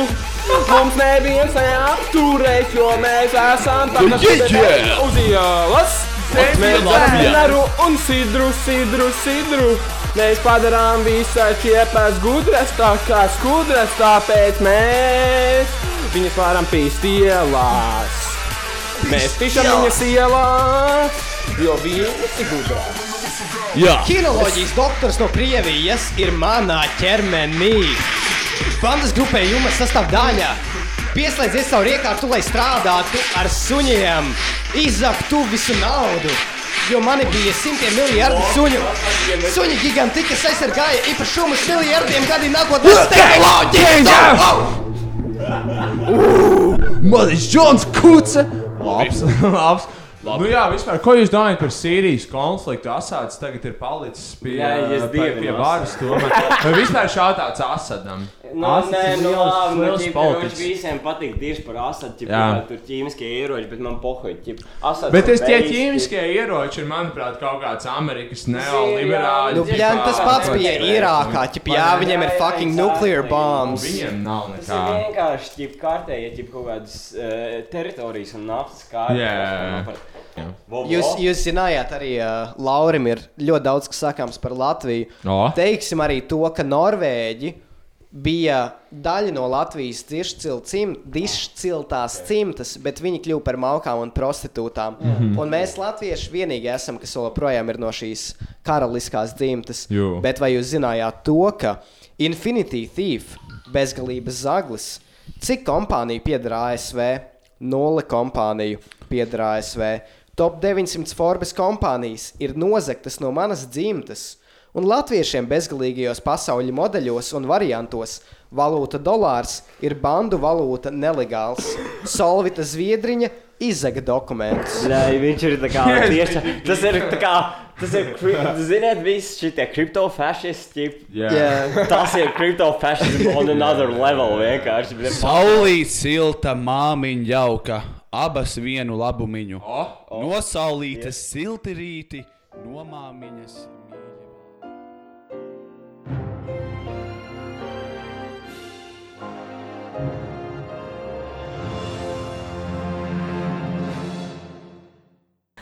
S6: Mums neviens neapturēs, jo mēs esam
S14: Yeah, yeah.
S6: uz ielas.
S14: Mēs
S6: Mēs
S14: Latvijā.
S6: dzēram un sidru, sidru, sidru. Mēs padarām visas čiepas gudras, tā kā skudras, tāpēc mēs viņas varam pīst ielās. Mēs tiešām viņas ielās, jo viņas ir gudras.
S10: Jā. Kinoloģijas doktors no Krievijas ir manā ķermenī. Bandas grupē jums sastāvdaļa. Pieslēdzies savu iekārtu, lai strādātu ar suņiem. Izzaktu visu naudu. Jo man bija simtiem miljardu suņu. Suņi giganti, kas aizsargāja īpašumus miljardiem gadi nākotnē.
S2: Mazs Džons Kuce!
S3: Labs, (laughs) labs. Nu jā, vispār, ko jūs domājat par Sīrijas konfliktu? Asāds tagad ir palicis pie, eh,
S13: Jā, es
S3: pie-
S13: dievinu
S3: pie varas.
S13: Asadu. (laughs)
S3: tomēr. Vai vispār šādāds Asadam?
S13: Nu,
S3: Asads
S13: nē,
S3: ir
S13: nu,
S3: liels-
S13: labi, nu,
S3: liels
S13: ķip, viņš
S3: politiķis.
S13: visiem patīk tieši par asadu, ja
S3: Jā.
S13: tur ķīmiskie ieroči, bet man pohoj, ķip, asadu.
S3: Bet es tie ķīmiskie ieroči ir, manuprāt, kaut kāds Amerikas neoliberāls.
S13: Nu,
S10: Jā, tas pats bija Irākā. Ķip, jā, viņiem ir fucking nuclear bombs.
S3: Viņiem nav
S13: Tas ir vienkārši ķip, kārtēji, ķip, kaut kādas uh, teritorijas un naftas kārtas.
S3: Jā.
S10: Jūs, jūs zinājāt, arī uh, Laurim ir ļoti daudz kas sakāms par Latviju.
S3: O.
S10: Teiksim arī to, ka Norvēģi bija daļa no Latvijas dišcil- cim- dišciltās cimtas, bet viņi kļuva par malkām un prostitūtām.
S14: Mhm.
S10: Un mēs, latvieši, vienīgi esam, kas vēl joprojām ir no šīs karaliskās dzimtas.
S14: Jū.
S10: Bet vai jūs zinājāt to, ka Infinity Thief, bezgalības zaglis, cik kompāniju pieder ASV? Nulle kompāniju pieder ASV. Top 900 Forbes kompānijas ir nozagtas no manas dzimtas. Un latviešiem bezgalīgajos pasaules modeļos un variantos valūta dolārs ir bandu valūta nelegāls. Solvita Zviedriņa izzaga dokumentus.
S13: Jā, viņš ir tā kā tieši, tas ir tā kā, tas ir, kri- ziniet, visi šitie kriptofašisti,
S10: Jā. Jā.
S13: tas ir kriptofašism on another level vienkārši. bet-
S9: Saulīt, silta māmiņa, jauka, abas vienu labumiņu. No saulītes silti rīti, no māmiņas.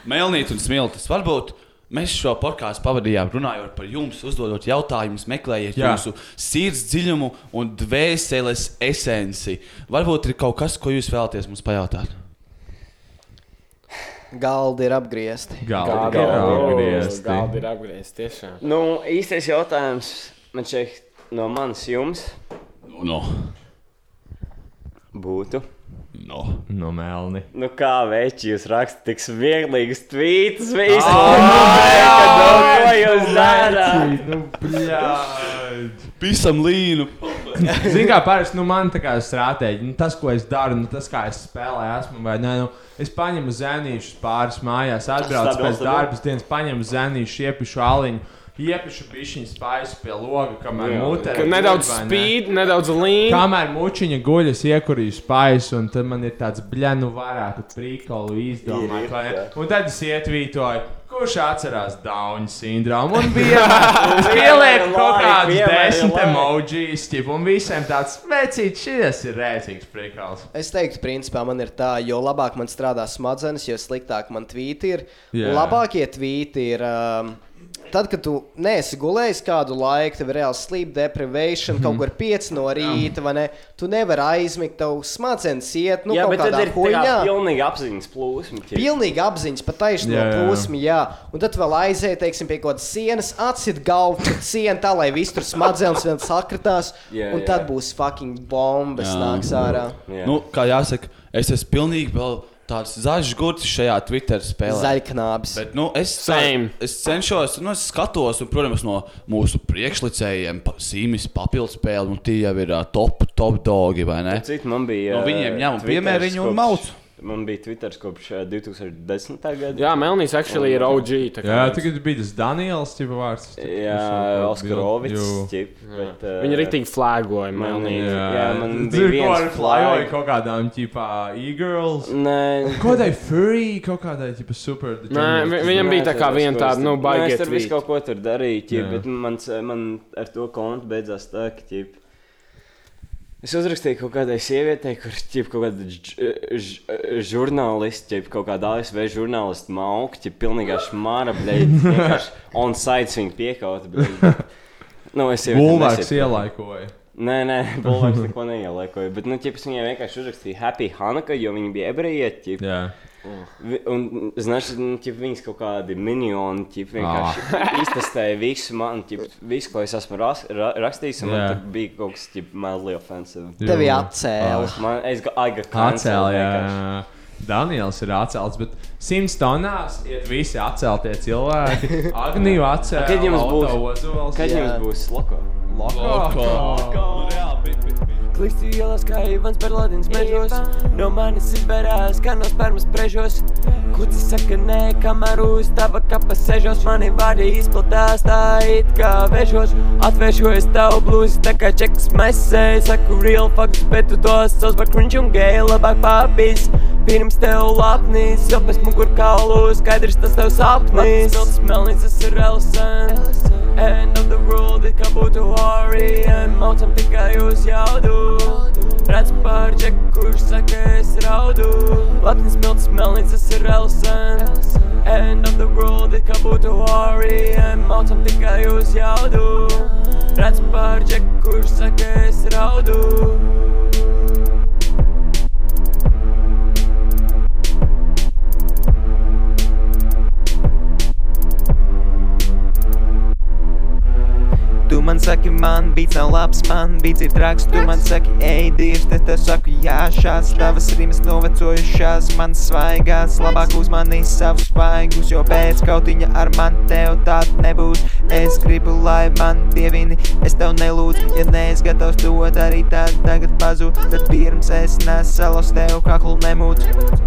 S9: Melnīt un smiltis. Varbūt mēs šo podkāstu pavadījām runājot par jums, uzdodot jautājumus, meklējot
S3: Jā.
S9: jūsu sirds dziļumu un dvēseles esenci. Varbūt ir kaut kas, ko jūs vēlaties mums pajautāt.
S10: Galdi ir apgriezti.
S9: Galdi ir apgriezti.
S6: Galdi ir apgriezti, tiešām.
S13: Nu, īstais jautājums man šeit no manis jums.
S9: No.
S13: Būtu.
S9: No.
S3: No melni.
S13: Nu, kā veči, jūs rakstat tik smieklīgus tvītus, visu
S14: Ai, nu,
S13: laiku, nu,
S14: blēd,
S13: ko jūs
S14: nu,
S13: darāt?
S3: Nu, jā.
S9: Pisam līnu.
S3: (laughs) Ziniet, kā parasti nu, man tā kā strāteģija, nu, tas, ko es daru, nu, tas, kā es spēlēju, esmu. Vai, nē, nu, es paņemu zēnīšus pāris mājās, atbraucu
S9: Stabils,
S3: pēc
S9: stabils.
S3: darba dienas, paņemu zēnīšu, iepišu aliņu. Iepišu pišķiņu spēju pie loga, kamēr
S6: Jā.
S3: mutē.
S6: Ka nedaudz spīd, nedaudz līnija.
S3: Kamēr mučiņa guļ, es iekurīju spējas, un tad man ir tāds blēņu varētu prīkolu
S14: Ir,
S3: izdomāt.
S14: ir,
S3: vai ne?
S14: jā.
S3: Un tad es ietvītoju, kurš atcerās Dauna sindromu.
S4: (laughs)
S3: Un bija pieliek kaut kādas desmit emocijas, un visiem tāds vecīts, šis ir rēcīgs prīkols.
S10: Es teiktu, principā man ir tā, jo labāk man strādā smadzenes, jo sliktāk man tvīti ir.
S3: Jā.
S10: Yeah. Labākie tvīti ir. Um, Tad, kad tu neesi gulējis kādu laiku, tev ir reāls sleep deprivation, mm
S13: Mhm.
S10: -hmm. kaut kur 5 no rīta, vai ne? Tu nevari aizmigt, tev smadzenes iet, nu,
S13: Jā,
S10: kaut
S13: bet tad
S10: kādā
S13: ir tā kā
S10: huļņā.
S13: pilnīgi apziņas plūsma. ķip.
S10: Pilnīgi apziņas, pat taisno
S13: Jā, jā, jā.
S10: plūsmi, jā. Un tad vēl aizēja, teiksim, pie kaut kādas sienas, atsit galvu pret sienu, tā lai viss tur smadzenes vien sakritās,
S9: Jā,
S10: jā, un
S9: jā.
S10: jā. tad būs fucking bombas nāks ārā.
S9: Nu, kā jāsaka, es esmu pilnīgi vēl tāds zaļš gurķis šajā Twitter spēlē.
S10: Zaļknābs.
S9: Bet, nu, es, tā, es cenšos, nu, es skatos, un, protams, no mūsu priekšlicējiem pa, sīmis papildus spēli, un tie jau ir uh, top, top dogi, vai ne?
S13: Cik man bija?
S9: No
S13: eh,
S9: viņiem ņem un
S13: Twitteris
S9: piemēriņu un
S13: kopš-
S9: mauc.
S4: Man bija Twitter kopš ā, 2010. gada.
S6: Jā, Melnijs actually ir OG. tā kā
S3: Jā,
S6: viens.
S3: tagad bija tas Daniels, jau vārds. tipa,
S4: Jā,
S3: visu to
S4: Oskarovics.
S3: bildi, jū.
S4: Uh,
S6: Viņa rīktīgi flēgoja Melniju.
S4: Jā, man bija
S3: Tur bija
S4: viens
S3: arī flyoja
S4: flag.
S3: kaut kādām, tipā, e-girls.
S4: Nē.
S3: Kaut kādai furry, kaut kādai, tipā, super. the journalist.
S6: nu,
S4: Nē, es tur visu kaut ko tur darīju, ķip,
S3: Jā.
S4: bet mans, eh, man ar to kontu beidzās tā, ka ķip, es uzrakstīju kaut kādai sievietei, kur ķip, kaut kāda dž- ž- žurnāliste, ķip, kaut kāda ASV žurnāliste mauka, ķip, pilnīgā šmāra, bļaigi, vienkārši on sites viņa piekauta. bļaigi. Nu, es sievietei
S3: Bulvārs
S4: nesietu.
S3: ielaikoja.
S4: Nē, nē, Bulvārs neko neielaikoja. Bet, nu, ķips, viņai vienkārši uzrakstīja Happy Hanukkah, jo viņi bija ebrejieti.
S3: Jā.
S4: Vi- Un, zināš, nu, ķip, viņas kaut kādi minioni, ķip, vienkārši (laughs) iztestēja visu man, ķip, visu, ko es esmu ras, ra, rakstījis, un man
S17: Jā.
S4: tur bija kaut kas, ķip, mazliet offensive.
S17: Tevi Jā. atcēla.
S4: Ai, Man, es gāju
S3: Atcēlīja, jā. Daniels ir atcēlts, bet simts tonnās ir visi atceltie
S4: (laughs)
S3: cilvēki. Agniju atcēlīja.
S4: Kad jums būs-
S3: Kad
S4: jums būs loko?
S10: Klikšķi ielas kā Ivans Berlādins mežos No manis izbērās, kā no spermas prežos Kucis saka nē, kamēr uz tava kapa sežos Mani vārdi izplatās, tā it kā vežos Atvēršojas tavu blūzi, tā kā čekas mesēji Saku real facts, bet tu tos savs par cringe un gay Labāk papīs, pirms tev lapnīs Jo pēc mugur kaulu skaidrs tas tev sapnīs Lapis melnīs, tas ir Ellison End of the world, it kā būtu Orient Maucam tikai uz jaudu Redz par džeku, kurš saka es raudu Latins milts melnīts, tas ir Ellison End of the world, it kā būtu Orient Maucam tikai uz jaudu Redz par džeku, kurš saka es raudu
S1: Tu man saki, man bija nav labs, man bija ir traks. Tu man saki, ej, dievs, te te saku, jā, šās tavas rimas novecojušās, man svaigās. Labāk uzmanī savus svaigus, jo pēc kautiņa ar man tev tād nebūs. Es gribu, lai man dievini, es tev nelūdzu, ja nees gatavs to darīt, tad tagad pazūd. Tad pirms es nesalos tev kaklu nemūtu.